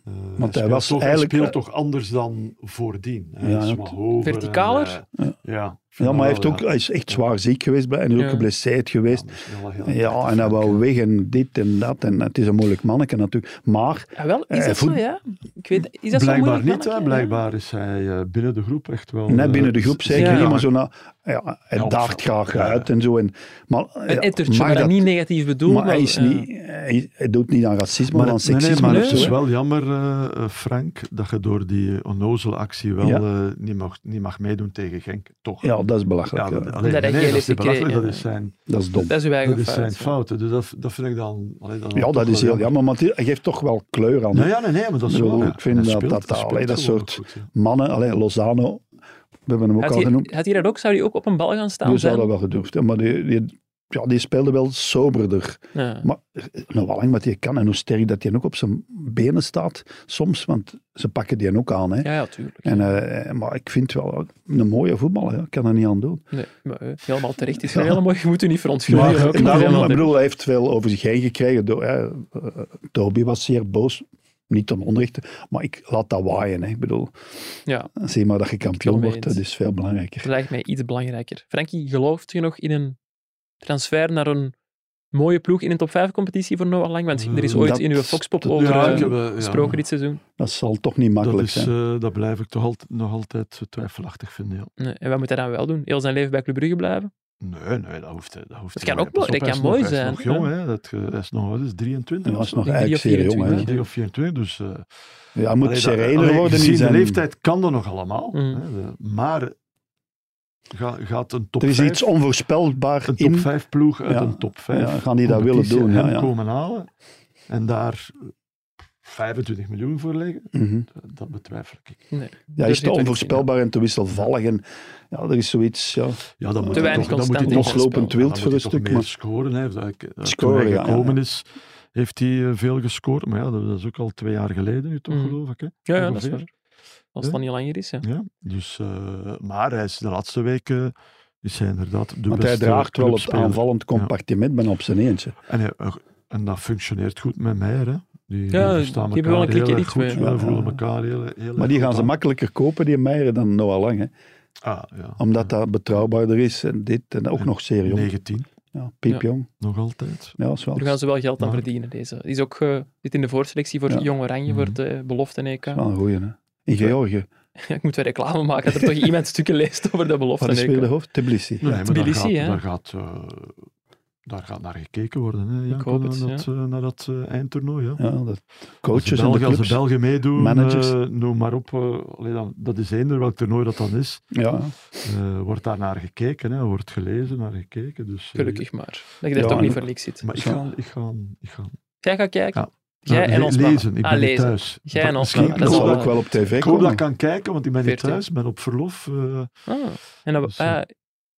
Speaker 5: Eh,
Speaker 4: hij
Speaker 5: speelt
Speaker 4: was
Speaker 5: toch,
Speaker 4: eigenlijk- eh,
Speaker 5: speelt toch anders dan voordien. Hij
Speaker 4: Ja,
Speaker 5: is
Speaker 4: dat-
Speaker 5: wat hoger
Speaker 1: Verticaler?
Speaker 5: en, eh, ja,
Speaker 4: ja maar hij, heeft
Speaker 5: wel,
Speaker 4: ook, hij is echt zwaar ziek geweest bij, en hij is
Speaker 1: Ja.
Speaker 4: ook geblesseerd geweest.
Speaker 5: Ja, dat is wel heel
Speaker 4: Ja, en hij wou weg en dit en dat. En het is een moeilijk manneke natuurlijk. Maar
Speaker 1: Ja, Ah, wel, is
Speaker 4: Eh,
Speaker 1: dat zo,
Speaker 4: voet-
Speaker 1: ja? Ik weet, is dat zo
Speaker 5: Blijkbaar
Speaker 1: moeilijk?
Speaker 5: niet, hè.
Speaker 1: manneke?
Speaker 5: Blijkbaar is hij eh, binnen de groep echt wel...
Speaker 4: net
Speaker 5: eh,
Speaker 4: binnen de groep zeker
Speaker 1: ja.
Speaker 4: niet, maar zo na, ja, hij
Speaker 5: Ja,
Speaker 4: daagt
Speaker 5: ja.
Speaker 4: graag uit en zo. En, maar,
Speaker 1: Een
Speaker 4: ja,
Speaker 1: ettertje,
Speaker 4: mag
Speaker 1: maar dat
Speaker 4: dat,
Speaker 1: niet negatief bedoeld.
Speaker 4: maar hij, is
Speaker 1: eh,
Speaker 4: niet, hij, hij doet niet aan racisme, maar
Speaker 5: Maar,
Speaker 4: aan
Speaker 5: nee, nee,
Speaker 4: seksisme.
Speaker 5: maar
Speaker 4: of
Speaker 5: het
Speaker 4: zo,
Speaker 5: is
Speaker 4: hè.
Speaker 5: wel jammer, eh, eh, Frank, dat je door die onnozele actie wel
Speaker 4: Ja.
Speaker 5: eh, niet, mag, niet mag meedoen tegen Genk. Toch?
Speaker 4: Ja, dat eh, is belachelijk.
Speaker 5: Ja,
Speaker 4: Ja,
Speaker 5: dat, allee,
Speaker 1: Dat hij
Speaker 5: nee,
Speaker 1: geel
Speaker 5: dat
Speaker 1: heeft
Speaker 5: is niet belachelijk,
Speaker 1: gekregen,
Speaker 5: dat is
Speaker 1: ja.
Speaker 5: zijn,
Speaker 4: dat is dom.
Speaker 1: Dat is uw eigen
Speaker 5: dat is
Speaker 1: fout,
Speaker 5: zijn
Speaker 1: ja.
Speaker 5: fout. Dus dat, dat vind ik dan... allee, dan
Speaker 4: Ja,
Speaker 5: toch
Speaker 4: dat
Speaker 5: wel
Speaker 4: is heel jammer, maar het- hij geeft toch wel kleur aan. hè.
Speaker 5: Nou ja, nee, nee, maar dat is
Speaker 4: Zo,
Speaker 5: wel... ja.
Speaker 4: ik vind
Speaker 5: Hij
Speaker 4: dat dat-
Speaker 5: hij
Speaker 4: allee, dat
Speaker 5: gewoon
Speaker 4: soort-
Speaker 5: goed, ja.
Speaker 4: Mannen, allee, Lozano, we hebben hem ook
Speaker 1: Had
Speaker 4: al
Speaker 1: hij,
Speaker 4: genoemd.
Speaker 1: had hij dat ook? Zou hij ook op een bal gaan staan?
Speaker 4: Die zou
Speaker 1: zijn?
Speaker 4: dat wel gedurfd hebben, maar die, die, ja, die speelde wel soberder.
Speaker 1: Ja.
Speaker 4: Maar nou, wel lang wat je kan en hoe sterk dat hij ook op zijn benen staat soms, want ze pakken die ook aan. Hè.
Speaker 1: ja, ja, tuurlijk.
Speaker 4: En, eh, maar ik vind wel een mooie voetballer, hè. ik kan er niet aan doen.
Speaker 1: Nee, maar, eh, helemaal terecht. Het is
Speaker 4: Ja.
Speaker 1: een hele mooie. Je moet u niet verontschuldigen.
Speaker 4: Maar,
Speaker 1: Ook
Speaker 4: en
Speaker 1: nog
Speaker 4: daarom,
Speaker 1: helemaal
Speaker 4: ik
Speaker 1: terecht.
Speaker 4: bedoel, hij heeft veel over zich heen gekregen. Door, hè, eh, Toby was zeer boos niet ten onrechte, maar ik laat dat waaien. Hè. Ik bedoel,
Speaker 1: Ja,
Speaker 4: zie maar dat je kampioen
Speaker 1: mee
Speaker 4: wordt,
Speaker 1: eens.
Speaker 4: dat is veel belangrijker.
Speaker 1: dat lijkt mij iets belangrijker. Frankie, gelooft je nog in een transfer naar een mooie ploeg in een top 5 competitie voor Noah Lang? Want er is ooit
Speaker 4: Dat-
Speaker 1: in uw Foxpop
Speaker 4: dat-
Speaker 1: over
Speaker 4: ja,
Speaker 1: eh,
Speaker 4: ik heb,
Speaker 5: eh, ja.
Speaker 1: gesproken dit seizoen.
Speaker 4: Dat zal toch niet makkelijk
Speaker 5: Dat, is,
Speaker 4: zijn.
Speaker 5: eh, dat blijf ik toch altijd, nog altijd twijfelachtig vinden. Ja.
Speaker 1: Nee, en wat moet hij dan wel doen? Heel zijn leven bij Club Brugge blijven?
Speaker 5: Nee, nee, dat hoeft hij- Dat, hoeft
Speaker 1: Dat
Speaker 5: hij
Speaker 1: kan
Speaker 5: niet.
Speaker 1: ook mooi-
Speaker 5: Pas
Speaker 1: dat
Speaker 5: op, hij
Speaker 1: kan
Speaker 5: is nog-
Speaker 1: mooi
Speaker 5: Hij is
Speaker 1: zijn,
Speaker 5: nog jong, hè. Dat, eh, hij is nog, wat is het, 23
Speaker 4: Ja,
Speaker 5: of
Speaker 4: dat is
Speaker 5: zo?
Speaker 4: nog
Speaker 1: denk
Speaker 4: eigenlijk zeer jong. Hè.
Speaker 1: 24,
Speaker 5: 23
Speaker 4: Ja,
Speaker 5: of 24, dus... eh,
Speaker 4: hij moet
Speaker 5: allee, dat-
Speaker 4: serener
Speaker 5: allee,
Speaker 4: worden
Speaker 5: gezien
Speaker 4: in zijn...
Speaker 5: de leeftijd kan dat nog allemaal.
Speaker 1: Mm.
Speaker 5: Hè, de- maar ga- gaat een top
Speaker 4: Er is
Speaker 5: 5,
Speaker 4: iets onvoorspelbaar
Speaker 5: een top
Speaker 4: in.
Speaker 5: 5 ploeg uit
Speaker 4: Ja.
Speaker 5: een top 5
Speaker 4: Ja, gaan die dat willen doen? Ja,
Speaker 5: hem
Speaker 4: ja.
Speaker 5: komen halen en daar 25 miljoen voor leggen?
Speaker 4: Mhm.
Speaker 5: Dat betwijfel ik.
Speaker 1: Nee.
Speaker 4: Ja,
Speaker 1: Dus
Speaker 4: hij is
Speaker 1: dit
Speaker 4: te
Speaker 1: ook
Speaker 4: onvoorspelbaar en te wisselvallig. En, ja, er is zoiets... Ja.
Speaker 5: Ja, dan moet
Speaker 1: Te
Speaker 5: hij
Speaker 1: weinig
Speaker 5: toch, dan moet hij
Speaker 1: constante
Speaker 5: toch
Speaker 1: spel.
Speaker 4: Loslopend wild
Speaker 5: Dan
Speaker 4: voor
Speaker 5: moet hij
Speaker 4: een stuk,
Speaker 5: toch
Speaker 4: maar-
Speaker 5: meer scoren. Hè. Dat- dat- Toen
Speaker 4: Scoren,
Speaker 5: hij
Speaker 4: ja,
Speaker 5: gekomen
Speaker 4: ja.
Speaker 5: is, heeft hij eh, veel gescoord. Maar ja, dat dat is ook al twee jaar geleden nu toch,
Speaker 1: Mhm.
Speaker 5: geloof ik. Hè?
Speaker 1: Ja, ja, dat is
Speaker 5: Ongeveer.
Speaker 1: waar. Als het dan niet langer is, ja.
Speaker 5: Ja, dus, eh, maar hij is de laatste weken is hij inderdaad de
Speaker 4: Want
Speaker 5: beste
Speaker 4: hij draagt wel het
Speaker 5: clubspeler.
Speaker 4: aanvallend compartiment, ben op zijn eentje.
Speaker 5: En, hij- en dat functioneert goed met Meijer. Hè. Die,
Speaker 1: Ja,
Speaker 5: die
Speaker 1: die
Speaker 5: verstaan
Speaker 1: hebben wel
Speaker 5: elkaar
Speaker 1: een klikje
Speaker 5: heel erg
Speaker 1: ritme,
Speaker 5: goed.
Speaker 1: ja.
Speaker 5: ja, voelen
Speaker 4: Ja.
Speaker 5: elkaar heel, heel
Speaker 4: Ah. Maar die
Speaker 5: erg
Speaker 4: gaan
Speaker 5: goed
Speaker 4: ze
Speaker 5: aan.
Speaker 4: makkelijk kopen, die Meijer, dan Noah Lang. Hè.
Speaker 5: Ah, ja.
Speaker 4: Omdat dat betrouwbaarder is en dit en ook
Speaker 5: En
Speaker 4: nog zeer jong.
Speaker 5: 19,
Speaker 4: Ja, piepjong.
Speaker 5: nog altijd.
Speaker 4: Ja, dat is wel.
Speaker 1: Daar gaan ze wel geld aan
Speaker 5: Maar-
Speaker 1: verdienen. Deze. Die is ook eh, zit in de voorselectie voor
Speaker 4: Ja.
Speaker 1: Jong Oranje, voor
Speaker 5: Mhm.
Speaker 1: de belofte EK.
Speaker 4: dat is wel een goeie, hè. In Georgië.
Speaker 1: ik moet weer reclame maken dat er toch iemand stukken leest over de belofte
Speaker 4: Wat is weer de
Speaker 1: EK.
Speaker 4: hoofd? Tbilisi.
Speaker 5: Nee, maar daar
Speaker 1: Tbilisi,
Speaker 5: gaat,
Speaker 1: hè.
Speaker 5: daar, gaat, eh, daar gaat naar gekeken worden. Hè, Janko,
Speaker 1: hoop het,
Speaker 5: naar dat, eh, naar dat eh, eindtoernooi. Ja.
Speaker 4: Ja, dat
Speaker 5: Als de
Speaker 4: coaches en de
Speaker 5: Belgen, als de
Speaker 4: clubs.
Speaker 5: Belgen meedoen,
Speaker 4: managers.
Speaker 5: eh, noem maar op. eh, allee, dan, dat is eender welk toernooi dat dan is.
Speaker 4: Ja,
Speaker 5: eh, wordt daar naar gekeken, hè, wordt gelezen, naar gekeken. Dus, eh,
Speaker 1: Gelukkig maar. Dat je daar
Speaker 4: Ja,
Speaker 1: toch niet
Speaker 4: en-
Speaker 1: voor niks zit.
Speaker 5: Maar ik ga, ik ga, ik ga
Speaker 1: Jij gaat kijken.
Speaker 5: Ja.
Speaker 1: Jij en
Speaker 5: Le-
Speaker 1: ons
Speaker 5: lezen. Ik
Speaker 1: Ah,
Speaker 5: ben niet
Speaker 1: lezen.
Speaker 5: thuis.
Speaker 1: Jij
Speaker 5: Dat-
Speaker 1: en ons
Speaker 5: misschien-
Speaker 1: mannen,
Speaker 4: dat
Speaker 1: is
Speaker 4: zal
Speaker 1: wel-
Speaker 4: ook wel op tv
Speaker 5: Ik hoop dat ik kan
Speaker 4: komen.
Speaker 5: kijken, want ik ben niet
Speaker 1: 14.
Speaker 5: thuis, ik ben op verlof. eh,
Speaker 1: Ah, en dat,
Speaker 5: Dus, eh,
Speaker 1: ah,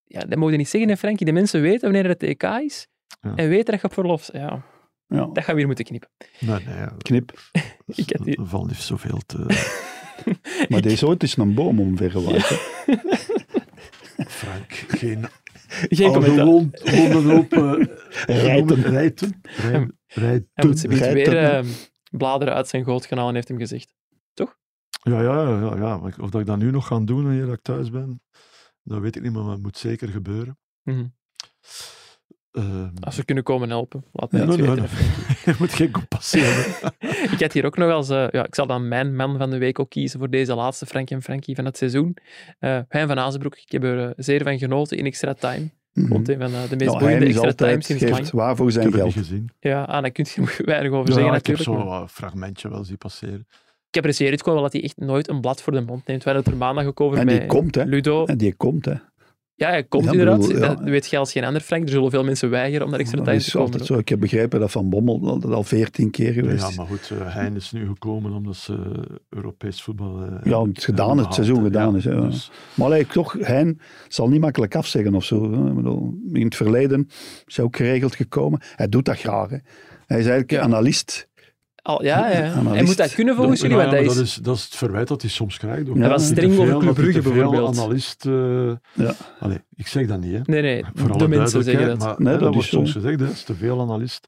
Speaker 1: ja, dat moet je niet zeggen, hè, Frankie. De mensen weten wanneer het EK is
Speaker 5: Ja.
Speaker 1: en weten dat je op verlof bent. Ja,
Speaker 4: Ja,
Speaker 1: dat gaan we hier moeten knippen.
Speaker 5: nee, nee.
Speaker 4: knip.
Speaker 1: Ik heb die-
Speaker 5: Er valt niet zoveel te...
Speaker 4: Maar deze ooit is een boom omvergewaaid. hè.
Speaker 5: Frank, geen...
Speaker 1: Geen
Speaker 5: oude
Speaker 1: commentaar.
Speaker 5: wond, wonden op... eh,
Speaker 4: Rijten.
Speaker 5: Rijten. Rij-
Speaker 1: Hij moet ze
Speaker 5: Rijten.
Speaker 1: niet
Speaker 4: Gij
Speaker 1: weer
Speaker 4: toch
Speaker 1: eh, bladeren uit zijn gootkanaal en heeft hem gezegd.
Speaker 5: Ja, ja, ja, ja, ja. maar Of dat ik dat nu nog ga doen wanneer ik thuis ben, dat weet ik niet, maar dat moet zeker gebeuren.
Speaker 1: Mhm. Ah,
Speaker 5: Ehm,
Speaker 1: Als we kunnen komen helpen, laat mij
Speaker 5: nee,
Speaker 1: het
Speaker 5: nee,
Speaker 1: weten.
Speaker 5: nee, Je moet geen compassie hebben.
Speaker 1: Ik had hier ook nog als... eh, ja, ik zal dan mijn man van de week ook kiezen voor deze laatste Frank en Frankie van het seizoen. Eh Hein van Azenbroek. Ik heb er eh, zeer van genoten in extra time.
Speaker 5: Mhm.
Speaker 1: Vond een van eh, de meest
Speaker 4: Mhm. Nou, hij
Speaker 1: boeiende
Speaker 4: is
Speaker 1: extra time
Speaker 4: altijd,
Speaker 1: sinds lang.
Speaker 4: geeft waar voor
Speaker 5: Ik
Speaker 4: zijn
Speaker 5: heb het niet
Speaker 4: geld.
Speaker 5: gezien.
Speaker 1: Ja, ah, daar kun je weinig over
Speaker 5: Ja,
Speaker 1: zeggen
Speaker 5: ik heb
Speaker 1: natuurlijk.
Speaker 5: zo'n
Speaker 1: maar
Speaker 5: eh, fragmentje wel zien passeren.
Speaker 1: Ik apprecieer het gewoon wel dat hij echt nooit een blad voor de mond neemt. We hadden het er maandag ook over
Speaker 4: En
Speaker 1: met
Speaker 4: die komt, hè.
Speaker 1: Ludo.
Speaker 4: En die komt, hè.
Speaker 1: Ja, hij komt
Speaker 4: Ja,
Speaker 1: inderdaad.
Speaker 4: bedoel, ja.
Speaker 1: Dat weet jij als geen ander, Frank. Er zullen veel mensen weigeren om naar extra
Speaker 4: Dat
Speaker 1: time te
Speaker 4: is
Speaker 1: komen.
Speaker 4: altijd zo. Ik heb begrepen dat Van Bommel dat al veertien keer geweest
Speaker 5: Ja,
Speaker 4: is.
Speaker 5: maar goed, eh, Hein is nu gekomen omdat ze eh, Europees voetbal... eh,
Speaker 4: Ja, het is gedaan,
Speaker 5: hebben
Speaker 4: het seizoen
Speaker 5: gehad, hè.
Speaker 4: gedaan is, ja.
Speaker 5: Dus,
Speaker 4: Maar hij toch, hij zal niet makkelijk afzeggen of zo. hè. Ik bedoel, in het verleden is hij ook geregeld gekomen. Hij doet dat graag. Hè. Hij is eigenlijk
Speaker 1: Ja.
Speaker 4: analist.
Speaker 1: Al, ja, ja. Hij
Speaker 4: Analist.
Speaker 1: moet dat kunnen volgens
Speaker 5: dat,
Speaker 1: jullie,
Speaker 5: ja,
Speaker 1: want
Speaker 5: maar
Speaker 1: dat is...
Speaker 5: dat, is, dat is het verwijt dat hij soms krijgt. ook.
Speaker 4: Ja, dat is
Speaker 5: hij te
Speaker 1: streng over
Speaker 5: veel-
Speaker 1: Club
Speaker 5: dat hij te
Speaker 1: Brugge
Speaker 5: veel
Speaker 1: bijvoorbeeld.
Speaker 5: analist... eh,
Speaker 4: Ja.
Speaker 5: allee, ik zeg dat niet, hè.
Speaker 1: Nee, nee.
Speaker 5: Voor alle
Speaker 1: de mensen zeggen dat.
Speaker 5: duidelijkheid, Maar,
Speaker 4: Nee,
Speaker 5: hè,
Speaker 4: dat
Speaker 5: dat
Speaker 4: is
Speaker 5: wordt
Speaker 4: zo.
Speaker 5: soms gezegd, hè. Het is te veel analist.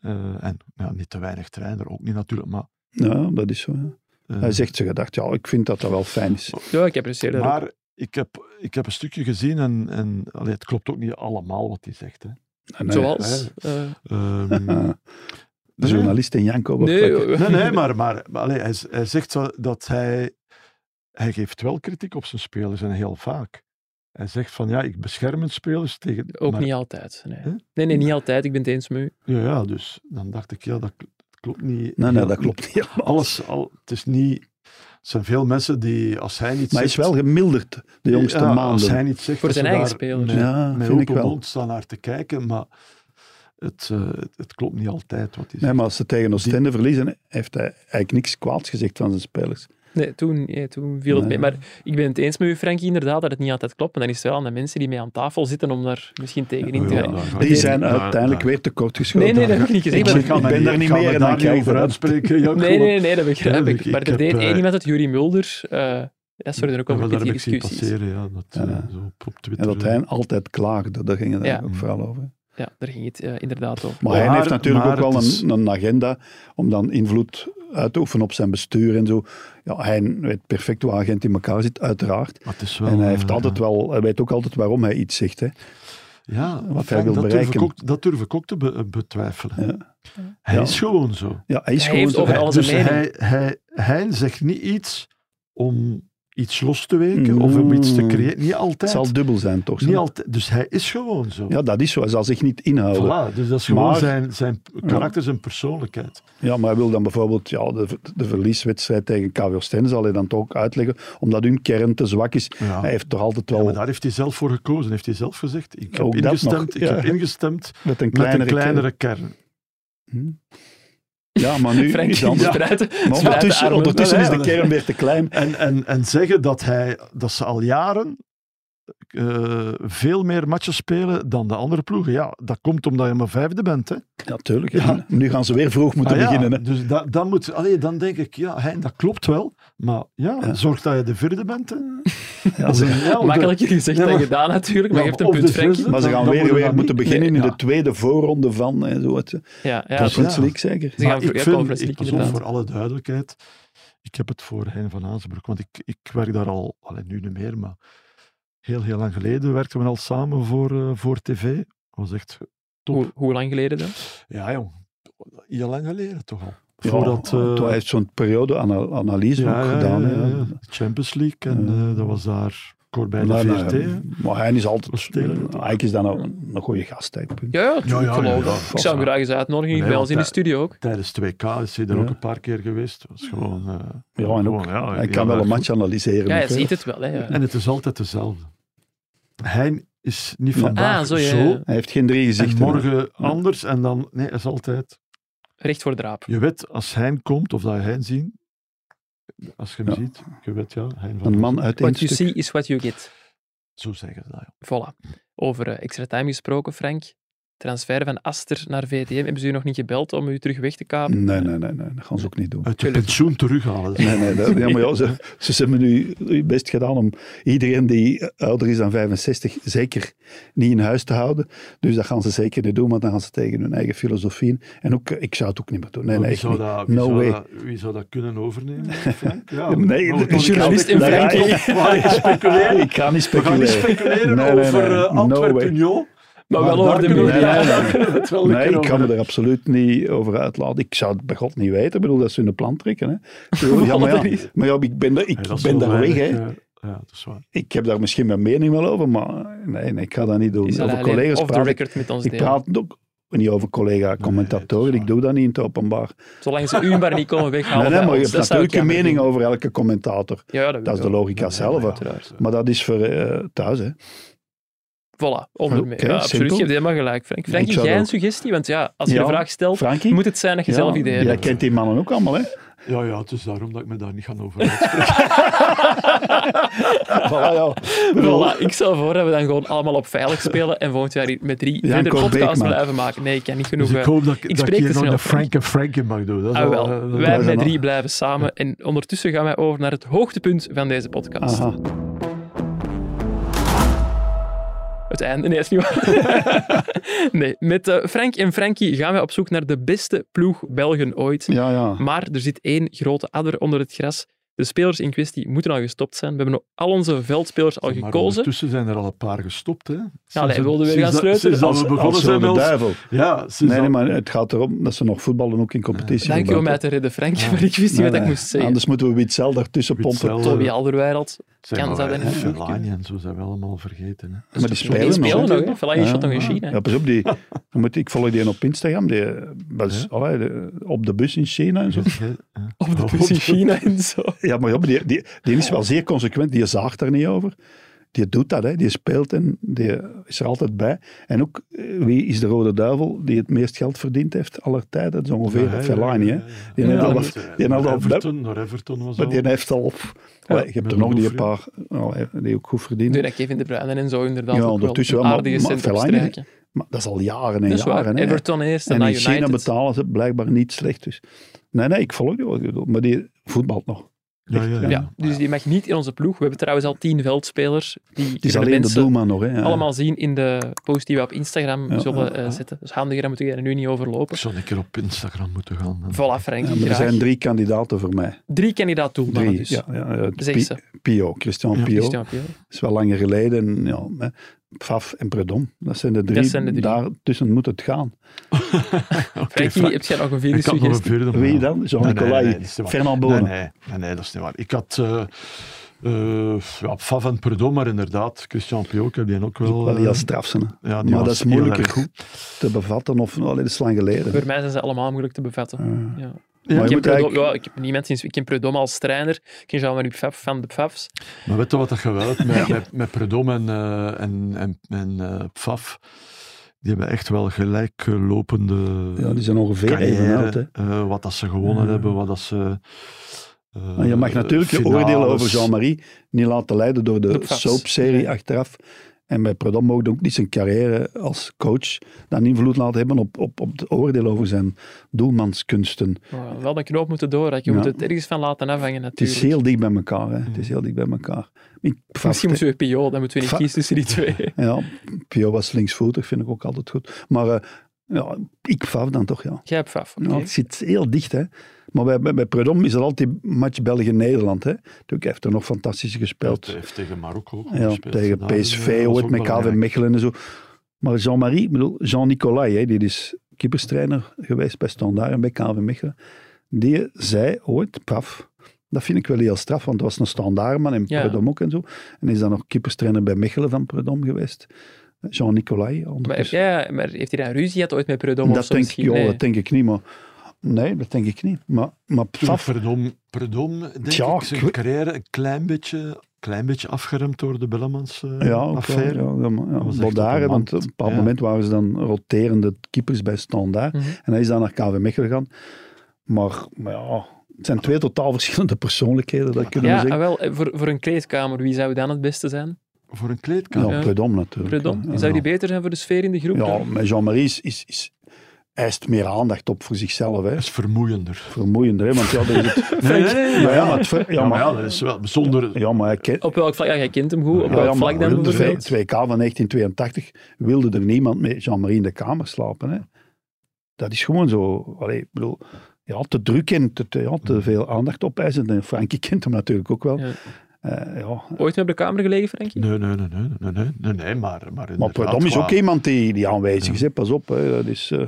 Speaker 5: eh, en ja, niet te weinig trainer, ook niet natuurlijk, maar...
Speaker 4: Ja, dat is zo. ja.
Speaker 5: eh,
Speaker 4: Hij zegt zijn gedacht, ja, ik vind dat dat wel fijn is.
Speaker 1: Ja, ik apprecieer dat. ook.
Speaker 5: Maar ik heb, ik heb een stukje gezien en, en allee, het klopt ook niet allemaal wat hij zegt. Hè.
Speaker 4: Nee,
Speaker 1: Zoals? eh,
Speaker 5: Ehm,
Speaker 4: De journalist in Janko. wordt
Speaker 1: nee, eh,
Speaker 4: wakker.
Speaker 5: Nee, nee, maar, maar, maar allee, hij, hij zegt zo dat hij... Hij geeft wel kritiek op zijn spelers en heel vaak. Hij zegt van, ja, ik bescherm mijn spelers tegen...
Speaker 1: Ook
Speaker 5: maar-
Speaker 1: niet altijd. Nee.
Speaker 5: Hè?
Speaker 1: nee, nee, niet altijd. Ik ben het eens met u.
Speaker 5: Ja, ja, dus dan dacht ik, ja, dat kl- klopt niet.
Speaker 4: Nee, nee,
Speaker 5: Ja,
Speaker 4: dat klopt niet.
Speaker 5: Alles, al, het is niet... Er zijn veel mensen die, als hij niet
Speaker 4: Maar hij is
Speaker 5: zegt...
Speaker 4: wel gemilderd de jongste
Speaker 5: ja, Als
Speaker 4: maanden.
Speaker 5: hij niet zegt...
Speaker 1: Voor
Speaker 5: dat
Speaker 1: zijn
Speaker 5: ze
Speaker 1: eigen
Speaker 5: daar
Speaker 1: spelers.
Speaker 5: Met,
Speaker 4: Ja,
Speaker 5: met
Speaker 4: vind ik
Speaker 5: open
Speaker 4: wel.
Speaker 5: mond staan naar te kijken, maar het, eh, het, het klopt niet altijd wat hij
Speaker 4: Nee,
Speaker 5: zegt.
Speaker 4: maar als ze tegen Oostende verliezen, heeft hij eigenlijk niks kwaads gezegd van zijn spelers.
Speaker 1: Nee, toen, nee, toen viel het
Speaker 4: Nee.
Speaker 1: mee. Maar ik ben het eens met u, Frankie, inderdaad, dat het niet altijd klopt. Maar dan is het wel aan de mensen die mee aan tafel zitten om daar misschien tegenin te
Speaker 5: Oh Ja,
Speaker 1: gaan.
Speaker 5: daar ga
Speaker 4: Die
Speaker 5: ik-
Speaker 4: zijn
Speaker 5: daar-
Speaker 4: uiteindelijk
Speaker 5: daar-
Speaker 4: weer tekort geschoten.
Speaker 1: Nee, nee, dat heb ik niet gezegd.
Speaker 4: Ik
Speaker 1: maar-
Speaker 4: zit- ik ben daar niet
Speaker 5: ga me
Speaker 4: meer
Speaker 5: daar
Speaker 4: dan
Speaker 5: niet
Speaker 4: jij
Speaker 5: over
Speaker 4: bent.
Speaker 5: uitspreken. Jacob.
Speaker 1: Nee, nee, nee, dat begrijp
Speaker 5: Ja,
Speaker 1: ik.
Speaker 5: ik- ik
Speaker 1: Maar er
Speaker 5: heb,
Speaker 1: deed
Speaker 5: eh,
Speaker 1: één iemand, het Jury Mulder, eh dat zorgde er ook
Speaker 5: Ja,
Speaker 1: wel
Speaker 5: maar
Speaker 1: voor pittige
Speaker 5: daar heb ik zien
Speaker 1: discussies.
Speaker 5: passeren, ja. Dat,
Speaker 4: Ja.
Speaker 5: eh, zo op, op
Speaker 4: En
Speaker 5: Twitter.
Speaker 4: dat hij altijd klaagde, daar ging het
Speaker 1: Ja.
Speaker 4: eigenlijk ook vooral over.
Speaker 1: Ja, daar ging het eh, inderdaad over.
Speaker 4: Maar
Speaker 5: Oh, Maar-
Speaker 4: hij heeft natuurlijk
Speaker 5: maar
Speaker 4: ook wel
Speaker 5: het is-
Speaker 4: een, een agenda om dan invloed uitoefenen op zijn bestuur en zo. Ja, hij weet perfect hoe agent in elkaar zit, uiteraard.
Speaker 5: Maar het is wel,
Speaker 4: en hij, heeft
Speaker 5: eh,
Speaker 4: altijd wel, hij weet ook altijd waarom hij iets zegt. Hè.
Speaker 5: Ja,
Speaker 4: hij
Speaker 5: Frank,
Speaker 4: wil
Speaker 5: dat Durf ik
Speaker 4: bereiken.
Speaker 5: ook, dat durf ik ook te be- eh, betwijfelen.
Speaker 4: Ja.
Speaker 5: Hij
Speaker 4: Ja.
Speaker 5: is gewoon zo.
Speaker 4: Ja, hij is
Speaker 1: Hij
Speaker 4: gewoon
Speaker 1: heeft
Speaker 4: zo.
Speaker 1: over
Speaker 4: Hij-
Speaker 1: alles
Speaker 5: dus
Speaker 1: een mening.
Speaker 5: hij, hij, hij zegt niet iets om iets los te weken of
Speaker 4: Mm.
Speaker 5: om iets te creëren. Niet
Speaker 4: Het
Speaker 5: altijd.
Speaker 4: zal dubbel zijn, toch?
Speaker 5: niet altijd. Dus hij is gewoon zo.
Speaker 4: Ja, dat is zo. Hij zal zich niet inhouden.
Speaker 5: Voilà, dus dat is gewoon
Speaker 4: Maar-
Speaker 5: zijn, zijn karakter, zijn persoonlijkheid.
Speaker 4: Ja, maar hij wil dan bijvoorbeeld ja, de, de verlieswedstrijd tegen KV Oostende zal hij dan toch ook uitleggen, omdat hun kern te zwak is.
Speaker 5: Ja.
Speaker 4: Hij heeft toch altijd
Speaker 5: Ja,
Speaker 4: wel
Speaker 5: maar daar heeft hij zelf voor gekozen. Heeft hij zelf gezegd, ik heb
Speaker 4: Ook dat nog,
Speaker 5: ingestemd, ik
Speaker 4: ja.
Speaker 5: heb ingestemd
Speaker 4: met een
Speaker 5: met
Speaker 4: kleinere,
Speaker 5: een kleinere kern.
Speaker 4: kern. Ja, maar nu
Speaker 1: Frank,
Speaker 4: is het anders.
Speaker 1: spruiten.
Speaker 4: Maar
Speaker 1: spruiten
Speaker 4: ondertussen,
Speaker 1: armen.
Speaker 4: ondertussen is
Speaker 5: Wel,
Speaker 4: de
Speaker 5: ja, dat-
Speaker 4: kern weer te klein.
Speaker 5: En, en, en zeggen dat, hij, dat ze al jaren eh, veel meer matchen spelen dan de andere ploegen. Ja, dat komt omdat je maar vijfde bent. Hè?
Speaker 4: Natuurlijk.
Speaker 5: Ja.
Speaker 4: Nu gaan ze weer vroeg moeten
Speaker 5: Ah ja,
Speaker 4: beginnen. Hè.
Speaker 5: Dus da- dan, moet, allee, dan denk ik, ja, hein, dat klopt wel. Maar ja,
Speaker 4: Ja.
Speaker 5: zorg dat je de vierde bent. Hè? Dat is een- ja,
Speaker 1: Makkelijker gezegd
Speaker 5: Ja,
Speaker 1: dan
Speaker 5: maar-
Speaker 1: gedaan natuurlijk, maar je
Speaker 5: Ja,
Speaker 1: hebt een
Speaker 5: of de
Speaker 1: punt, Frankie.
Speaker 5: zesde.
Speaker 4: Maar ze
Speaker 5: Dan-
Speaker 4: gaan
Speaker 5: dan
Speaker 4: weer,
Speaker 5: worden we
Speaker 4: weer
Speaker 5: dan
Speaker 4: moeten
Speaker 5: niet-
Speaker 4: beginnen
Speaker 1: nee,
Speaker 4: in
Speaker 1: ja.
Speaker 4: de tweede voorronde van en zo. Het,
Speaker 1: Ja, ja,
Speaker 5: Dat is
Speaker 1: dat-
Speaker 4: Conference
Speaker 5: ja.
Speaker 4: League zeker.
Speaker 1: Ze gaan
Speaker 5: Maar
Speaker 1: voor
Speaker 5: ik
Speaker 1: ja,
Speaker 5: vind,
Speaker 1: Conference
Speaker 5: ik,
Speaker 1: League
Speaker 5: pas op,
Speaker 1: inderdaad.
Speaker 5: voor alle duidelijkheid, ik heb het voor Hein van Azenbroek, want ik, ik werk daar al, allee, nu niet meer, maar heel, heel lang geleden werkten we al samen voor, eh, voor tv. Dat was echt top.
Speaker 1: Hoe, hoe lang geleden dan?
Speaker 5: Ja, jong. Heel lang geleden toch al.
Speaker 4: Ja,
Speaker 5: Voordat... eh,
Speaker 4: want hij heeft zo'n periode-analyse
Speaker 5: ja,
Speaker 4: ook
Speaker 5: ja,
Speaker 4: gedaan.
Speaker 5: ja,
Speaker 4: hè.
Speaker 5: ja, ja. Champions League. En
Speaker 4: Ja.
Speaker 5: eh, dat was daar kort bij de
Speaker 4: Maar,
Speaker 5: VRT.
Speaker 4: nou,
Speaker 5: hè.
Speaker 4: maar hij
Speaker 5: Dat
Speaker 4: is
Speaker 5: is
Speaker 4: altijd...
Speaker 5: tegen-
Speaker 4: Eigenlijk is dat nou een, een goede gast. hè, punt.
Speaker 1: Ja, ja, natuurlijk,
Speaker 5: ja,
Speaker 1: geloof
Speaker 5: ja,
Speaker 1: ik.
Speaker 5: ja,
Speaker 1: Ik zou hem
Speaker 5: ja.
Speaker 1: graag eens uitnodigen,
Speaker 5: Nee,
Speaker 1: bij ons
Speaker 5: want
Speaker 1: in de
Speaker 5: hij-
Speaker 1: studio ook.
Speaker 5: Tijdens 2K is hij er
Speaker 4: Ja.
Speaker 5: ook een paar keer geweest. Dat is gewoon... eh,
Speaker 4: Ja, en ook,
Speaker 5: gewoon, Ah, ja,
Speaker 4: hij
Speaker 5: heel
Speaker 4: kan wel
Speaker 5: erg
Speaker 4: een
Speaker 5: goed.
Speaker 4: match analyseren.
Speaker 1: Ja, hij
Speaker 4: ook, hè.
Speaker 1: ziet het wel. Hè, ja.
Speaker 5: En het is altijd dezelfde. Hij is niet
Speaker 4: Ja.
Speaker 5: vandaag
Speaker 1: Ah, zo,
Speaker 5: zo,
Speaker 1: ja, ja.
Speaker 4: Hij heeft geen drie
Speaker 5: en
Speaker 4: gezichten. hè.
Speaker 5: morgen anders. En dan... Nee, hij is altijd...
Speaker 1: Recht voor de raap.
Speaker 5: Je weet, als hij komt, of dat je hij ziet... Als je hem
Speaker 4: Ja.
Speaker 5: ziet, je weet, ja, Hein van
Speaker 4: Een man uit één
Speaker 1: What you
Speaker 4: stuk.
Speaker 1: see is what you get.
Speaker 5: Zo zeggen ze dat, ja.
Speaker 1: Voilà. Over eh, extra time gesproken, Frank. Transfer van Aster naar VTM. Hebben ze u nog niet gebeld om u terug weg te kapen?
Speaker 4: Nee, nee, nee, nee, dat gaan ze ook niet doen.
Speaker 5: Uit je
Speaker 1: Gelukkig.
Speaker 5: pensioen terughalen.
Speaker 4: Nee, nee, dat, ja, maar ja, ze, ze hebben nu hun best gedaan om iedereen die ouder is dan 65 zeker niet in huis te houden. Dus dat gaan ze zeker niet doen, want dan gaan ze tegen hun eigen filosofie in. En ook, eh, ik zou het ook niet meer doen. Nee,
Speaker 5: Maar
Speaker 4: nee,
Speaker 5: wie,
Speaker 4: echt
Speaker 5: Oh, zou
Speaker 4: niet.
Speaker 5: dat, wie,
Speaker 4: No
Speaker 5: zou Oh,
Speaker 4: way.
Speaker 5: Dat, wie zou dat kunnen overnemen, Frank? Ja,
Speaker 4: Nee,
Speaker 5: maar
Speaker 4: de-
Speaker 5: we gaan-
Speaker 1: journalist in
Speaker 4: daar ga ik-
Speaker 1: Frankrijk.
Speaker 5: We gaan niet speculeren.
Speaker 4: Ik ga niet
Speaker 5: We gaan niet
Speaker 4: speculeren.
Speaker 5: speculeren
Speaker 4: Nee, nee,
Speaker 5: over
Speaker 4: nee.
Speaker 5: eh,
Speaker 4: No way.
Speaker 5: Antwerpen-Union.
Speaker 1: Maar wel
Speaker 5: daar
Speaker 1: over de
Speaker 5: kunnen we-
Speaker 1: muur,
Speaker 5: ja,
Speaker 1: ja.
Speaker 5: daar kunnen we het wel een
Speaker 4: Nee,
Speaker 5: keer
Speaker 4: ik kan
Speaker 5: over
Speaker 4: me er absoluut niet over uitlaten. Ik zou het bij God niet weten. Ik bedoel, dat ze hun plan trekken. Hè. Ik bedoel, Ja, maar, ja, maar ja, ik ben, er, ik
Speaker 5: hebben. Ja, dat is
Speaker 4: ben
Speaker 5: wel
Speaker 4: daar weg. Hè.
Speaker 5: weinig, eh, Ja, dat is waar.
Speaker 4: Ik heb daar misschien mijn mening wel over, maar nee, nee ik ga dat niet doen.
Speaker 1: Die zal
Speaker 4: Over
Speaker 1: alleen
Speaker 4: collega's
Speaker 1: off the
Speaker 4: praat ik
Speaker 1: record met ons
Speaker 4: Ik
Speaker 1: delen.
Speaker 4: praat ook niet over collega-commentatoren.
Speaker 5: Nee, dat
Speaker 4: ik
Speaker 5: is
Speaker 4: doe dat niet in het openbaar.
Speaker 1: Zolang ze u maar niet komen weghalen.
Speaker 4: nee, nee,
Speaker 1: bij
Speaker 4: maar je
Speaker 1: ons,
Speaker 4: hebt
Speaker 1: dat zou ik
Speaker 4: natuurlijk een
Speaker 1: jammer
Speaker 4: mening
Speaker 1: vinden.
Speaker 4: over elke commentator.
Speaker 1: Ja, ja, dat,
Speaker 4: Dat is de
Speaker 1: loop.
Speaker 4: logica
Speaker 5: Nee,
Speaker 4: zelf.
Speaker 5: nee,
Speaker 4: hè.
Speaker 5: uiteraard.
Speaker 4: Maar dat is voor eh, thuis, hè.
Speaker 1: Voilà, onder
Speaker 4: Oké,
Speaker 1: mee. Ja, absoluut,
Speaker 4: simpel.
Speaker 1: je hebt helemaal gelijk, Frank. Frank,
Speaker 4: Ik zou
Speaker 1: jij
Speaker 4: dat
Speaker 1: een
Speaker 4: ook-
Speaker 1: suggestie? Want ja, als je
Speaker 4: Ja,
Speaker 1: een vraag stelt,
Speaker 4: Frankie?
Speaker 1: moet het zijn dat je zelf
Speaker 4: Ja,
Speaker 1: ideeën
Speaker 4: Jij
Speaker 1: hebt.
Speaker 4: kent die mannen ook allemaal, hè.
Speaker 5: Ja, ja, het is daarom dat ik me daar niet ga over uitspreken.
Speaker 4: Voilà, ja.
Speaker 1: Voilà, ik stel voor dat we dan gewoon allemaal op veilig spelen en volgend jaar hier met drie
Speaker 4: Ja, en
Speaker 1: verder
Speaker 4: Cor
Speaker 1: podcasts
Speaker 4: Beekman.
Speaker 1: blijven maken. Nee, ik kan niet genoeg...
Speaker 5: Dus ik
Speaker 1: eh,
Speaker 5: hoop dat ik, dat ik
Speaker 1: spreek
Speaker 5: hier
Speaker 1: te
Speaker 5: nog
Speaker 1: snel,
Speaker 5: een
Speaker 1: Frank.
Speaker 5: Frank en Frankie mag doen. Dat is
Speaker 1: Ah,
Speaker 5: wel,
Speaker 1: wel.
Speaker 5: eh, dat
Speaker 1: Wij
Speaker 5: is
Speaker 1: met
Speaker 5: wel-
Speaker 1: drie blijven samen. En ondertussen gaan wij over naar het hoogtepunt van deze podcast.
Speaker 4: Aha.
Speaker 1: Het einde. Nee, dat is niet waar. nee, met eh, Frank en Frankie gaan wij op zoek naar de beste ploeg Belgen ooit.
Speaker 4: Ja, ja.
Speaker 1: Maar er zit één grote adder onder het gras. De spelers in kwestie moeten al gestopt zijn. We hebben al onze veldspelers al
Speaker 5: Maar
Speaker 1: gekozen.
Speaker 5: ondertussen zijn er al een paar gestopt. Hè.
Speaker 1: Ja, nee, wilden we
Speaker 5: Sinds
Speaker 1: gaan
Speaker 5: dat-
Speaker 1: sleutelen.
Speaker 5: Sinds dat
Speaker 4: Als,
Speaker 5: we
Speaker 4: als
Speaker 5: begonnen zijn
Speaker 4: rode
Speaker 5: met ons...
Speaker 4: duivel.
Speaker 5: Ja, sinds
Speaker 4: Nee,
Speaker 5: dat-
Speaker 4: nee, maar het gaat erom dat ze nog voetballen ook in competitie.
Speaker 1: Dank je om
Speaker 4: gebruiken.
Speaker 1: mij te redden, Frank. Maar ik wist niet
Speaker 4: Nee,
Speaker 1: wat ik
Speaker 4: nee.
Speaker 1: moest zeggen.
Speaker 4: Anders moeten we Witzel daartussen pompen.
Speaker 5: Witzel,
Speaker 1: Toby
Speaker 5: eh,
Speaker 1: Alderweireld.
Speaker 5: Zeg
Speaker 1: Kan
Speaker 5: maar,
Speaker 1: dat
Speaker 5: eh,
Speaker 1: dan niet goed
Speaker 5: Fellaini en zo zijn we allemaal vergeten. Hè.
Speaker 4: Maar die spelen
Speaker 1: Die
Speaker 4: nog,
Speaker 1: spelen
Speaker 4: hè.
Speaker 1: nog, hè. Fellaini shot nog in
Speaker 4: ja.
Speaker 1: China.
Speaker 4: Ja, pas op, die, dan moet, ik volg die op Instagram. Die, eh, dat is-
Speaker 5: Ja.
Speaker 4: allee, de- op de bus in China en zo.
Speaker 1: Op
Speaker 4: Oh.
Speaker 1: de bus in China en zo.
Speaker 4: Ja, maar ja, maar die, die, die is wel zeer consequent. Die zaagt daar niet over. Die doet dat, hè. die speelt en die is er altijd bij. En ook, eh, wie is de rode duivel die het meest geld verdiend heeft aller tijden? Dat is ongeveer Fellaini. Hè. Die
Speaker 1: Ja,
Speaker 4: heeft al,
Speaker 1: dat
Speaker 4: die heeft al,
Speaker 5: Everton, naar Everton was
Speaker 4: maar
Speaker 5: al.
Speaker 4: die heeft al allee, je hebt
Speaker 5: met
Speaker 4: er nog die een
Speaker 5: Loefre.
Speaker 4: paar allee, die ook goed verdienen.
Speaker 1: Doe dat Kevin De Bruyne en zo inderdaad
Speaker 4: Ja,
Speaker 1: ook wel.
Speaker 4: ondertussen
Speaker 1: Een
Speaker 4: wel, maar-
Speaker 1: aardige
Speaker 4: maar
Speaker 1: cent
Speaker 4: Fellaini-
Speaker 1: opstrijken.
Speaker 4: Maar dat is al jaren en
Speaker 1: Dat is waar.
Speaker 4: jaren. hè.
Speaker 1: Everton eerst en
Speaker 4: En
Speaker 1: dan
Speaker 4: in China
Speaker 1: United.
Speaker 4: betalen ze blijkbaar niet slecht. Dus. Nee, nee, ik volg die wel. Ik bedoel, Maar die voetbalt nog.
Speaker 5: Ja, ja, ja.
Speaker 1: Ja, dus die mag niet in onze ploeg. We hebben trouwens al tien veldspelers. Die
Speaker 4: Het is
Speaker 1: kunnen de
Speaker 4: alleen de
Speaker 1: mensen
Speaker 4: doelman nog. Hè. Ja.
Speaker 1: allemaal zien in de post die we op Instagram
Speaker 4: Ja,
Speaker 1: zullen
Speaker 4: ja,
Speaker 1: eh,
Speaker 4: ja.
Speaker 1: zetten. Dus handiger, dan moeten we er nu niet
Speaker 5: Ik
Speaker 1: overlopen.
Speaker 5: zou een keer op Instagram moeten gaan. hè.
Speaker 1: Voilà, Frank,
Speaker 4: Ja, maar er
Speaker 1: graag.
Speaker 4: zijn drie kandidaten voor mij.
Speaker 1: Drie kandidaat doelmannen
Speaker 4: Drie.
Speaker 1: dus.
Speaker 4: Ja, ja, ja,
Speaker 1: Zeg
Speaker 4: Pi-
Speaker 1: ze.
Speaker 4: Pio, Christian
Speaker 5: Ja,
Speaker 4: Pio.
Speaker 1: Christian Pio.
Speaker 4: is wel langer geleden. En, ja, hè. Pfaff en Predom, dat zijn de drie.
Speaker 1: Dat zijn de drie.
Speaker 4: Daartussen moet het gaan.
Speaker 5: Oké,
Speaker 1: Frankie,
Speaker 5: Frank,
Speaker 1: heb jij nog een vierde
Speaker 5: ik had nog een
Speaker 1: suggestie?
Speaker 5: vierde, maar-
Speaker 4: Wie dan? Jean-Nicolai
Speaker 5: Nee, nee, nee, dat is niet waar.
Speaker 4: Fernand
Speaker 5: Nee,
Speaker 4: Bonen.
Speaker 5: nee, nee, nee, dat is niet waar. Ik had eh eh ja, Faf en Perdom, maar inderdaad, Christian Pio, ik heb die ook wel...
Speaker 4: Ook wel heel
Speaker 5: eh,
Speaker 4: straf zijn. hè.
Speaker 5: ja, die
Speaker 4: maar dat
Speaker 5: was heel
Speaker 4: is moeilijker
Speaker 5: erg goed.
Speaker 4: te bevatten. Of, nou, dat is lang geleden.
Speaker 1: Voor mij zijn ze allemaal moeilijk te bevatten.
Speaker 4: Ja.
Speaker 1: Ja.
Speaker 4: Maar
Speaker 1: Ik,
Speaker 4: je
Speaker 1: ken
Speaker 4: moet
Speaker 1: Predom,
Speaker 4: eigenlijk...
Speaker 1: ja, ik heb niemand sinds... Ik ken Predom als trainer. Ik ken Jean-Marie Pfaff van de Pfaffs.
Speaker 5: eh, Maar weet je wat dat geweld met, met, met Perdom en, eh en, en, en eh, Pfaff? Die hebben echt wel gelijklopende...
Speaker 4: Ja, die zijn ongeveer even oud. Hè.
Speaker 5: eh, wat dat ze gewonnen
Speaker 4: Ja.
Speaker 5: hebben, wat dat ze... eh,
Speaker 4: Maar je mag natuurlijk je
Speaker 5: finales.
Speaker 4: oordelen over Jean-Marie niet laten leiden door de
Speaker 1: Door Pfaff.
Speaker 4: soapserie
Speaker 1: Nee.
Speaker 4: achteraf. En bij Predom mogen ook niet zijn carrière als coach dan invloed laten hebben op, op, op het oordeel over zijn doelmanskunsten.
Speaker 1: Maar wel een knoop moeten doorhakken. Je
Speaker 4: Ja.
Speaker 1: moet het ergens van laten afhangen
Speaker 4: Het is
Speaker 1: natuurlijk.
Speaker 4: heel dicht bij elkaar. Hè. Het is heel dicht bij elkaar. Ik- Pfaff-
Speaker 1: Misschien moeten we Pio, dan moeten we niet
Speaker 4: Pfaff-
Speaker 1: kiezen tussen die twee.
Speaker 4: Ja, Pio was linksvoetig, vind ik ook altijd goed. Maar eh, ja, ik Pfaff dan toch, ja.
Speaker 1: Jij hebt Pfaff, oké.
Speaker 4: Ja, het zit heel dicht, hè. Maar bij, bij, bij Predom is dat altijd die match België-Nederland, hè. Natuurlijk heeft er nog fantastisch
Speaker 5: Dat
Speaker 4: gespeeld.
Speaker 5: heeft tegen Marokko ook
Speaker 4: Ja,
Speaker 5: gespeeld.
Speaker 4: tegen
Speaker 5: Daar, eh,
Speaker 4: PSV,
Speaker 5: was
Speaker 4: ooit
Speaker 5: ook
Speaker 4: met KV
Speaker 5: belangrijk.
Speaker 4: Mechelen en zo. Maar Jean-Marie, ik bedoel, Jean-Nicolai, hè, die is keeperstrainer geweest bij Standaard en bij KV Mechelen, die zei ooit, paf, dat vind ik wel heel straf, want het was een standaardman en
Speaker 1: Ja.
Speaker 4: Predom ook en zo. En is dan nog keeperstrainer bij Mechelen van Predom geweest. Jean-Nicolai,
Speaker 1: Maar, heb
Speaker 4: ondertussen.
Speaker 1: jij- maar heeft hij daar ruzie gehad ooit met Predom? of
Speaker 4: dat
Speaker 1: zo
Speaker 4: denk, ik,
Speaker 1: misschien?
Speaker 4: joh,
Speaker 1: Nee.
Speaker 4: dat denk ik niet, maar... Nee, dat denk ik niet. Maar, maar
Speaker 5: Toen
Speaker 4: Pfaff-
Speaker 5: Perdom, Perdom denk
Speaker 4: Tja,
Speaker 5: ik, zijn
Speaker 4: ik weet-
Speaker 5: carrière een klein beetje, klein beetje afgeremd door de eh, Bellemans-affaire.
Speaker 4: Ja, ook wel, ja, ja, maar- ja,
Speaker 5: was echt op
Speaker 4: Boldaren,
Speaker 5: de
Speaker 4: want op
Speaker 5: mand.
Speaker 4: een bepaald
Speaker 5: Ja.
Speaker 4: moment waren ze dan roterende keepers bij Standaard.
Speaker 1: Mhm.
Speaker 4: En hij is dan naar KV Mechelen gegaan. Maar, maar ja, het zijn twee totaal verschillende persoonlijkheden, dat kunnen
Speaker 1: Ja,
Speaker 4: we
Speaker 1: ah,
Speaker 4: zeggen.
Speaker 1: wel, eh, voor, voor een kleedkamer, wie zou dan het beste zijn?
Speaker 5: Voor een
Speaker 4: Ja,
Speaker 5: kleedkamer.
Speaker 1: ah, Ja.
Speaker 4: Predom natuurlijk.
Speaker 1: Predom?
Speaker 4: Ja,
Speaker 1: Zou die
Speaker 4: ja.
Speaker 1: beter zijn voor de sfeer in de groep?
Speaker 4: Ja,
Speaker 1: dan?
Speaker 4: maar Jean-Marie is, is, is, eist meer aandacht op voor zichzelf. Hè.
Speaker 5: Dat is vermoeiender.
Speaker 4: Vermoeiender, hè, want ja, dat is het...
Speaker 5: Nee, nee, nee, nee,
Speaker 4: Ja, ja,
Speaker 5: ja.
Speaker 4: maar, het ver- ja,
Speaker 5: Ja, maar ja,
Speaker 4: maar,
Speaker 5: dat is wel bijzonder.
Speaker 4: ja, maar hij kent...
Speaker 1: Op welk vlak? Ja, jij kent hem goed. Op
Speaker 4: Ja,
Speaker 1: welk
Speaker 4: ja, maar
Speaker 1: vlak dan?
Speaker 4: de
Speaker 1: bijvoorbeeld?
Speaker 4: 2K van 1982 wilde er niemand met Jean-Marie in de kamer slapen. Hè. Dat is gewoon zo. Allee, ik bedoel, ja, te druk en te, te- ja, te veel aandacht opeisen. En Frankie kent hem natuurlijk ook wel.
Speaker 1: Mm. Ja.
Speaker 4: Eh, ja.
Speaker 1: Ooit mee op de kamer gelegen, Frankie?
Speaker 5: Nee, nee, nee, nee, nee, nee, nee, nee maar, maar
Speaker 4: Maar
Speaker 5: inderdaad
Speaker 4: Predom is
Speaker 5: qua-
Speaker 4: ook iemand die, die aanwezig is. Hè. Pas op, hè. dat is eh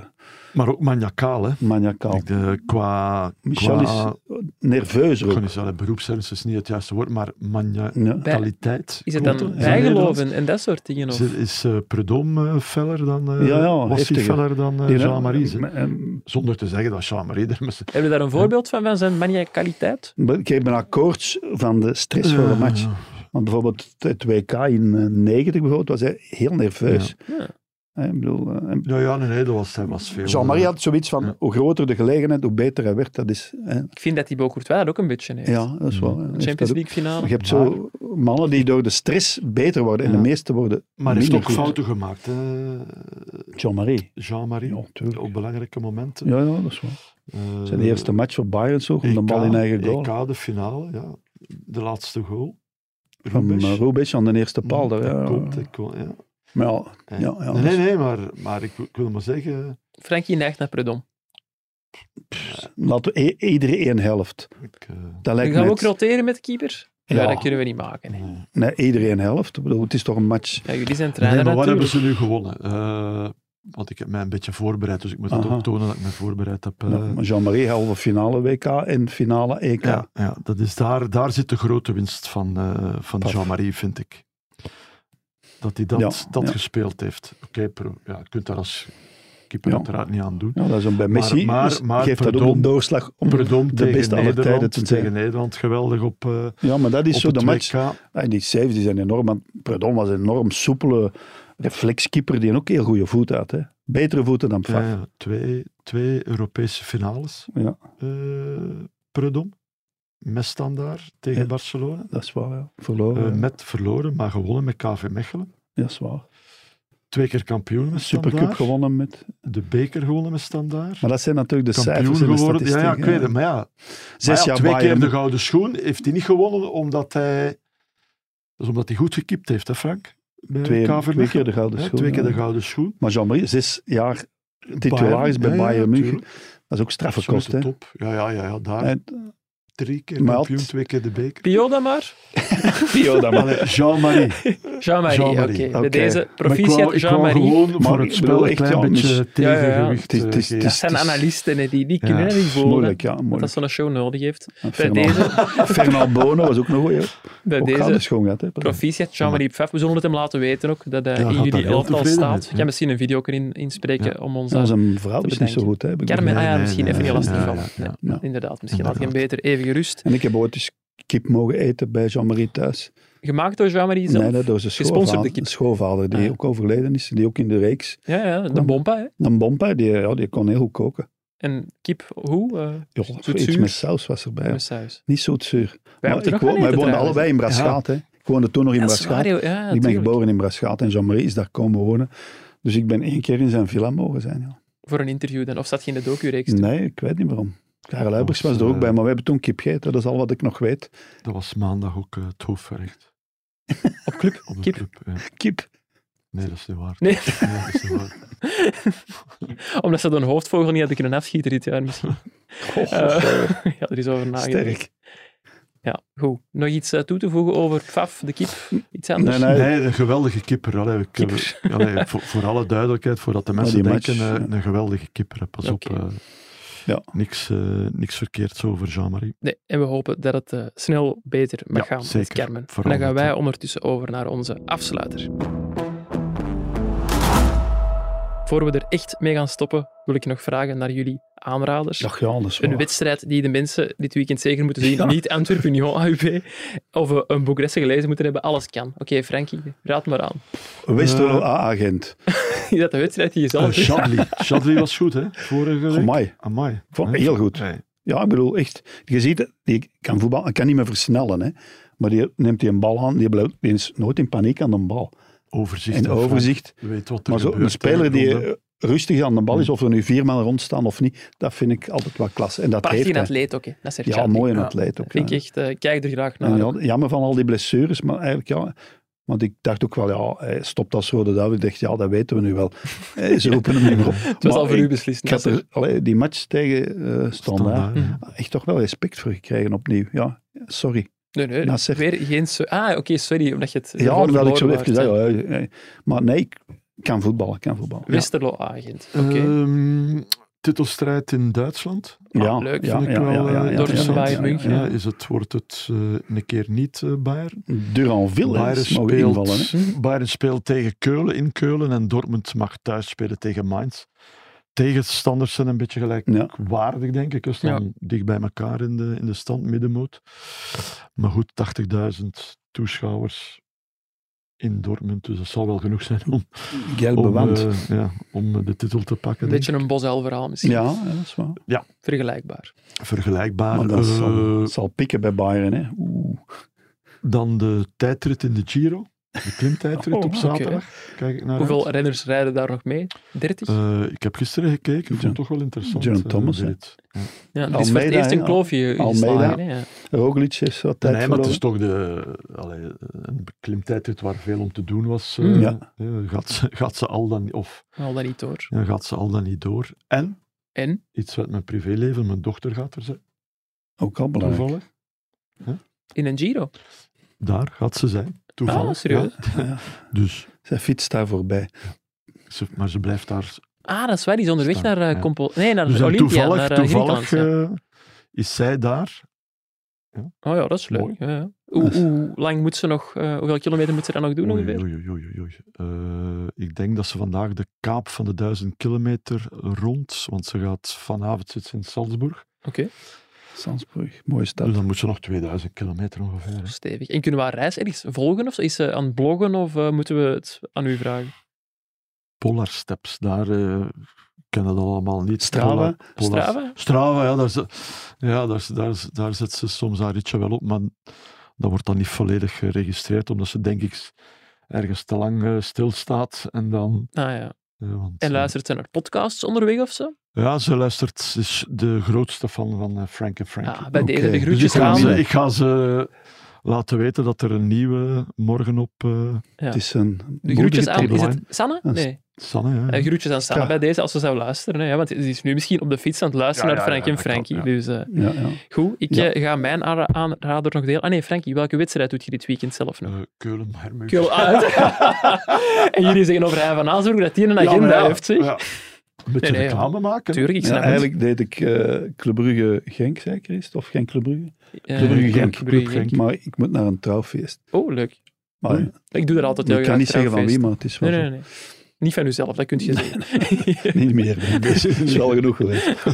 Speaker 5: Maar ook maniacaal, hè.
Speaker 4: maniacaal.
Speaker 5: Ik, de, qua...
Speaker 4: Michel
Speaker 5: qua,
Speaker 4: is nerveus
Speaker 5: Ik
Speaker 4: ook.
Speaker 5: kan niet zeggen, beroepsernst is niet het juiste woord, maar
Speaker 4: Ja.
Speaker 5: maniacaliteit.
Speaker 1: Is het
Speaker 5: klopt
Speaker 1: dan
Speaker 5: dat? Is dat Nederlands?
Speaker 1: bijgeloven en dat soort dingen? Of?
Speaker 5: Is, is eh, Predom eh, feller dan... eh,
Speaker 4: Ja, ja,
Speaker 5: was hij
Speaker 4: heftiger.
Speaker 5: feller dan eh,
Speaker 4: Die-
Speaker 5: Jean-Marie? zeg?
Speaker 4: Eh, eh,
Speaker 5: Zonder te zeggen dat Jean-Marie er met zijn...
Speaker 1: Heb je daar een voorbeeld van, van zijn maniacaliteit?
Speaker 4: Ik heb een akkoord van de stress voor de
Speaker 5: Eh,
Speaker 4: match. Want bijvoorbeeld het WK in eh, 90 bijvoorbeeld, was hij heel nerveus.
Speaker 1: Ja.
Speaker 4: Hè, ik bedoel, eh, en
Speaker 5: Ja, ja, nee, nee, dat was, hij was veel... eh,
Speaker 4: Jean-Marie had zoiets van,
Speaker 5: Ja.
Speaker 4: hoe groter de gelegenheid, hoe beter hij werd. Dat is, hè.
Speaker 1: Ik vind dat die Bocourtois dat ook een beetje heeft.
Speaker 4: Ja, dat is wel. hè. Heeft dat
Speaker 1: Champions
Speaker 4: ook.
Speaker 1: League finale.
Speaker 4: Je hebt zo mannen die door de stress beter worden en
Speaker 5: Ja.
Speaker 4: de meesten worden
Speaker 5: Maar hij heeft ook
Speaker 4: minder goed.
Speaker 5: fouten gemaakt, hè,
Speaker 4: Jean-Marie.
Speaker 5: Jean-Marie.
Speaker 4: Ja, tuurlijk.
Speaker 5: Op belangrijke momenten.
Speaker 4: Ja, ja, dat is wel.
Speaker 5: Eh,
Speaker 4: Zijn eerste match voor Bayern zo, om de
Speaker 5: EK,
Speaker 4: bal in eigen goal.
Speaker 5: EK, de finale, ja. De laatste goal.
Speaker 4: Van
Speaker 5: Rubisch.
Speaker 4: eh, Rubisch aan de eerste paal. daar,
Speaker 5: Dat
Speaker 4: ja.
Speaker 5: komt, dat komt, ja.
Speaker 4: Maar ja,
Speaker 5: Ja.
Speaker 4: Ja, ja,
Speaker 5: nee,
Speaker 4: dat is-
Speaker 5: nee, nee, maar, maar ik, wil- ik wil maar zeggen...
Speaker 1: Frankie neigt naar Predom.
Speaker 4: laten we i- iedere één helft.
Speaker 5: Ik, eh,
Speaker 4: Dat
Speaker 1: Dan
Speaker 4: lijkt
Speaker 1: gaan
Speaker 4: me
Speaker 1: we ook
Speaker 4: het-
Speaker 1: roteren met de keeper? Ja,
Speaker 4: Ja.
Speaker 1: dat kunnen we niet maken. nee.
Speaker 4: nee, iedere één helft. Ik bedoel, het is toch een match.
Speaker 1: Ja, jullie zijn
Speaker 5: nee,
Speaker 1: trainer
Speaker 5: maar wat hebben
Speaker 1: natuurlijk.
Speaker 5: ze nu gewonnen? Eh, want ik heb mij een beetje voorbereid, dus ik moet het
Speaker 4: Aha.
Speaker 5: ook tonen dat ik me voorbereid heb. eh.
Speaker 4: Ja, maar Jean-Marie, halve finale WK en finale E EK.
Speaker 5: ja, ja, dat is daar, daar zit de grote winst van, eh, van
Speaker 4: Paf.
Speaker 5: Jean-Marie, vind ik. Dat hij dat,
Speaker 4: Ja,
Speaker 5: dat
Speaker 4: ja.
Speaker 5: gespeeld heeft. Oké, pro- ja, je kunt daar als keeper
Speaker 4: Ja.
Speaker 5: uiteraard niet aan doen.
Speaker 4: Ja, dat is een, bij Messi
Speaker 5: maar-
Speaker 4: is-
Speaker 5: maar
Speaker 4: geeft dat ook
Speaker 5: Perdom-
Speaker 4: een doorslag om
Speaker 5: Perdom
Speaker 4: de
Speaker 5: tegen,
Speaker 4: beste aller tijden
Speaker 5: Nederland,
Speaker 4: te
Speaker 5: tegen
Speaker 4: zijn.
Speaker 5: Nederland, geweldig op, eh
Speaker 4: Ja, maar dat is
Speaker 5: op
Speaker 4: zo de
Speaker 5: het
Speaker 4: match.
Speaker 5: WK.
Speaker 4: Ah, die saves die zijn enorm. Want Predom was een enorm soepele reflexkeeper die een ook heel goede voet had. Hè. Betere voeten dan Pfaff.
Speaker 5: Ja, ja, twee, twee Europese finales.
Speaker 4: Ja.
Speaker 5: Eh, Predom, met standaard tegen
Speaker 4: Ja.
Speaker 5: Barcelona.
Speaker 4: Dat is waar, ja. Verloren.
Speaker 5: Eh,
Speaker 4: ja.
Speaker 5: met verloren, maar gewonnen met KV Mechelen.
Speaker 4: Ja, dat is waar.
Speaker 5: Twee keer kampioen met Standaard.
Speaker 4: Supercup gewonnen met...
Speaker 5: De beker gewonnen met Standaard.
Speaker 4: Maar dat zijn natuurlijk de
Speaker 5: kampioen
Speaker 4: cijfers en de
Speaker 5: geworden. Ja,
Speaker 4: statistieken.
Speaker 5: ja, ik weet het. Maar ja,
Speaker 4: Zes
Speaker 5: Maar ja,
Speaker 4: jaar
Speaker 5: twee
Speaker 4: Bayern.
Speaker 5: keer de gouden schoen heeft hij niet gewonnen omdat hij... Dat is omdat hij goed gekipt heeft, hè Frank? Bij
Speaker 4: Twee,
Speaker 5: KV
Speaker 4: twee
Speaker 5: Mechelen,
Speaker 4: keer de gouden
Speaker 5: hè?
Speaker 4: schoen.
Speaker 5: Twee keer de
Speaker 4: ja.
Speaker 5: gouden schoen.
Speaker 4: Maar Jean-Marie, zes jaar titulair is bij
Speaker 5: ja, ja,
Speaker 4: Bayern München.
Speaker 5: tuurlijk.
Speaker 4: Dat is ook straffe
Speaker 5: Absolute
Speaker 4: kost, hè.
Speaker 5: top. Ja, ja, ja, ja daar.
Speaker 4: En-
Speaker 5: Drie keer
Speaker 4: Maar
Speaker 5: kampioen,
Speaker 4: had-
Speaker 5: twee keer de beker.
Speaker 1: Pio dan maar.
Speaker 4: Pio dan maar.
Speaker 5: Allee, Jean-Marie.
Speaker 1: Jean-Marie,
Speaker 5: Jean-Marie,
Speaker 1: oké.
Speaker 4: oké.
Speaker 1: Bij deze
Speaker 5: Maar ik wou-
Speaker 1: proficiat
Speaker 5: ik wou
Speaker 1: Jean-Marie.
Speaker 5: gewoon voor
Speaker 4: Maar
Speaker 5: het
Speaker 4: ik
Speaker 5: spel
Speaker 4: bedoel,
Speaker 5: een
Speaker 4: echt,
Speaker 5: klein
Speaker 4: ja,
Speaker 5: beetje
Speaker 4: mis-
Speaker 1: Ja, ja, ja.
Speaker 5: tegengewicht
Speaker 4: Het is- het is-
Speaker 5: eh,
Speaker 4: het
Speaker 1: Dat
Speaker 4: is-
Speaker 1: zijn analisten, hè, die, die kunnen
Speaker 5: Ja,
Speaker 1: dat niet volgen.
Speaker 4: Moeilijk, ja.
Speaker 1: Dat dat
Speaker 4: Moeilijk.
Speaker 1: zo'n show nodig heeft. Bij
Speaker 4: Fernand-
Speaker 1: deze,
Speaker 4: Fernand Bono was ook nog een goeie.
Speaker 1: bij
Speaker 4: Ook gouden
Speaker 1: deze
Speaker 4: schoon gehad, hè.
Speaker 1: proficiat Jean-Marie Pfaff. We zullen het hem laten weten ook, dat hij
Speaker 5: Ja, gaat
Speaker 1: in
Speaker 5: daar
Speaker 1: jullie
Speaker 5: heel
Speaker 1: elftal
Speaker 5: tevreden
Speaker 1: staat.
Speaker 5: mee,
Speaker 1: Ik
Speaker 5: ja.
Speaker 1: ga misschien een video kunnen inspreken om ons
Speaker 4: Ja,
Speaker 1: daar...
Speaker 4: zijn vrouw
Speaker 1: te
Speaker 4: is niet zo
Speaker 1: bedenken.
Speaker 4: goed, hè. heb ik
Speaker 1: Carmen, ah
Speaker 4: begrepen.
Speaker 1: ja,
Speaker 5: nee,
Speaker 1: misschien
Speaker 5: nee,
Speaker 1: even
Speaker 4: nee,
Speaker 1: heel lastig
Speaker 5: ja,
Speaker 1: van.
Speaker 5: ja, ja.
Speaker 1: Ja, Inderdaad, misschien laat ik hem beter even gerust.
Speaker 4: En ik heb ooit eens kip mogen eten bij Jean-Marie thuis.
Speaker 1: Gemaakt door Jean-Marie zelf.
Speaker 4: Nee, dat was een
Speaker 1: Gesponsorde
Speaker 4: schoonvader,
Speaker 1: kip.
Speaker 4: schoonvader die
Speaker 1: Ah.
Speaker 4: ook overleden is. Die ook in de reeks.
Speaker 1: Ja, ja, de bompa. Hè.
Speaker 4: Dan Bompa, die, ja, die kon heel goed koken.
Speaker 1: En kip, hoe? eh
Speaker 4: Ja,
Speaker 1: Zoet
Speaker 4: iets
Speaker 1: zuur?
Speaker 4: met saus was erbij.
Speaker 1: Met saus.
Speaker 4: Niet zoetzuur.
Speaker 1: Wij
Speaker 4: Maar
Speaker 1: hebben
Speaker 4: ik
Speaker 1: het er ook
Speaker 4: wo-
Speaker 1: aan
Speaker 4: wij
Speaker 1: eten
Speaker 4: woonden
Speaker 1: trouwens.
Speaker 4: allebei in Brasschaat. hè. Ik woonde toen nog in
Speaker 1: Ja, dat is waar,
Speaker 4: Brasschaat.
Speaker 1: joh. Ja,
Speaker 4: ik ben
Speaker 1: tuurlijk.
Speaker 4: geboren in Brasschaat en Jean-Marie is daar komen wonen. Dus ik ben één keer in zijn villa mogen zijn. Ja.
Speaker 1: Voor een interview dan. Of zat je in de docu-reeks? toen?
Speaker 4: Nee, ik weet niet waarom.
Speaker 1: Oh,
Speaker 4: Karel Huibers
Speaker 5: was,
Speaker 4: was er ook
Speaker 5: eh,
Speaker 4: bij, maar we hebben toen kip gegeten. Dat is al wat ik nog weet.
Speaker 5: Dat was maandag ook eh, het hoofdgerecht.
Speaker 1: Op club?
Speaker 5: Op de
Speaker 1: Kip?
Speaker 5: club, ja.
Speaker 4: Kip.
Speaker 5: Nee, dat is niet waar.
Speaker 1: Nee.
Speaker 5: dat is niet waar.
Speaker 1: Omdat ze een hoofdvogel niet hadden kunnen afschieten dit jaar misschien.
Speaker 4: Oh,
Speaker 1: Eh, ja, er is over nagedacht.
Speaker 4: sterk.
Speaker 1: Ja, goed. Nog iets eh, toe te voegen over Faf, de kip? Iets anders?
Speaker 4: Nee, nee.
Speaker 5: Nee, een geweldige kipper. Allee, ik,
Speaker 1: Kipper.
Speaker 5: eh, allee, voor, voor alle duidelijkheid, voordat de mensen
Speaker 4: die match,
Speaker 5: denken, eh,
Speaker 4: ja.
Speaker 5: een geweldige kipper. hè. Pas
Speaker 1: Oké.
Speaker 5: op, eh,
Speaker 4: Ja.
Speaker 5: niks, eh, niks verkeerds over Jean-Marie.
Speaker 1: Nee, en we hopen dat het eh, snel beter mag
Speaker 5: Ja,
Speaker 1: gaan met
Speaker 5: zeker.
Speaker 1: Carmen. En
Speaker 5: Vooral
Speaker 1: dan gaan
Speaker 5: dat,
Speaker 1: wij
Speaker 5: ja.
Speaker 1: ondertussen over naar onze afsluiter. Voor we er echt mee gaan stoppen, wil ik nog vragen naar jullie aanraders.
Speaker 4: Ach ja, dat is
Speaker 1: een
Speaker 4: waar.
Speaker 1: wedstrijd die de mensen dit weekend zeker moeten zien.
Speaker 4: Ja.
Speaker 1: Niet Antwerpen, Union, AUB. Of eh, een boekresse gelezen moeten hebben. Alles kan. Oké, Frankie, raad maar aan.
Speaker 4: Westerlo
Speaker 5: Eh,
Speaker 4: A-agent.
Speaker 1: Is dat de wedstrijd die je zelf...
Speaker 5: Eh, Chadli. Chadli was goed, hè? Vorige week.
Speaker 4: Amai.
Speaker 5: Amai. Ik
Speaker 4: vond hem heel goed. Ja, ik bedoel, echt. Je ziet, het, die kan voetbal, hij kan niet meer versnellen. Hè. Maar die neemt die een bal aan, die, blijft, die is nooit in paniek aan de bal.
Speaker 5: Overzicht.
Speaker 4: En
Speaker 5: en fijn.
Speaker 4: overzicht.
Speaker 5: Je weet wat er
Speaker 4: Maar zo,
Speaker 5: gebeurt,
Speaker 4: een speler
Speaker 5: hè,
Speaker 4: die
Speaker 5: rond, hè.
Speaker 4: eh, rustig aan de bal is, of er nu vier man rond staan of niet, dat vind ik altijd wel klasse. En dat
Speaker 1: Prachtig
Speaker 4: heeft hij.
Speaker 1: atleet ook, hè. Dat is er
Speaker 4: Ja,
Speaker 1: Chadli.
Speaker 4: mooi een
Speaker 1: Ja.
Speaker 4: atleet ook.
Speaker 1: Vind
Speaker 4: ja.
Speaker 1: ik echt... eh, ik kijk er graag naar.
Speaker 4: En ja, jammer van al die blessures, maar eigenlijk ja... Want ik dacht ook wel, ja, eh, hij stopt als Rode Duivel. Ik dacht, ja, dat weten we nu wel. Eh, Ze roepen hem niet meer op.
Speaker 1: Het was
Speaker 4: Maar
Speaker 1: al voor
Speaker 4: ik-
Speaker 1: u beslist. dus-
Speaker 4: Ik had
Speaker 1: Nasser.
Speaker 4: er, allee, die match tegen eh Standaard,
Speaker 5: Standaard, ja.
Speaker 4: echt toch wel respect voor gekregen opnieuw. Ja, sorry.
Speaker 1: Nee, nee,
Speaker 4: Nasser.
Speaker 1: weer geen... so- ah, oké, sorry, omdat je het...
Speaker 4: Ja,
Speaker 1: ervoor
Speaker 4: omdat ik zo
Speaker 1: verloren
Speaker 4: even
Speaker 1: waart,
Speaker 4: zei,
Speaker 1: hè.
Speaker 4: ja, ja, ja. maar nee, ik kan voetballen, ik kan voetballen. Ja, Eh,
Speaker 1: Westerlo agent. Mhm. Oké.
Speaker 5: Ehm, titelstrijd in Duitsland.
Speaker 4: ja,
Speaker 1: Ah, leuk,
Speaker 4: ja,
Speaker 5: vind ik
Speaker 4: ja,
Speaker 5: wel
Speaker 4: ja, ja,
Speaker 5: eh,
Speaker 4: ja,
Speaker 1: Dortmund,
Speaker 4: ja,
Speaker 1: Bayern
Speaker 4: ja, ja,
Speaker 1: München,
Speaker 5: Ja,
Speaker 4: ja.
Speaker 5: is het, wordt het eh, een keer niet eh Bayern?
Speaker 4: Duranville hè,
Speaker 5: Bayern
Speaker 4: is mogen invallen. Hè.
Speaker 5: speelt, Hm? Bayern speelt tegen Keulen in Keulen en Dortmund mag thuis spelen tegen Mainz. Tegenstanders zijn een beetje gelijkwaardig, denk ik. Ze staan dicht bij elkaar in de, in de stand, middenmoot. Maar goed, 80.000 toeschouwers in Dortmund, dus dat zal wel genoeg zijn om,
Speaker 4: Geel
Speaker 5: om,
Speaker 4: bewand.
Speaker 5: eh, ja, om eh, de titel te pakken.
Speaker 1: Een
Speaker 5: denk
Speaker 1: beetje een bosuil verhaal misschien.
Speaker 4: ja, ja, dat is waar.
Speaker 1: Vergelijkbaar.
Speaker 5: ik. Vergelijkbaar.
Speaker 4: Maar dat zal,
Speaker 5: eh,
Speaker 4: zal pikken bij Bayern. Hè. Oeh.
Speaker 5: dan de tijdrit in de Giro, de klimtijdrit
Speaker 4: Oh,
Speaker 5: op
Speaker 4: oké.
Speaker 5: zaterdag. Kijk ik naar uit.
Speaker 1: Hoeveel renners rijden daar nog mee? 30?
Speaker 5: Eh, ik heb gisteren gekeken, ik vond
Speaker 4: John-
Speaker 5: het toch wel interessant.
Speaker 4: John
Speaker 5: eh,
Speaker 4: Thomas, hè?
Speaker 5: dit. Ja.
Speaker 1: ja, het is voor het
Speaker 4: Almeida,
Speaker 1: eerst een
Speaker 4: hè?
Speaker 1: kloofje
Speaker 4: Almeida.
Speaker 1: geslagen. hè, Ja.
Speaker 4: Roglic heeft wat tijd
Speaker 5: Nee, maar het
Speaker 4: verloren.
Speaker 5: is toch de, allee, een klimtijdrit waar veel om te doen was. eh,
Speaker 4: Mm. Ja.
Speaker 5: eh, gaat, ze, gaat, ze al dan, of,
Speaker 1: Al dat niet door.
Speaker 5: ja, gaat ze al dan niet door? En,
Speaker 1: En?
Speaker 5: iets uit mijn privéleven, mijn dochter gaat er zijn,
Speaker 4: Ook al belangrijk.
Speaker 5: toevallig.
Speaker 1: In een Giro.
Speaker 5: Daar gaat ze zijn, toevallig.
Speaker 1: Ah, serieus?
Speaker 5: ja.
Speaker 4: Ja.
Speaker 5: Dus,
Speaker 4: Zij fietst daar voorbij.
Speaker 5: ze, maar ze blijft daar
Speaker 1: Ah, dat is waar. Die is onderweg
Speaker 5: Staan,
Speaker 1: naar eh,
Speaker 5: ja.
Speaker 1: Compol... Nee, naar
Speaker 5: Dus dan
Speaker 1: Olympia.
Speaker 5: toevallig,
Speaker 1: naar, eh,
Speaker 5: toevallig
Speaker 1: Griekenland,
Speaker 5: eh, is zij daar.
Speaker 4: eh,
Speaker 1: ja. Oh ja, dat is leuk.
Speaker 5: Mooi.
Speaker 1: Ja, ja. Hoe, hoe lang moet ze nog... eh, hoeveel kilometer moet ze dan nog doen
Speaker 5: Oei,
Speaker 1: ongeveer?
Speaker 5: oei, oei, oei, oei. Eh, ik denk dat ze vandaag de kaap van de 1000 kilometer rond, want ze gaat vanavond zitten in Salzburg.
Speaker 1: Oké,
Speaker 4: Sandsbrug, mooie stad.
Speaker 5: Dus dan moet ze nog 2000 kilometer ongeveer. hè.
Speaker 1: stevig. En kunnen we haar reis ergens volgen? Of zo? is ze aan het bloggen? Of eh, moeten we het aan u vragen?
Speaker 5: Polar Steps, daar eh, kennen dat allemaal niet.
Speaker 4: Strava?
Speaker 5: Polar- Polar-
Speaker 1: Strava?
Speaker 5: Strava, ja, daar, ze- ja daar, ze- daar, ze- daar zet ze soms haar ritje wel op, maar dat wordt dan niet volledig geregistreerd, omdat ze denk ik ergens te lang eh, stilstaat en dan...
Speaker 1: Ah, ja.
Speaker 5: eh, want,
Speaker 1: En
Speaker 5: eh,
Speaker 1: luistert ze naar podcasts onderweg of zo?
Speaker 5: ja, ze luistert. Ze is de grootste fan van eh, Frank en Frankie.
Speaker 1: Ah, bij deze
Speaker 4: Oké,
Speaker 1: de
Speaker 4: dus
Speaker 1: groetjes
Speaker 5: Dus ik ga,
Speaker 1: aan.
Speaker 5: ze,
Speaker 4: Samen.
Speaker 5: ik ga ze laten weten dat er een nieuwe morgen op eh
Speaker 1: Ja.
Speaker 4: Het is een
Speaker 1: De groetjes
Speaker 4: moedige
Speaker 1: aan. Is
Speaker 4: tribune.
Speaker 1: het Sanne?
Speaker 4: Een
Speaker 1: Nee.
Speaker 5: Sanne. Ja.
Speaker 1: Eh, groetjes aan Sanne
Speaker 4: Ja.
Speaker 1: bij deze als ze zou luisteren. Hè, ja, want ze is nu misschien op de fiets aan het luisteren
Speaker 5: Ja,
Speaker 1: naar
Speaker 5: ja,
Speaker 1: Frank
Speaker 5: ja,
Speaker 1: en
Speaker 5: dat klopt,
Speaker 1: Frankie.
Speaker 5: ja.
Speaker 1: Dus eh,
Speaker 4: Ja, ja.
Speaker 1: goed, ik
Speaker 4: Ja.
Speaker 1: eh, ga mijn aanra- aanrader nog delen. Ah nee, Frankie, welke wedstrijd doet je dit weekend zelf nog?
Speaker 5: Eh, Keulen, Hermug.
Speaker 1: Kul uit. en jullie zeggen over Hij van Aanzorg dat hij een
Speaker 5: Ja,
Speaker 1: agenda
Speaker 5: maar ja,
Speaker 1: heeft, zeg.
Speaker 5: ja. Een beetje
Speaker 1: Nee, nee,
Speaker 5: reclame maken.
Speaker 1: Tuurlijk, ik
Speaker 4: Ja,
Speaker 1: snap het.
Speaker 4: eigenlijk deed ik eh Club Brugge Genk, zei Christ, of Genk Club Brugge.
Speaker 1: Eh,
Speaker 4: Club Brugge Genk.
Speaker 1: Club Brugge Genk.
Speaker 4: Maar ik moet naar een trouwfeest.
Speaker 1: Oh, leuk.
Speaker 4: Maar
Speaker 5: Hmm.
Speaker 1: Ik doe er altijd heel
Speaker 4: ik kan
Speaker 1: graag
Speaker 4: niet zeggen van wie,
Speaker 1: trouwfeest.
Speaker 4: maar het is wel
Speaker 1: Nee, nee, nee. Niet van uzelf, dat kunt je
Speaker 4: zo.
Speaker 1: zeggen.
Speaker 4: niet meer. Dus het is wel genoeg geweest.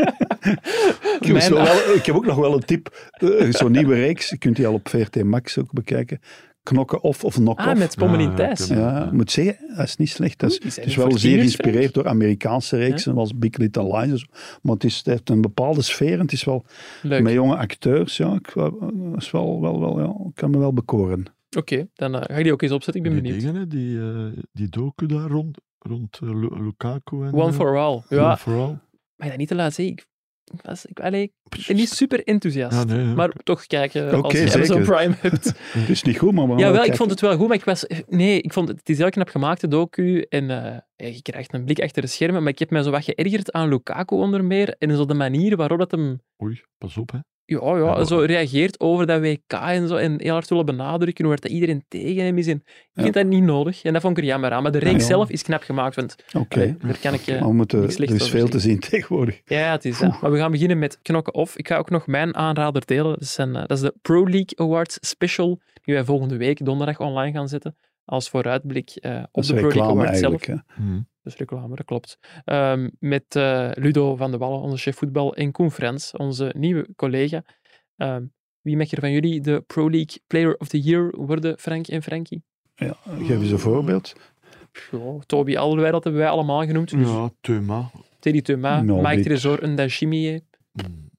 Speaker 4: Ik, heb
Speaker 1: Mijn-
Speaker 4: zo wel- ik heb ook nog wel een tip. Eh, Zo'n nieuwe reeks, je kunt die al op VRT Max ook bekijken. Knokken of of knock
Speaker 1: Ah, met Pommelin
Speaker 5: Ah,
Speaker 1: Thijs.
Speaker 5: oké.
Speaker 4: Ja, ik moet zeggen, dat is niet slecht. Dat is,
Speaker 1: Oeh, die zijn
Speaker 4: het is wel
Speaker 1: voorzieners,
Speaker 4: zeer
Speaker 1: Frank.
Speaker 4: geïnspireerd door Amerikaanse reeksen, zoals Big Little Lies. en zo. Maar het, is, het heeft een bepaalde sfeer en het is wel
Speaker 1: Leuk.
Speaker 4: met jonge acteurs. Ja, ik, dat is wel, wel, wel, ja, ik kan me wel bekoren.
Speaker 1: Oké, dan eh, ga ik die ook eens opzetten. Ik ben
Speaker 5: die
Speaker 1: benieuwd.
Speaker 5: Dingen, hè, die, eh, die docu daar rond, rond eh, Lu- Lukaku. En,
Speaker 1: One
Speaker 5: eh,
Speaker 1: for all.
Speaker 5: One
Speaker 1: Ja,
Speaker 5: for all.
Speaker 1: maar dat niet te laat zien. Ik, ik was ik, allee, ik ben niet super enthousiast.
Speaker 5: Ja, nee, ja.
Speaker 1: Maar toch kijken als
Speaker 4: Oké,
Speaker 1: je Amazon
Speaker 4: zeker.
Speaker 1: Prime hebt.
Speaker 4: Het is niet goed, maar we gaan
Speaker 1: ja,
Speaker 4: wel
Speaker 1: wel, ik
Speaker 4: kijken.
Speaker 1: vond het wel goed, maar ik was... Nee, ik vond het, het is heel knap gemaakt, de docu. En eh, ja, je krijgt een blik achter de schermen. Maar ik heb mij zo wat geërgerd aan Lukaku onder meer. En zo de manier waarop dat hem
Speaker 5: Oei, pas op, hè.
Speaker 1: ja, ja,
Speaker 5: Ja.
Speaker 1: zo reageert over dat WK en zo. En heel hard willen benadrukken hoe hard dat iedereen tegen hem is. En ik
Speaker 4: Ja.
Speaker 1: vind dat niet nodig. En dat vond ik er jammer aan. Maar de reeks
Speaker 4: ja.
Speaker 1: zelf is knap gemaakt. Want
Speaker 4: Oké,
Speaker 1: allee, daar kan ik... eh,
Speaker 4: maar we moeten,
Speaker 1: niks
Speaker 4: er
Speaker 1: slechts
Speaker 4: is
Speaker 1: over
Speaker 4: veel te zien tegenwoordig.
Speaker 1: ja, het is. ja. Maar we gaan beginnen met knokken of. Ik ga ook nog mijn aanrader delen. Dat, zijn, eh, dat is de Pro League Awards Special, die wij volgende week donderdag online gaan zetten. Als vooruitblik eh, op
Speaker 4: Dat is
Speaker 1: de Pro League
Speaker 4: reclame
Speaker 1: Awards zelf.
Speaker 4: eigenlijk. hè.
Speaker 5: Hm.
Speaker 1: Dus reclame, dat klopt. Ehm, met eh, Ludo van de Wallen, onze chef voetbal, en Koen Frans, onze nieuwe collega. Ehm, wie mag er van jullie de Pro League Player of the Year worden, Frank en Frankie?
Speaker 4: Ja, geef
Speaker 1: Mm.
Speaker 4: eens een voorbeeld.
Speaker 1: Ja, Toby Alderweireld dat hebben wij allemaal genoemd. Dus
Speaker 5: Ja, Thema.
Speaker 1: Teddy Thuma,
Speaker 4: Nou,
Speaker 1: Mike
Speaker 4: dit-
Speaker 1: Tresor, Ndashimiye,
Speaker 5: Mm,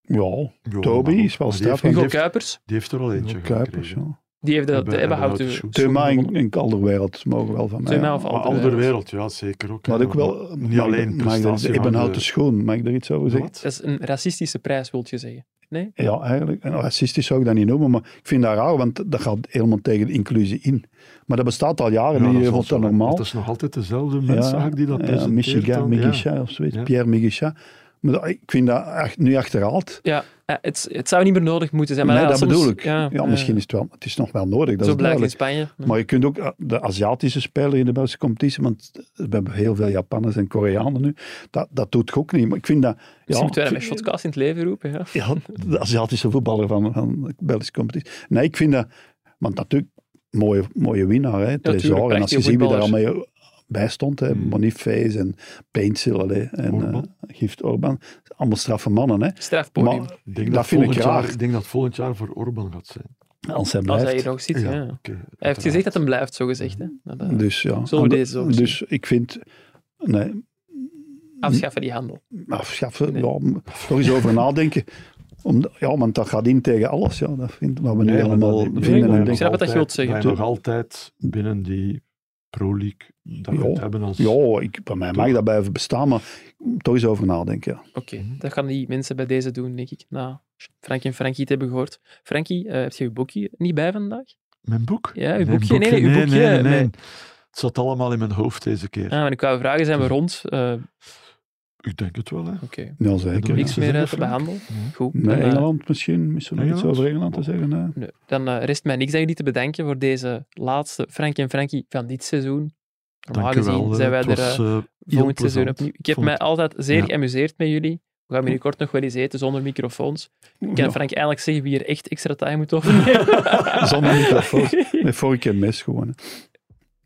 Speaker 4: Ja, Toby is wel straf,
Speaker 5: Die
Speaker 4: hè.
Speaker 1: Hugo
Speaker 5: heeft,
Speaker 1: Kuipers.
Speaker 5: die heeft er al eentje
Speaker 4: Kuipers,
Speaker 5: gekregen.
Speaker 4: ja.
Speaker 1: Die heeft dat
Speaker 5: Hebben-
Speaker 1: de Ebbenhout
Speaker 5: Ebbenhout
Speaker 1: de-
Speaker 5: Schoen.
Speaker 4: Thema en, en Calderwereld mogen wel van mij.
Speaker 1: Thema
Speaker 4: ja.
Speaker 1: of
Speaker 5: Maar
Speaker 1: Alderweireld.
Speaker 5: Alderwereld, ja, zeker ook. hè.
Speaker 4: Maar ook wel...
Speaker 5: Niet alleen
Speaker 4: Mag ik daar-
Speaker 5: prestatie,
Speaker 4: Ik ben
Speaker 5: maar
Speaker 4: houten
Speaker 5: de-
Speaker 4: schoen. Mag ik eh, er iets over zeggen?
Speaker 5: Wat?
Speaker 1: Dat is een racistische prijs, wil je zeggen.
Speaker 4: Ja, eigenlijk. En racistisch zou ik dat niet noemen, maar ik vind dat raar, want dat gaat helemaal tegen de inclusie in. Maar dat bestaat al jaren
Speaker 5: Ja,
Speaker 4: niet, je
Speaker 5: zal
Speaker 4: vond
Speaker 5: zo-
Speaker 4: dat normaal.
Speaker 5: want Dat is nog altijd dezelfde mens, zag ik, die dat
Speaker 4: ja,
Speaker 5: presenteert.
Speaker 4: Michigan,
Speaker 5: dan, ja.
Speaker 4: Michigan of zoiets,
Speaker 5: Ja.
Speaker 4: Pierre Michigan. Maar dat- ik vind dat echt nu achterhaald.
Speaker 1: Ja, eh, het, het zou niet meer nodig moeten zijn. Maar
Speaker 4: nee,
Speaker 1: ja,
Speaker 4: dat
Speaker 1: soms-
Speaker 4: bedoel ik. Ja,
Speaker 1: eh,
Speaker 4: misschien is het wel, het is nog wel nodig, dat
Speaker 1: zo
Speaker 4: is
Speaker 1: blijkt in
Speaker 4: duidelijk.
Speaker 1: Spanje.
Speaker 4: Maar je kunt ook eh, de Aziatische speler in de Belgische competitie, want we hebben heel veel Japanners en Koreanen nu, dat, dat doet ik ook niet. Maar ik vind dat... Ja,
Speaker 1: misschien moeten wij dat
Speaker 4: ik
Speaker 1: met
Speaker 4: vind-
Speaker 1: shotcast in het leven roepen. Ja.
Speaker 4: ja, de Aziatische voetballer van, van de Belgische competitie. Nee, ik vind dat... Want natuurlijk, mooie, mooie winnaar, hè, Tresor.
Speaker 1: tuurlijk,
Speaker 4: en als je
Speaker 1: prachtige
Speaker 4: ziet wie er
Speaker 1: voetballers.
Speaker 4: allemaal bij stond, hè,
Speaker 5: Mm.
Speaker 4: Boniface en Painsil allee, en eh
Speaker 5: Orban.
Speaker 4: Gift Orban. Allemaal straffe mannen, hè.
Speaker 1: Strafpodium.
Speaker 4: Maar
Speaker 5: Ik denk
Speaker 4: Dat
Speaker 5: dat,
Speaker 4: vind ik
Speaker 5: volgend jaar,
Speaker 4: raar.
Speaker 5: ik denk dat volgend jaar voor Orban gaat zijn.
Speaker 4: als hij
Speaker 1: Als
Speaker 4: blijft.
Speaker 1: hij hier nog zit. Ja. Hij
Speaker 5: oké,
Speaker 1: heeft gezegd dat hem blijft, zo gezegd. Hè. Dat, eh,
Speaker 4: Dus ja.
Speaker 1: Zullen we
Speaker 4: Ander-
Speaker 1: deze zo misschien?
Speaker 4: dus ik vind... Nee,
Speaker 1: afschaffen die handel.
Speaker 4: afschaffen,
Speaker 1: Nee.
Speaker 4: ja, m- toch eens over nadenken. Om, ja, want dat gaat in tegen alles, ja. Dat vindt wat we nu
Speaker 5: Nee, maar
Speaker 4: allemaal
Speaker 5: dat-
Speaker 4: vinden
Speaker 1: nee,
Speaker 4: en
Speaker 1: maar-
Speaker 5: wij
Speaker 4: denken.
Speaker 1: Ik snap wat dat je wilt
Speaker 5: altijd-
Speaker 1: zeggen.
Speaker 5: Wij nog altijd binnen die Pro League dat we
Speaker 4: Ja.
Speaker 5: het hebben als...
Speaker 4: Ja, ik, bij mij mag dat blijven bestaan, maar toch eens over nadenken. Ja.
Speaker 1: Oké,
Speaker 5: Mhm.
Speaker 1: dat gaan die mensen bij deze doen, denk ik. Na Frank en Frankie het hebben gehoord. Frankie, eh, heb je je boekje niet bij vandaag?
Speaker 5: Mijn boek?
Speaker 1: Ja, uw
Speaker 5: Mijn
Speaker 1: boekje. Nee, nee, uw boekje.
Speaker 5: nee, nee.
Speaker 1: Nee.
Speaker 5: Het zat allemaal in mijn hoofd deze keer.
Speaker 1: Ah, maar ik wou vragen, zijn we rond? Eh, Oké,
Speaker 5: Ik denk het wel, hè.
Speaker 4: Ja,
Speaker 5: Hebben
Speaker 4: zeker.
Speaker 5: we
Speaker 1: niks
Speaker 4: ja.
Speaker 5: te
Speaker 1: meer eh,
Speaker 5: zeggen,
Speaker 1: te
Speaker 5: Frank? Mhm.
Speaker 1: behandelen.
Speaker 5: Nee.
Speaker 1: Goed.
Speaker 4: Nee,
Speaker 1: dan, eh,
Speaker 4: Engeland misschien. Misschien nog iets
Speaker 5: Engeland?
Speaker 4: over Engeland te zeggen. Nee.
Speaker 1: Nee, Dan eh, rest mij niks aan jullie te bedanken voor deze laatste Frank en Frankie van dit seizoen. Normaal
Speaker 5: Dank u wel.
Speaker 1: gezien
Speaker 5: hè.
Speaker 1: zijn wij
Speaker 5: Het
Speaker 1: er
Speaker 5: was,
Speaker 1: eh,
Speaker 5: eh, heel
Speaker 1: volgend seizoen
Speaker 5: plezant.
Speaker 1: opnieuw. Ik heb
Speaker 5: Vond
Speaker 1: mij
Speaker 5: het-
Speaker 1: altijd zeer
Speaker 5: Ja.
Speaker 1: geamuseerd met jullie. We gaan binnenkort nog wel eens eten zonder microfoons. Ik kan
Speaker 4: Ja,
Speaker 1: Frank eigenlijk zeggen wie er echt extra tijd moet overnemen.
Speaker 4: Zonder microfoon. Met vork en mes gewoon. hè.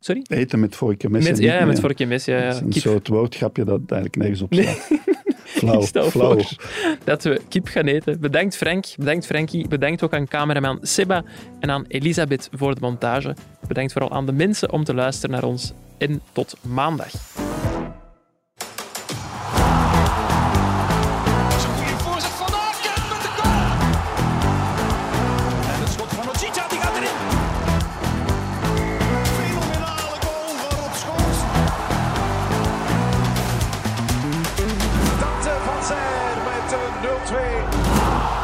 Speaker 1: Sorry?
Speaker 4: Eten met vork en mes.
Speaker 1: Met,
Speaker 4: en niet
Speaker 1: ja, met
Speaker 4: meer.
Speaker 1: vorkje mis. Ja,
Speaker 4: Dat is
Speaker 1: ja.
Speaker 4: een
Speaker 1: Kip.
Speaker 4: soort woordgrapje dat eigenlijk nergens op staat. Flauw,
Speaker 1: Ik stel
Speaker 4: flauw.
Speaker 1: voor dat we kip gaan eten. Bedankt Frank, bedankt Frankie, bedankt ook aan cameraman Seba en aan Elisabeth voor de montage. Bedankt vooral aan de mensen om te luisteren naar ons en tot maandag.
Speaker 2: Dat is een goede voorzet van Aken met de goal. En het schot van Ochita, die gaat erin.
Speaker 3: Metten 0-2.